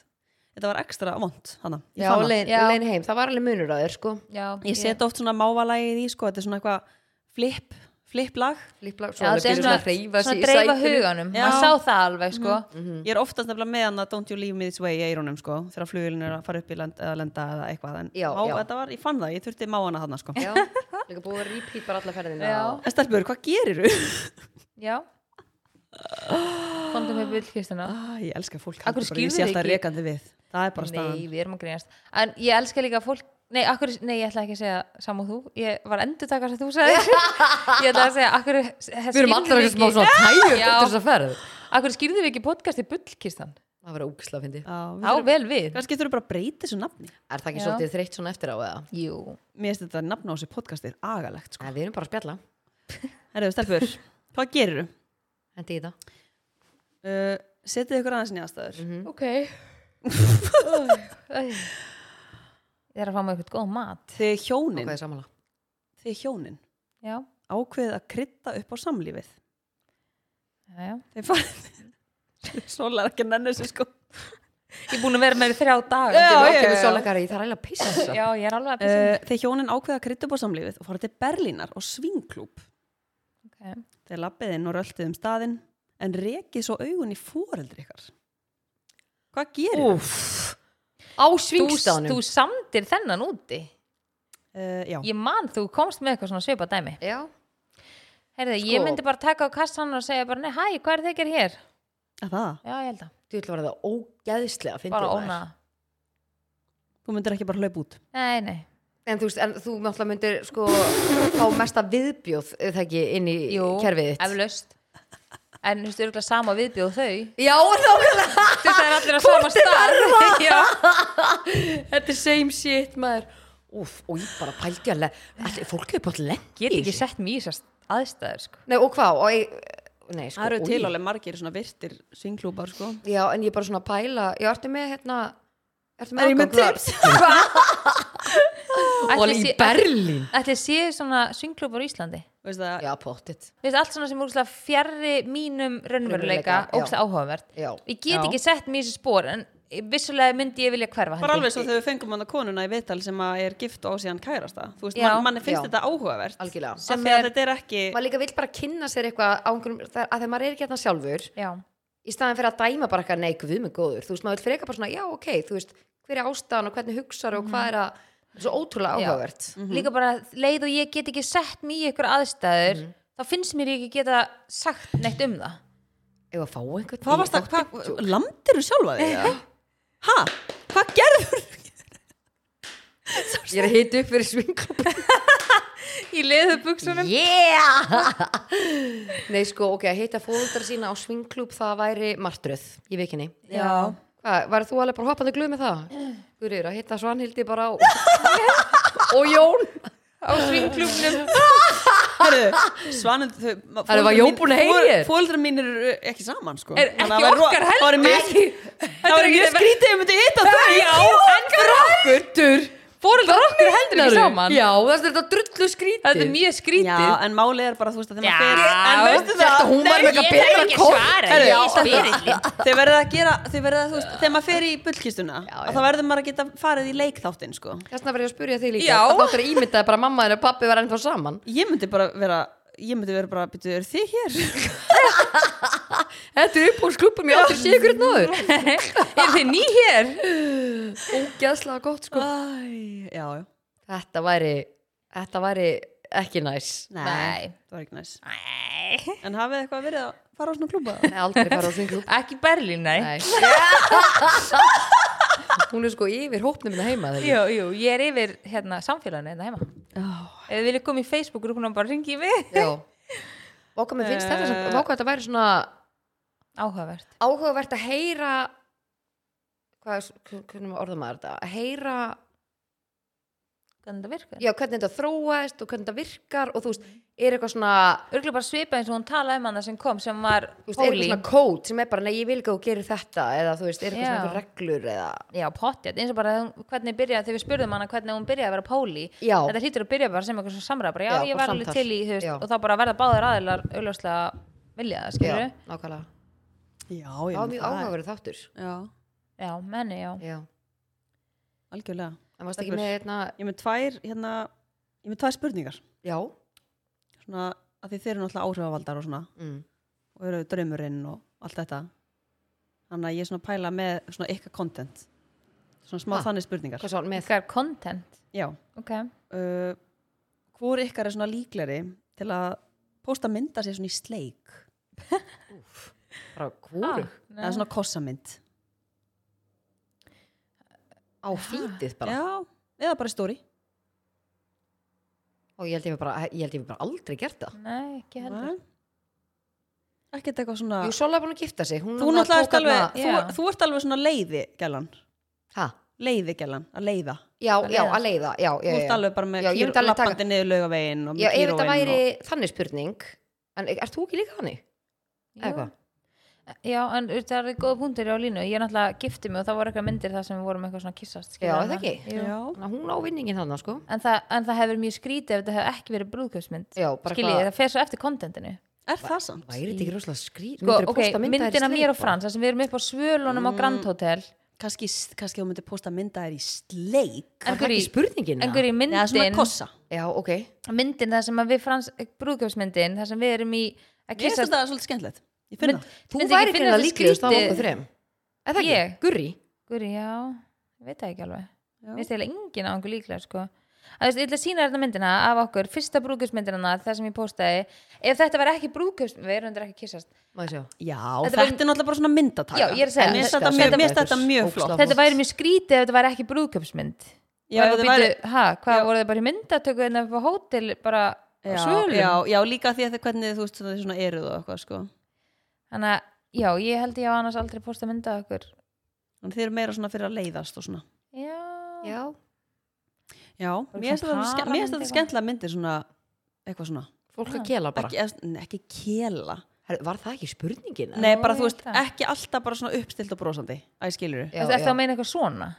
[SPEAKER 2] Þetta var ekstra vond, hana
[SPEAKER 3] Já,
[SPEAKER 2] fann það.
[SPEAKER 3] lein,
[SPEAKER 4] Já.
[SPEAKER 3] lein heim, það var alveg munur á þér sko
[SPEAKER 4] Já,
[SPEAKER 2] Ég set oft svona mávalægið í sko, þetta er svona eitthvað flip, flip lag
[SPEAKER 3] Lípla,
[SPEAKER 4] Já, þetta er svona, svona, dreifa huganum
[SPEAKER 2] Já. Mm.
[SPEAKER 4] maður sá það alveg sko.
[SPEAKER 3] Mhm.
[SPEAKER 2] Ég er oftast nefnilega með hann að Don't You Leave Me This Way í eironum sko, þegar flugilin er að fara upp í land, eða lenda eða eitthvað, en
[SPEAKER 3] Já,
[SPEAKER 2] má,
[SPEAKER 3] já.
[SPEAKER 2] þetta var, ég fann það, ég þurfti má hana þarna sko.
[SPEAKER 3] Já, líka búið að repeat bara alla ferðina
[SPEAKER 4] Já.
[SPEAKER 3] og-
[SPEAKER 2] En stelpur, hvað gerir (laughs) þú?
[SPEAKER 4] Já Kondum við bullkistina
[SPEAKER 2] ég elska fólk,
[SPEAKER 4] Af hverju
[SPEAKER 2] heldur bara, ég
[SPEAKER 4] skýrðu
[SPEAKER 2] sé
[SPEAKER 4] þið
[SPEAKER 2] alltaf
[SPEAKER 4] ekki?
[SPEAKER 2] rekandi við. Það er bara staðan.
[SPEAKER 4] Nei, við erum að grínast En ég elska líka fólk Nei, akkur, nei, ég ætla ekki að segja sama og þú Ég var endur takar sem þú sagði Ég ætla að segja eh, akkur,
[SPEAKER 3] Við erum allar eitthvað smá
[SPEAKER 4] (laughs)
[SPEAKER 3] svona tægjum eftir
[SPEAKER 4] Já.
[SPEAKER 3] þess að ferð
[SPEAKER 4] Akkur skýrðum við ekki podcasti bullkistan
[SPEAKER 3] Það var ógisla fyndi
[SPEAKER 2] Já, við
[SPEAKER 4] Á
[SPEAKER 2] þurfum-
[SPEAKER 4] vel við
[SPEAKER 2] Kannski þurfum bara að breyta þessu nafni.
[SPEAKER 3] Er það ekki
[SPEAKER 4] Já.
[SPEAKER 3] svolítið þreytt svona eftir á eða?
[SPEAKER 4] Jú
[SPEAKER 2] Mér finnst þetta nafn á þessu podcastið agalegt sko.
[SPEAKER 3] Nei, við erum bara að spjalla
[SPEAKER 2] Herðu, stelpur, hvað gerir þú?
[SPEAKER 3] Hendi í það
[SPEAKER 2] Uh, setið ykkur aðeins nýjastaður.
[SPEAKER 3] Mm. Mhm.
[SPEAKER 4] Ok Ég er að fá mig eitthvað góð mat
[SPEAKER 2] Þið hjónin,
[SPEAKER 3] Hvað er samanlega?
[SPEAKER 2] þið hjónin,
[SPEAKER 4] Já,
[SPEAKER 2] ákveðið að krydda upp á samlífið.
[SPEAKER 4] já, já
[SPEAKER 2] Þið farið, (laughs) svolega ekki að nennu þessu sko.
[SPEAKER 4] Ég er búin að vera með þér í þrjá dag
[SPEAKER 2] Já,
[SPEAKER 3] Ég
[SPEAKER 2] já,
[SPEAKER 3] er
[SPEAKER 2] já.
[SPEAKER 3] sjálfleikari, ég þarf eiginlega að pissa
[SPEAKER 4] já, ég er alveg að pissa
[SPEAKER 2] Uh, þeir hjónin ákveða að krydda upp á samlífið og fara til Berlínar og svingklúb.
[SPEAKER 4] okay.
[SPEAKER 2] Þeir lappið inn og röltið um staðinn en rekið svo augun í foreldri ykkar. Hvað gerir þau?
[SPEAKER 3] Úff Á
[SPEAKER 4] þú,
[SPEAKER 3] svingstánum
[SPEAKER 4] þú samdir þennan úti
[SPEAKER 2] Uh, já,
[SPEAKER 4] Ég man þú komst með eitthvað svona svipa dæmi
[SPEAKER 3] Já,
[SPEAKER 4] Heyrðu, ég
[SPEAKER 3] Sko.
[SPEAKER 4] myndi bara taka á kassan og segja bara, nei, hæ, hvað er þið að gera hér?
[SPEAKER 2] að það.
[SPEAKER 4] Já, ég held að,
[SPEAKER 3] þú ætla að vera það ógæðislega fyndið
[SPEAKER 4] bara
[SPEAKER 3] maður.
[SPEAKER 4] óna
[SPEAKER 2] Þú myndir ekki bara hlaupa út.
[SPEAKER 4] Nei, nei,
[SPEAKER 3] En þú veist, en þú náttúrulega myndir sko fá mesta viðbjóð er það ekki inn í kerfið þitt
[SPEAKER 4] eflaust En þú veist, örgulega sama viðbjóð þau
[SPEAKER 3] Já, nákvæmlega
[SPEAKER 4] Þú veist, það er allir á sama (laughs) stað Já,
[SPEAKER 3] Þetta er same shit, maður Úff, og ég bara pældi alveg Allir, fólk hefur bara lengt
[SPEAKER 4] get ekki sett mér í þessar aðstæður, sko
[SPEAKER 3] Nei, og hvað, og ég Nei, sko,
[SPEAKER 2] Það eru
[SPEAKER 3] og
[SPEAKER 2] til
[SPEAKER 3] ég-
[SPEAKER 2] alveg margir svona virtir svingklúbar sko.
[SPEAKER 3] Já, en ég er bara svona að pæla Já, ertu með, hérna Ertu
[SPEAKER 2] Er
[SPEAKER 3] með
[SPEAKER 2] ég með
[SPEAKER 3] afgang (laughs)
[SPEAKER 2] tips?
[SPEAKER 3] þar? Og
[SPEAKER 4] Ætli
[SPEAKER 3] í
[SPEAKER 4] sé-
[SPEAKER 3] Berlín
[SPEAKER 4] Ætli séu svona svingklúpar á Íslandi
[SPEAKER 2] Veist það,
[SPEAKER 3] Já, pottit
[SPEAKER 4] Þú veist, allt svona sem úrslega fjarri mínum raunveruleika,
[SPEAKER 3] Raunveruleika, já.
[SPEAKER 4] ógst áhugavert
[SPEAKER 3] Já.
[SPEAKER 4] Ég get
[SPEAKER 2] Já.
[SPEAKER 4] ekki sett mér í þessi spór En vissulega myndi ég vilja hverfa
[SPEAKER 2] bara
[SPEAKER 4] held ég.
[SPEAKER 2] alveg svo þegar við fengum hann að konuna í viðtal sem að er gift og á síðan kærasta. Þú veist,
[SPEAKER 4] Já.
[SPEAKER 2] man, manni finnst
[SPEAKER 3] Já.
[SPEAKER 2] þetta áhugavert.
[SPEAKER 3] Algjörlega.
[SPEAKER 2] Sem
[SPEAKER 4] Sem
[SPEAKER 2] er,
[SPEAKER 4] er-
[SPEAKER 2] þetta er ekki,
[SPEAKER 3] Maður líka vill bara kynna sér eitthvað á einhverjum það er- að þegar maður er ekki hérna sjálfur
[SPEAKER 4] Já,
[SPEAKER 3] í staðan fyrir að dæma bara eitthvað nei, guð mig góður þú veist, maður vil freka bara svona, já, ok, þú veist hver er ástæðan og hvernig hugsar og hvað er að það er svo ótrúlega
[SPEAKER 4] Já.
[SPEAKER 3] áhugavert
[SPEAKER 2] Mhm.
[SPEAKER 4] líka bara leið og ég get ekki sett mér í ykkur aðstæður
[SPEAKER 2] Mhm.
[SPEAKER 4] þá finnst mér ég ekki geta sagt neitt um það
[SPEAKER 3] ef að fá einhvern
[SPEAKER 2] hvað varst það, hvað, landir þú sjálfa þig? eða? Ha? Hvað gerður?
[SPEAKER 3] Ég er að hita upp fyrir svingklubb
[SPEAKER 4] í leðubuksunum
[SPEAKER 3] Yeah Nei sko, ok, að hita fóruldra sína á svingklubb það væri martröð í vikinni
[SPEAKER 4] Já.
[SPEAKER 3] Hvað, væri þú alveg bara hoppandi glöð með
[SPEAKER 4] (clears throat)
[SPEAKER 3] það? Guðrýr, að hita Svanhildi bara á
[SPEAKER 4] (laughs)
[SPEAKER 3] og Jón
[SPEAKER 4] á svingklubnum
[SPEAKER 2] Herðu, svanund þau
[SPEAKER 3] Herðu, var Jón búinn að heyra í þér?
[SPEAKER 2] Fóldrar mínir eru ekki saman sko
[SPEAKER 4] Er
[SPEAKER 2] Þannig að það
[SPEAKER 4] ekki
[SPEAKER 2] væri ro-
[SPEAKER 4] okkar
[SPEAKER 2] Það væri
[SPEAKER 4] heldur
[SPEAKER 2] mjög- það væri mjög skrítið ef myndi hitta þau
[SPEAKER 4] (laughs) Já, en fyrir okkur Fóreldrar okkur heldur ekki saman
[SPEAKER 3] Já, það er þetta drullu skrítið
[SPEAKER 4] Þetta er mjög
[SPEAKER 2] Já,
[SPEAKER 4] skrítið
[SPEAKER 2] en máli er bara, þú veist að þegar
[SPEAKER 4] Já.
[SPEAKER 2] maður fer En veistu það,
[SPEAKER 3] Þetta hún var með eitthvað betra
[SPEAKER 4] ekki
[SPEAKER 3] kort.
[SPEAKER 4] svara,
[SPEAKER 2] Herru,
[SPEAKER 4] ég
[SPEAKER 2] já. (laughs)
[SPEAKER 4] spyrir þín.
[SPEAKER 2] Þeir verða að gera, þeir verða, þú veist, þegar maður fer í bullkistuna
[SPEAKER 3] já.
[SPEAKER 2] að það verður maður að geta farið í leikþáttinn, sko
[SPEAKER 3] Þessna verður ég að spyrja þig líka
[SPEAKER 4] Já.
[SPEAKER 3] Það áttur að ímyndaði bara að mamma þín og pappi var ennþá saman
[SPEAKER 2] Ég myndi bara vera, ég myndi vera bara, byrju, eru þið hér?
[SPEAKER 3] Þetta er uppbúrsklubum, ég áttur að sé ykkur einn áður
[SPEAKER 4] (laughs) Er þið ný hér?
[SPEAKER 3] Ógæðslega gott sko
[SPEAKER 2] Æ, já, já,
[SPEAKER 3] Þetta væri, þetta væri ekki næs
[SPEAKER 4] Nei.
[SPEAKER 2] það var ekki næst
[SPEAKER 4] Nei
[SPEAKER 2] En hafið eitthvað verið að fara á svona klúba?
[SPEAKER 3] Nei, aldrei fara á þinglub
[SPEAKER 4] Ekki Berlín, nei
[SPEAKER 3] Nei (laughs) Hún er sko yfir hópnum minna heima þegar
[SPEAKER 4] Jú, jú, ég er yfir hérna, samfélaginu hérna heima
[SPEAKER 2] Já,
[SPEAKER 4] Ef þið viljið koma í Facebook-grúpuna bara ringi í mig
[SPEAKER 3] Já (laughs) Váka, mér finnst þetta sem, váka þetta væri svona
[SPEAKER 4] Áhugavert
[SPEAKER 3] áhugavert að heyra hvað, er- hvernig orða maður þetta að heyra
[SPEAKER 4] Hvernig þetta virkar?
[SPEAKER 3] já, hvernig þetta þróaðist og hvernig þetta virkar og þú veist, er eitthvað svona
[SPEAKER 4] Örgulega bara svipa eins og hún talaði um hana sem kom sem var
[SPEAKER 3] þú veist, er eitthvað
[SPEAKER 4] hóli
[SPEAKER 3] svona kót sem er bara, nei, ég vil ekki að þú gerir þetta eða þú veist, er eitthvað
[SPEAKER 4] Já.
[SPEAKER 3] svona einhver reglur eða
[SPEAKER 4] Já, pottjætt, eins og bara hún- hvernig byrjaði þegar við spurðum hana hvernig hún byrjaði að vera póli
[SPEAKER 3] Já.
[SPEAKER 4] þetta hlýtur að byrja bara sem eitthvað svona samræð bara já,
[SPEAKER 3] Já,
[SPEAKER 4] ég
[SPEAKER 3] bara
[SPEAKER 4] var alveg
[SPEAKER 3] samtal.
[SPEAKER 4] til í, þú veist,
[SPEAKER 3] Já.
[SPEAKER 4] og þá bara verða báðir aðilar auðljóslega vilja það, skilur
[SPEAKER 3] já,
[SPEAKER 4] já.
[SPEAKER 3] nákvæmlega
[SPEAKER 2] já,
[SPEAKER 3] það
[SPEAKER 2] já
[SPEAKER 3] var mjög áhugaverð þáttur
[SPEAKER 2] Já,
[SPEAKER 4] já, menni, já,
[SPEAKER 3] já,
[SPEAKER 2] algjörlega
[SPEAKER 3] en varst ekki
[SPEAKER 2] Stelpur.
[SPEAKER 3] með einna
[SPEAKER 2] Ég er með tvær, hérna, ég er með tvær spurningar
[SPEAKER 3] já,
[SPEAKER 2] Svona, að því þeir eru náttúrulega áhrifavaldar og svona
[SPEAKER 3] mm.
[SPEAKER 2] og eru draumurinn og allt þetta Þannig að ég er svona að pæla með svona ykkar content Svona smá
[SPEAKER 3] Ha,
[SPEAKER 2] þannig spurningar
[SPEAKER 3] hvað svo með
[SPEAKER 4] ykkar content
[SPEAKER 2] Já,
[SPEAKER 4] ok,
[SPEAKER 2] uh, hvor ykkar er svona líkleri til að posta mynda sér svona í sleik
[SPEAKER 3] bara kúru
[SPEAKER 2] eða svona kossamynd
[SPEAKER 3] á fítið bara
[SPEAKER 2] Já, eða bara í stóri
[SPEAKER 3] og ég held ég hef bara, ég held ég hef bara aldrei gert það
[SPEAKER 4] nei, ekki heldur
[SPEAKER 2] Ekkert eitthvað svona
[SPEAKER 3] Jú, Sola er búin að gifta sig hún
[SPEAKER 2] Þú náttúrulega ert
[SPEAKER 3] tók
[SPEAKER 2] alveg,
[SPEAKER 3] þarna-
[SPEAKER 4] Já.
[SPEAKER 2] þú, þú ert alveg svona leiði gælan,
[SPEAKER 3] Ha?
[SPEAKER 2] leiði gælan, að leiða.
[SPEAKER 3] já, já,
[SPEAKER 4] leiða.
[SPEAKER 3] að leiða já, já,
[SPEAKER 2] Þú
[SPEAKER 3] já,
[SPEAKER 2] ert
[SPEAKER 3] já.
[SPEAKER 2] alveg bara með
[SPEAKER 3] Já, ég myndi
[SPEAKER 2] kýr,
[SPEAKER 3] alveg taka-
[SPEAKER 2] lappandi niður laugavegin og
[SPEAKER 3] Já,
[SPEAKER 2] með
[SPEAKER 3] ef þetta
[SPEAKER 2] kýróvegin
[SPEAKER 3] væri
[SPEAKER 2] og...
[SPEAKER 3] þannig spurning en er þú ekki líka þannig? Eða
[SPEAKER 4] Jú.
[SPEAKER 3] hvað?
[SPEAKER 4] já, en þú veist, það er góða punktur á línu ég er náttúrulega gifti mig og það voru eitthvað myndir þar sem við vorum eitthvað svona kissast skilur
[SPEAKER 3] Já,
[SPEAKER 4] hana.
[SPEAKER 3] er það ekki?
[SPEAKER 4] Jú.
[SPEAKER 2] Já,
[SPEAKER 3] Þannig að hún á vinningin þannig sko
[SPEAKER 4] en, það, en það hefur mjög skrítið ef þetta hefur ekki verið brúðkjöfsmynd
[SPEAKER 3] Já, bara
[SPEAKER 4] skiljið,
[SPEAKER 3] hvað-
[SPEAKER 4] það fer svo eftir contentinu
[SPEAKER 2] er það samt?
[SPEAKER 3] væri þetta ekki rosalega skrýt
[SPEAKER 4] sko, ok, myndina mér og Frans þar sem við erum upp á Svölunum
[SPEAKER 2] Mm.
[SPEAKER 4] á Grand Hotel
[SPEAKER 2] Kannski, kannski þú myndir posta mynda þér í sleik.
[SPEAKER 4] en
[SPEAKER 3] það ekki spurningin eða?
[SPEAKER 4] einhverjir myndin
[SPEAKER 2] Eða svona kossa.
[SPEAKER 3] já, ok
[SPEAKER 4] myndin þar sem að við Frans brúðkjöfsmyndin þar sem við erum í að
[SPEAKER 2] Mér finnst
[SPEAKER 4] kissa
[SPEAKER 2] þetta svolítið skemmtilegt. Ég finn það.
[SPEAKER 3] þú væri fyrir það líklegust á okkur þrem eða ekki,
[SPEAKER 4] Ég?
[SPEAKER 3] Gurri
[SPEAKER 4] Guri, já, ég veit það ekki alveg
[SPEAKER 2] Já.
[SPEAKER 4] Mér finnst eiginlega enginn á einhver líklega sko. að, þú veist, Ég ætla að sína þetta myndina af okkur Fyrsta brúðkjöfsmyndina, það sem ég postaði Ef þetta var ekki brúðkjöfs Við erum undir ekki að kissast
[SPEAKER 3] Má ég sjá?
[SPEAKER 2] Já,
[SPEAKER 4] Þetta
[SPEAKER 2] þetta,
[SPEAKER 4] væri-
[SPEAKER 2] er náttúrulega bara svona myndataka.
[SPEAKER 4] Já, ég er að segja,
[SPEAKER 2] En Mér finnst
[SPEAKER 3] þetta-
[SPEAKER 2] þetta mjög- mér finnst
[SPEAKER 3] þetta-
[SPEAKER 2] þetta mjög flott.
[SPEAKER 3] ógeðslega-
[SPEAKER 4] Þetta væri mjög skrítið ef þetta var ekki brúðkjöfsmynd
[SPEAKER 2] Já, ef þetta væri...
[SPEAKER 4] ha, Hvað
[SPEAKER 2] Já.
[SPEAKER 4] voru þið bara í myndatöku En það var hótel bara á
[SPEAKER 2] Já,
[SPEAKER 4] svölum
[SPEAKER 2] já, já, líka því að þið hvernig þú veist svona, svona eruð og eitthvað, sko.
[SPEAKER 4] Þannig að, já, ég held ég á annars aldrei posta mynda af okkur
[SPEAKER 2] Þannig þið eru meira svona fyrir að leiðast og svona.
[SPEAKER 4] Já,
[SPEAKER 3] já,
[SPEAKER 2] Já, mér finnst
[SPEAKER 4] svona
[SPEAKER 2] þetta ske-
[SPEAKER 4] paramynd
[SPEAKER 2] mér finnst þetta
[SPEAKER 4] eitthvað.
[SPEAKER 2] skemmtilega myndir svona, eitthvað svona.
[SPEAKER 3] fólk að kela bara
[SPEAKER 2] Ekki, eða- nei, ekki kela.
[SPEAKER 3] Herru, var það ekki spurningin? eða?
[SPEAKER 2] Nei, bara
[SPEAKER 4] ég
[SPEAKER 2] þú veist,
[SPEAKER 4] veit það.
[SPEAKER 2] ekki alltaf bara svona uppstilt og brosandi. Æ, skilur
[SPEAKER 3] Já,
[SPEAKER 4] Þetta
[SPEAKER 3] já.
[SPEAKER 4] að meina eitthvað svona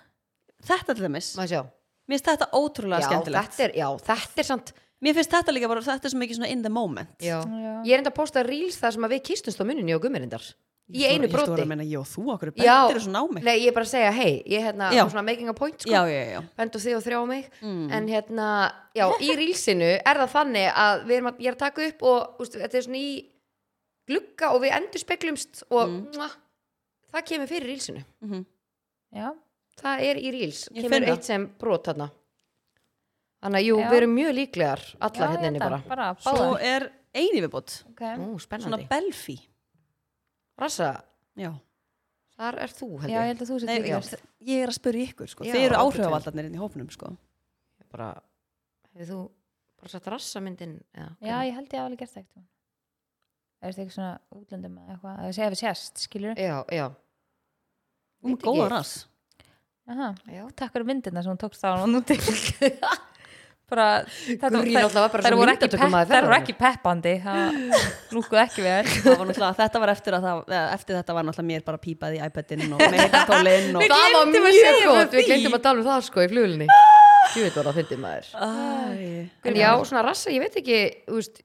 [SPEAKER 2] Þetta til dæmis,
[SPEAKER 3] Má ég sjá?
[SPEAKER 2] mér finnst þetta ótrúlega
[SPEAKER 3] Já,
[SPEAKER 2] skemmtilegt.
[SPEAKER 3] þetta er, já, þetta er samt
[SPEAKER 2] Mér finnst þetta líka bara, þetta er svo mikið svona in the moment.
[SPEAKER 3] já.
[SPEAKER 4] Já.
[SPEAKER 3] Ég er enda að posta reels þar sem að við kistumst á muninu og gummirindar Í einu
[SPEAKER 2] Ég stóra
[SPEAKER 3] broti
[SPEAKER 2] að meina, já, þú okkur er
[SPEAKER 3] Já.
[SPEAKER 2] bentir og svona á mig.
[SPEAKER 3] Nei, ég er bara að segja, hei, ég er hérna
[SPEAKER 2] Já.
[SPEAKER 3] svona making a point sko
[SPEAKER 2] Já, Mhm. já, já. Mm.
[SPEAKER 3] bendu þig og þrjá mig en hérna, já, í rílsinu er það þannig að við erum að, ég er að taka upp og úst, þetta er svona í glugga og við endur speklumst og
[SPEAKER 2] Mhm.
[SPEAKER 3] mwah, það kemur fyrir rílsinu
[SPEAKER 4] Já,
[SPEAKER 3] það er í ríls,
[SPEAKER 2] Ég
[SPEAKER 3] kemur
[SPEAKER 2] finn það.
[SPEAKER 3] eitt sem brot þarna þannig að jú,
[SPEAKER 4] Já.
[SPEAKER 3] við erum mjög líklegar
[SPEAKER 4] já,
[SPEAKER 3] allar hérna
[SPEAKER 4] ég
[SPEAKER 3] inni
[SPEAKER 4] held
[SPEAKER 3] bara,
[SPEAKER 4] að, bara
[SPEAKER 2] Svo
[SPEAKER 4] báðar.
[SPEAKER 2] er eini viðbútt,
[SPEAKER 4] okay.
[SPEAKER 3] Ó,
[SPEAKER 2] svona
[SPEAKER 3] spennandi
[SPEAKER 2] belfi.
[SPEAKER 3] Rassa,
[SPEAKER 2] Já.
[SPEAKER 3] þar er þú
[SPEAKER 4] Já, ég
[SPEAKER 3] heldur
[SPEAKER 4] held að þú sér
[SPEAKER 2] Nei,
[SPEAKER 4] til
[SPEAKER 2] ég er að spyrja ykkur, sko.
[SPEAKER 3] Já,
[SPEAKER 2] Þeir eru
[SPEAKER 3] ábyggilega.
[SPEAKER 2] áhrifavaldarnir inn í hópnum, sko.
[SPEAKER 3] bara, hefur þú bara satt rassamyndin eða,
[SPEAKER 4] Já, ég held ég að alveg gert það ekkert Það er eitthvað svona útlöndum eða eitthvað, að segja við sérst, skilur
[SPEAKER 3] já, já,
[SPEAKER 2] um
[SPEAKER 3] Veit ekki.
[SPEAKER 2] góða rass
[SPEAKER 4] Aha,
[SPEAKER 3] já.
[SPEAKER 4] takk fyrir myndina sem hún tókst á hann
[SPEAKER 3] (laughs)
[SPEAKER 4] úti bara, þetta
[SPEAKER 3] Gurrý náttúrulega var bara
[SPEAKER 4] þær
[SPEAKER 3] svo
[SPEAKER 4] voru ekki, pepp,
[SPEAKER 3] myndatökumaður
[SPEAKER 4] þær voru
[SPEAKER 3] ferðarinnar.
[SPEAKER 4] ekki peppandi það lúkuð ekki
[SPEAKER 3] (laughs)
[SPEAKER 4] við þær
[SPEAKER 2] Það var náttúrulega, þetta var eftir að það, eða, eftir þetta var náttúrulega mér bara pípað í iPadinn og með heitastólinn og
[SPEAKER 3] það var
[SPEAKER 4] gleymdum að
[SPEAKER 3] mjög
[SPEAKER 4] segja
[SPEAKER 3] gott, við
[SPEAKER 4] frá því.
[SPEAKER 3] glemdum að tala um það sko í flugulni ég veit var það fyndið maður
[SPEAKER 2] Æ,
[SPEAKER 3] en já, svona rassa, ég veit ekki þú veist,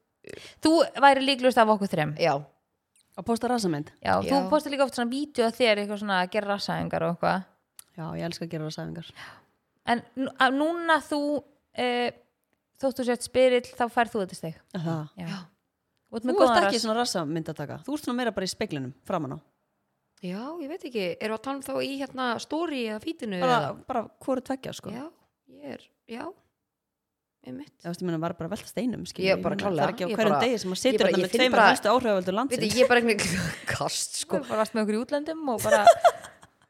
[SPEAKER 4] Þú væri líklust af okkur þrem Já,
[SPEAKER 3] já,
[SPEAKER 2] að posta rassamynd
[SPEAKER 4] þú
[SPEAKER 3] Já.
[SPEAKER 4] postar líka oft svona vídeo af þér eitthvað svona að gera rassæðingar og eitthvað
[SPEAKER 2] Já, ég elska að gera rassæfingar
[SPEAKER 4] En nú- að núna þú uh, þóttu sért spyrill þá færð þú þetta steg
[SPEAKER 2] Það
[SPEAKER 4] Já,
[SPEAKER 3] Já.
[SPEAKER 4] Þú ert
[SPEAKER 2] Þú
[SPEAKER 4] með
[SPEAKER 2] varst
[SPEAKER 4] góðan
[SPEAKER 2] ekki
[SPEAKER 4] rass.
[SPEAKER 2] svona rassamynd að taka Þú ert svona meira bara í speglinum, framan á
[SPEAKER 3] já, ég veit ekki eru að tala um þá í hérna stóri eða fítinu
[SPEAKER 2] Bara,
[SPEAKER 3] eða?
[SPEAKER 2] bara hvori tveggja, sko
[SPEAKER 3] já, ég er, já einmitt
[SPEAKER 2] Þú veist, ég meina, var bara að velta steinum, skilur
[SPEAKER 3] Ég
[SPEAKER 2] við,
[SPEAKER 3] bara
[SPEAKER 2] meina,
[SPEAKER 3] klárlega.
[SPEAKER 2] Það er ekki á
[SPEAKER 3] Ég
[SPEAKER 2] hverjum
[SPEAKER 3] bara-
[SPEAKER 2] degi sem að
[SPEAKER 3] ég
[SPEAKER 2] situr
[SPEAKER 3] bara-
[SPEAKER 2] þarna
[SPEAKER 3] ég
[SPEAKER 2] með
[SPEAKER 3] finn
[SPEAKER 2] tveimur
[SPEAKER 3] bara-
[SPEAKER 2] helstu áhrifavöldur
[SPEAKER 3] Veit,
[SPEAKER 2] landsins
[SPEAKER 3] ég er bara einhvern (laughs) kast
[SPEAKER 4] Þú
[SPEAKER 3] sko
[SPEAKER 4] bara varst með okkur í útlöndum og bara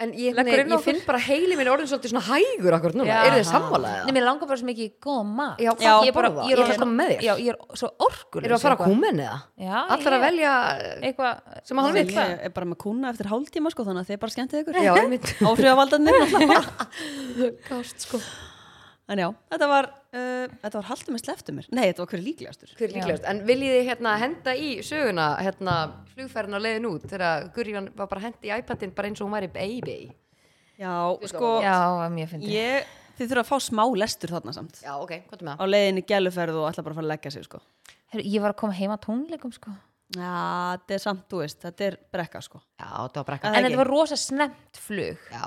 [SPEAKER 3] en ég, nei,
[SPEAKER 4] Leggur inn á
[SPEAKER 3] ég
[SPEAKER 4] okkur.
[SPEAKER 3] finn bara heili minn er orðin svolítið svona hægur akkur núna,
[SPEAKER 4] Já.
[SPEAKER 3] eru þið sammálaðið?
[SPEAKER 4] (laughs) Nei, mér langar bara svo mikið í góðan mat
[SPEAKER 3] Já, hvað
[SPEAKER 4] ég,
[SPEAKER 3] þú
[SPEAKER 4] er bara,
[SPEAKER 3] borða?
[SPEAKER 4] ég,
[SPEAKER 3] Ég ætla að
[SPEAKER 4] er orðin-
[SPEAKER 3] koma með þér.
[SPEAKER 4] Já, ég er svo orkulis
[SPEAKER 3] eru að fara að koma henni það?
[SPEAKER 4] Já,
[SPEAKER 3] allar að
[SPEAKER 4] ég-
[SPEAKER 3] velja
[SPEAKER 4] Eitthvað
[SPEAKER 3] sem að hann
[SPEAKER 2] Ég
[SPEAKER 3] vil
[SPEAKER 2] er bara með kúna eftir hálftíma, sko Þannig að þið bara skemmtið ykkur
[SPEAKER 3] já, einmitt
[SPEAKER 2] (laughs)
[SPEAKER 4] (laughs)
[SPEAKER 2] Áhrifavaldarnir, náttúrulega
[SPEAKER 3] (laughs) kast sko
[SPEAKER 2] En já, þetta var, uh, þetta var haldið með sleftum mér. Nei, þetta var hverju líklegastur.
[SPEAKER 3] Hver er líklegast? En viljið þið hérna henda í söguna hérna flugferðin á leiðin út þegar Gurri var var bara hendi í iPadin bara eins og hún væri baby
[SPEAKER 2] Já, sko,
[SPEAKER 4] Já, mér finnst ég...
[SPEAKER 2] ég, þið þurfa að fá smá lestur þarna samt.
[SPEAKER 3] Já, ok,
[SPEAKER 4] um
[SPEAKER 3] hvað er með
[SPEAKER 2] Á leiðinni gæluferð og ætla bara að fara að leggja sig, sko.
[SPEAKER 4] ég var að koma heima tónleikum sko
[SPEAKER 2] Já, þetta er samt, þú veist, þetta er brekka, sko.
[SPEAKER 3] Já, það var brekka
[SPEAKER 2] Það
[SPEAKER 4] En
[SPEAKER 2] ekki.
[SPEAKER 4] þetta var rosa snemt flug
[SPEAKER 3] Já,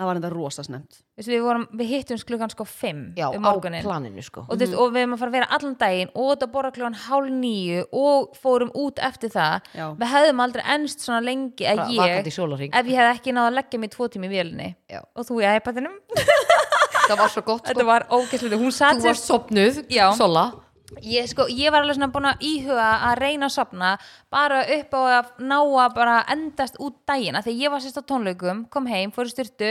[SPEAKER 2] Það var þetta rosa snemt.
[SPEAKER 4] Vistu, við, vorum, við hittum klukkan sko 5
[SPEAKER 3] já
[SPEAKER 4] um
[SPEAKER 3] á
[SPEAKER 4] morgunin
[SPEAKER 3] planinu sko
[SPEAKER 4] og, þú veist, og við erum að fara að vera allan daginn og þetta borra kljóðan hálf nýju og fórum út eftir það
[SPEAKER 2] Já.
[SPEAKER 4] við hefðum aldrei ennst svona lengi að
[SPEAKER 3] Bara
[SPEAKER 4] ég,
[SPEAKER 3] vakandi í sólarhring.
[SPEAKER 4] ef ég hefði ekki náða að leggja mig tvo tími í vélni
[SPEAKER 3] Já.
[SPEAKER 4] og þú í iPadinum
[SPEAKER 3] Það var svo gott
[SPEAKER 4] þetta
[SPEAKER 3] sko
[SPEAKER 4] var ógæslega, hún satt
[SPEAKER 3] Þú varst sopnuð,
[SPEAKER 4] Já.
[SPEAKER 3] Sola
[SPEAKER 4] ég, sko, ég var alveg svona búin að íhuga að reyna að sopna bara upp á að ná að bara endast út dagina þegar ég var sérst á tónleikum, kom heim, fór í styrtu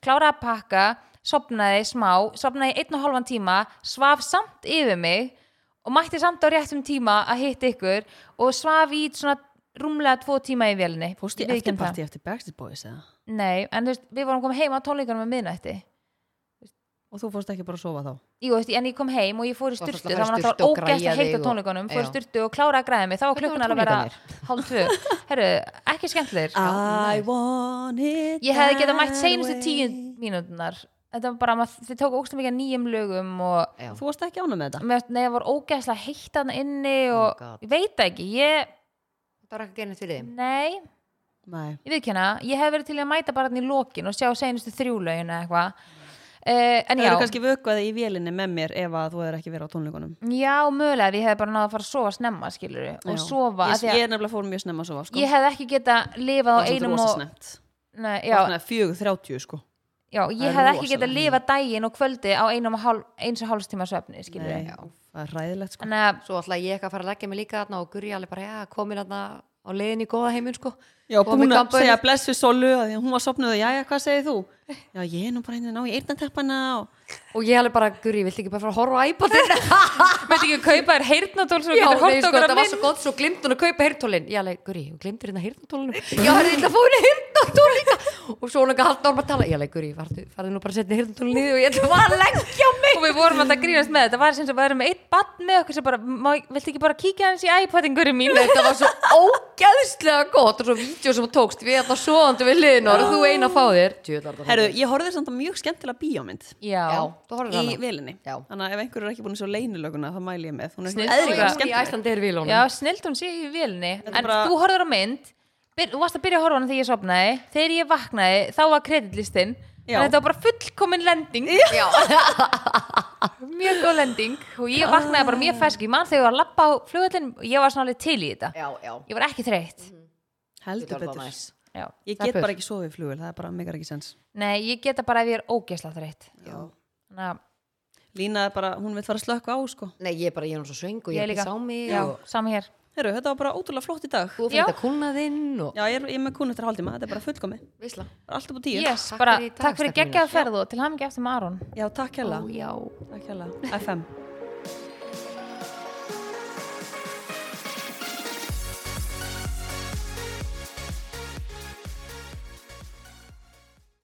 [SPEAKER 4] kláraði að pakka, sopnaði smá sopnaði einn og hálfan tíma svaf samt yfir mig og mætti samt á réttum tíma að hitta ykkur og svaf í svona rúmlega tvo tíma í vélni
[SPEAKER 2] Fórst ég um eftir
[SPEAKER 4] Viðurkenn það.
[SPEAKER 2] partí eftir Backstreet Boys, eða?
[SPEAKER 4] Nei, en þú veist, við vorum komið heim á tónleikunum með miðnætti
[SPEAKER 2] Og þú fórst ekki bara að sofa þá?
[SPEAKER 4] Jú, veist, en ég kom heim og ég fór í
[SPEAKER 3] Þú varst
[SPEAKER 4] styrtu
[SPEAKER 3] alltaf
[SPEAKER 4] það
[SPEAKER 3] að
[SPEAKER 4] var
[SPEAKER 3] fara í sturtu og
[SPEAKER 4] náttúrulega ógæst
[SPEAKER 3] græja
[SPEAKER 4] að heita
[SPEAKER 3] þig og-
[SPEAKER 4] tónleikunum fór í
[SPEAKER 3] Já.
[SPEAKER 4] styrtu og klára að græða mig þá var
[SPEAKER 3] Hvernig voru
[SPEAKER 4] klukkan alveg að
[SPEAKER 3] tónleikarnir?
[SPEAKER 4] vera hálf tvö Herru, ekki skemmtlegir
[SPEAKER 2] I want it
[SPEAKER 4] Ég hefði getað
[SPEAKER 2] that
[SPEAKER 4] mætt seinustu tíu
[SPEAKER 2] way.
[SPEAKER 4] mínúturnar Þetta var bara, maður- þið tóku ógstu mikið af nýjum lögum og
[SPEAKER 3] Já.
[SPEAKER 2] Þú varst ekki ánum með þetta?
[SPEAKER 4] mér- nei, það var ógæslega heitt hann inni og
[SPEAKER 3] Oh my God.
[SPEAKER 4] ég veit það ekki, ég
[SPEAKER 3] Það var ekki genið fyrir þið
[SPEAKER 4] nei,
[SPEAKER 2] Nei.
[SPEAKER 4] ég viðkjanna ég hef verið til í að mæta bara hann í lokin og sjá seinustu þrjúlaugin eða eitthvað uh, En
[SPEAKER 2] Það
[SPEAKER 4] já,
[SPEAKER 2] eru kannski vökuðið í vélinni með mér ef að þú hefur ekki verið á tónleikunum.
[SPEAKER 4] já, mögulega ef ég hef bara náða að fara að sofa snemma skilur og
[SPEAKER 2] Já.
[SPEAKER 4] sofa af
[SPEAKER 2] Ég,
[SPEAKER 4] því að-
[SPEAKER 2] ég er nefnilega fór mjög snemma að sofa, sko.
[SPEAKER 4] ég hef ekki geta lifað
[SPEAKER 2] Það
[SPEAKER 4] á
[SPEAKER 2] var samt
[SPEAKER 4] einum
[SPEAKER 2] rosa
[SPEAKER 4] og
[SPEAKER 2] snemmt.
[SPEAKER 4] nei, já,
[SPEAKER 2] Vaknaði fjögur þrjátíu sko
[SPEAKER 4] já,
[SPEAKER 2] það er
[SPEAKER 4] ég hef ekki
[SPEAKER 2] rosalega
[SPEAKER 4] geta lifað daginn og kvöldi á einum og hálf, eins og hálfs tíma svefni skilur
[SPEAKER 2] Nei,
[SPEAKER 4] við
[SPEAKER 2] það er ræðilegt sko
[SPEAKER 4] þannig að
[SPEAKER 3] Svo ætla ég ekki að fara að leggja mig líka þarna og Gurri alveg bara, já, komin þarna á leiðin í góða heiminn sko
[SPEAKER 2] Já,
[SPEAKER 3] Og
[SPEAKER 2] búin
[SPEAKER 3] með
[SPEAKER 2] að
[SPEAKER 3] gambaunni.
[SPEAKER 2] segja bless við Solu að því að hún var sopnuð og jæja, hvað segir þú? Já, ég er nú bara einnig að ná í eyrnateppana og
[SPEAKER 3] Og ég alveg bara, Gurri, viltu ekki bara fara að horfa á
[SPEAKER 2] (laughs)
[SPEAKER 3] iPadin?
[SPEAKER 4] veit ekki að kaupa þér heyrnatól sem þú
[SPEAKER 3] Já, nei,
[SPEAKER 4] getur hótt
[SPEAKER 3] sko,
[SPEAKER 4] okkur
[SPEAKER 3] það
[SPEAKER 4] að
[SPEAKER 3] var
[SPEAKER 4] minn
[SPEAKER 3] svo gott, svo glimti hún að kaupa heyrntólin Já, leik, guri, hún glimti hérna heyrntólinu Já, hann er illa að fá henni heyrntól líka Og svo hún ekki haldt orma að tala Já, leik, guri, farðu farðu nú bara að setja heyrntólinu niður og ég ætla bara að leggja mig
[SPEAKER 4] og við vorum alltaf að grínast með þetta var sem sem við erum með eitt bann með okkur sem bara, má, viltu ekki bara kíkja hans í iPadingur mín
[SPEAKER 3] Þetta var svo ógeðslega gott og svo vídeo sem hún tókst Við ætla svoðandi við liðin og þú eina að fá þér Djöðlar,
[SPEAKER 2] Herru, ég horfði samt á mjög skemmtilega bíómynd
[SPEAKER 4] já,
[SPEAKER 3] Já, þú horfður
[SPEAKER 2] í
[SPEAKER 3] hana
[SPEAKER 2] velinni
[SPEAKER 3] Já.
[SPEAKER 2] Þannig að ef einhverju er ekki búin að sjá leynilöguna þá mæli ég með Hún er
[SPEAKER 4] Snill.
[SPEAKER 2] svona eðlilega
[SPEAKER 3] Hún
[SPEAKER 4] Já,
[SPEAKER 3] í
[SPEAKER 2] skemmtileg
[SPEAKER 3] Æsland er vil
[SPEAKER 4] já snilt hún sé í vélni
[SPEAKER 2] Þetta
[SPEAKER 4] en
[SPEAKER 2] bara-
[SPEAKER 4] þú horfður á mynd byr, þú varst að byrja að horfa á hana þegar ég sopnaði þegar ég vaknaði, þá var kreditlistin
[SPEAKER 2] Já.
[SPEAKER 4] þetta var bara fullkomin lending
[SPEAKER 3] Já,
[SPEAKER 4] (laughs) mjög góð lending og ég vaknaði bara mjög fersk ég man þegar ég var að lappa á flugvöllin og ég var svona alveg til í þetta
[SPEAKER 3] já, Mhm. já
[SPEAKER 4] ég var ekki þreytt
[SPEAKER 3] Þetta
[SPEAKER 2] Heldur
[SPEAKER 3] var
[SPEAKER 2] betur
[SPEAKER 3] næs.
[SPEAKER 4] Já.
[SPEAKER 2] Ég
[SPEAKER 3] Takk
[SPEAKER 2] get
[SPEAKER 3] fyrir.
[SPEAKER 2] bara ekki sofið í flugul, það er bara megar ekki sens
[SPEAKER 4] nei, ég geta bara ef ég er ógesla þreytt
[SPEAKER 3] Já.
[SPEAKER 4] þannig að
[SPEAKER 2] Lína er bara, hún vil fara að slökka á sko
[SPEAKER 3] Nei, ég er bara, ég er nú svo svöng og ég
[SPEAKER 4] Ég
[SPEAKER 3] er ekki
[SPEAKER 4] líka.
[SPEAKER 3] sá mig
[SPEAKER 4] já,
[SPEAKER 3] og-
[SPEAKER 4] sami hér
[SPEAKER 2] Heru, þetta var bara ótrúlega flott í dag.
[SPEAKER 3] Þú
[SPEAKER 4] Já.
[SPEAKER 3] fyrir þetta kúnaðinn og
[SPEAKER 2] Já, ég er, ég er með kún eftir hálftíma, þetta er bara fullkomi.
[SPEAKER 3] Veisla
[SPEAKER 2] Bara alltaf búið tíu.
[SPEAKER 4] yes,
[SPEAKER 3] Takk
[SPEAKER 4] bara
[SPEAKER 3] fyrir í dag,
[SPEAKER 4] takk fyrir
[SPEAKER 3] stelpur mínar.
[SPEAKER 4] geggjaða ferð og til hafa ekki eftir með Aron
[SPEAKER 2] Já, takk hella.
[SPEAKER 3] Ó, já
[SPEAKER 2] Takk hella. FM.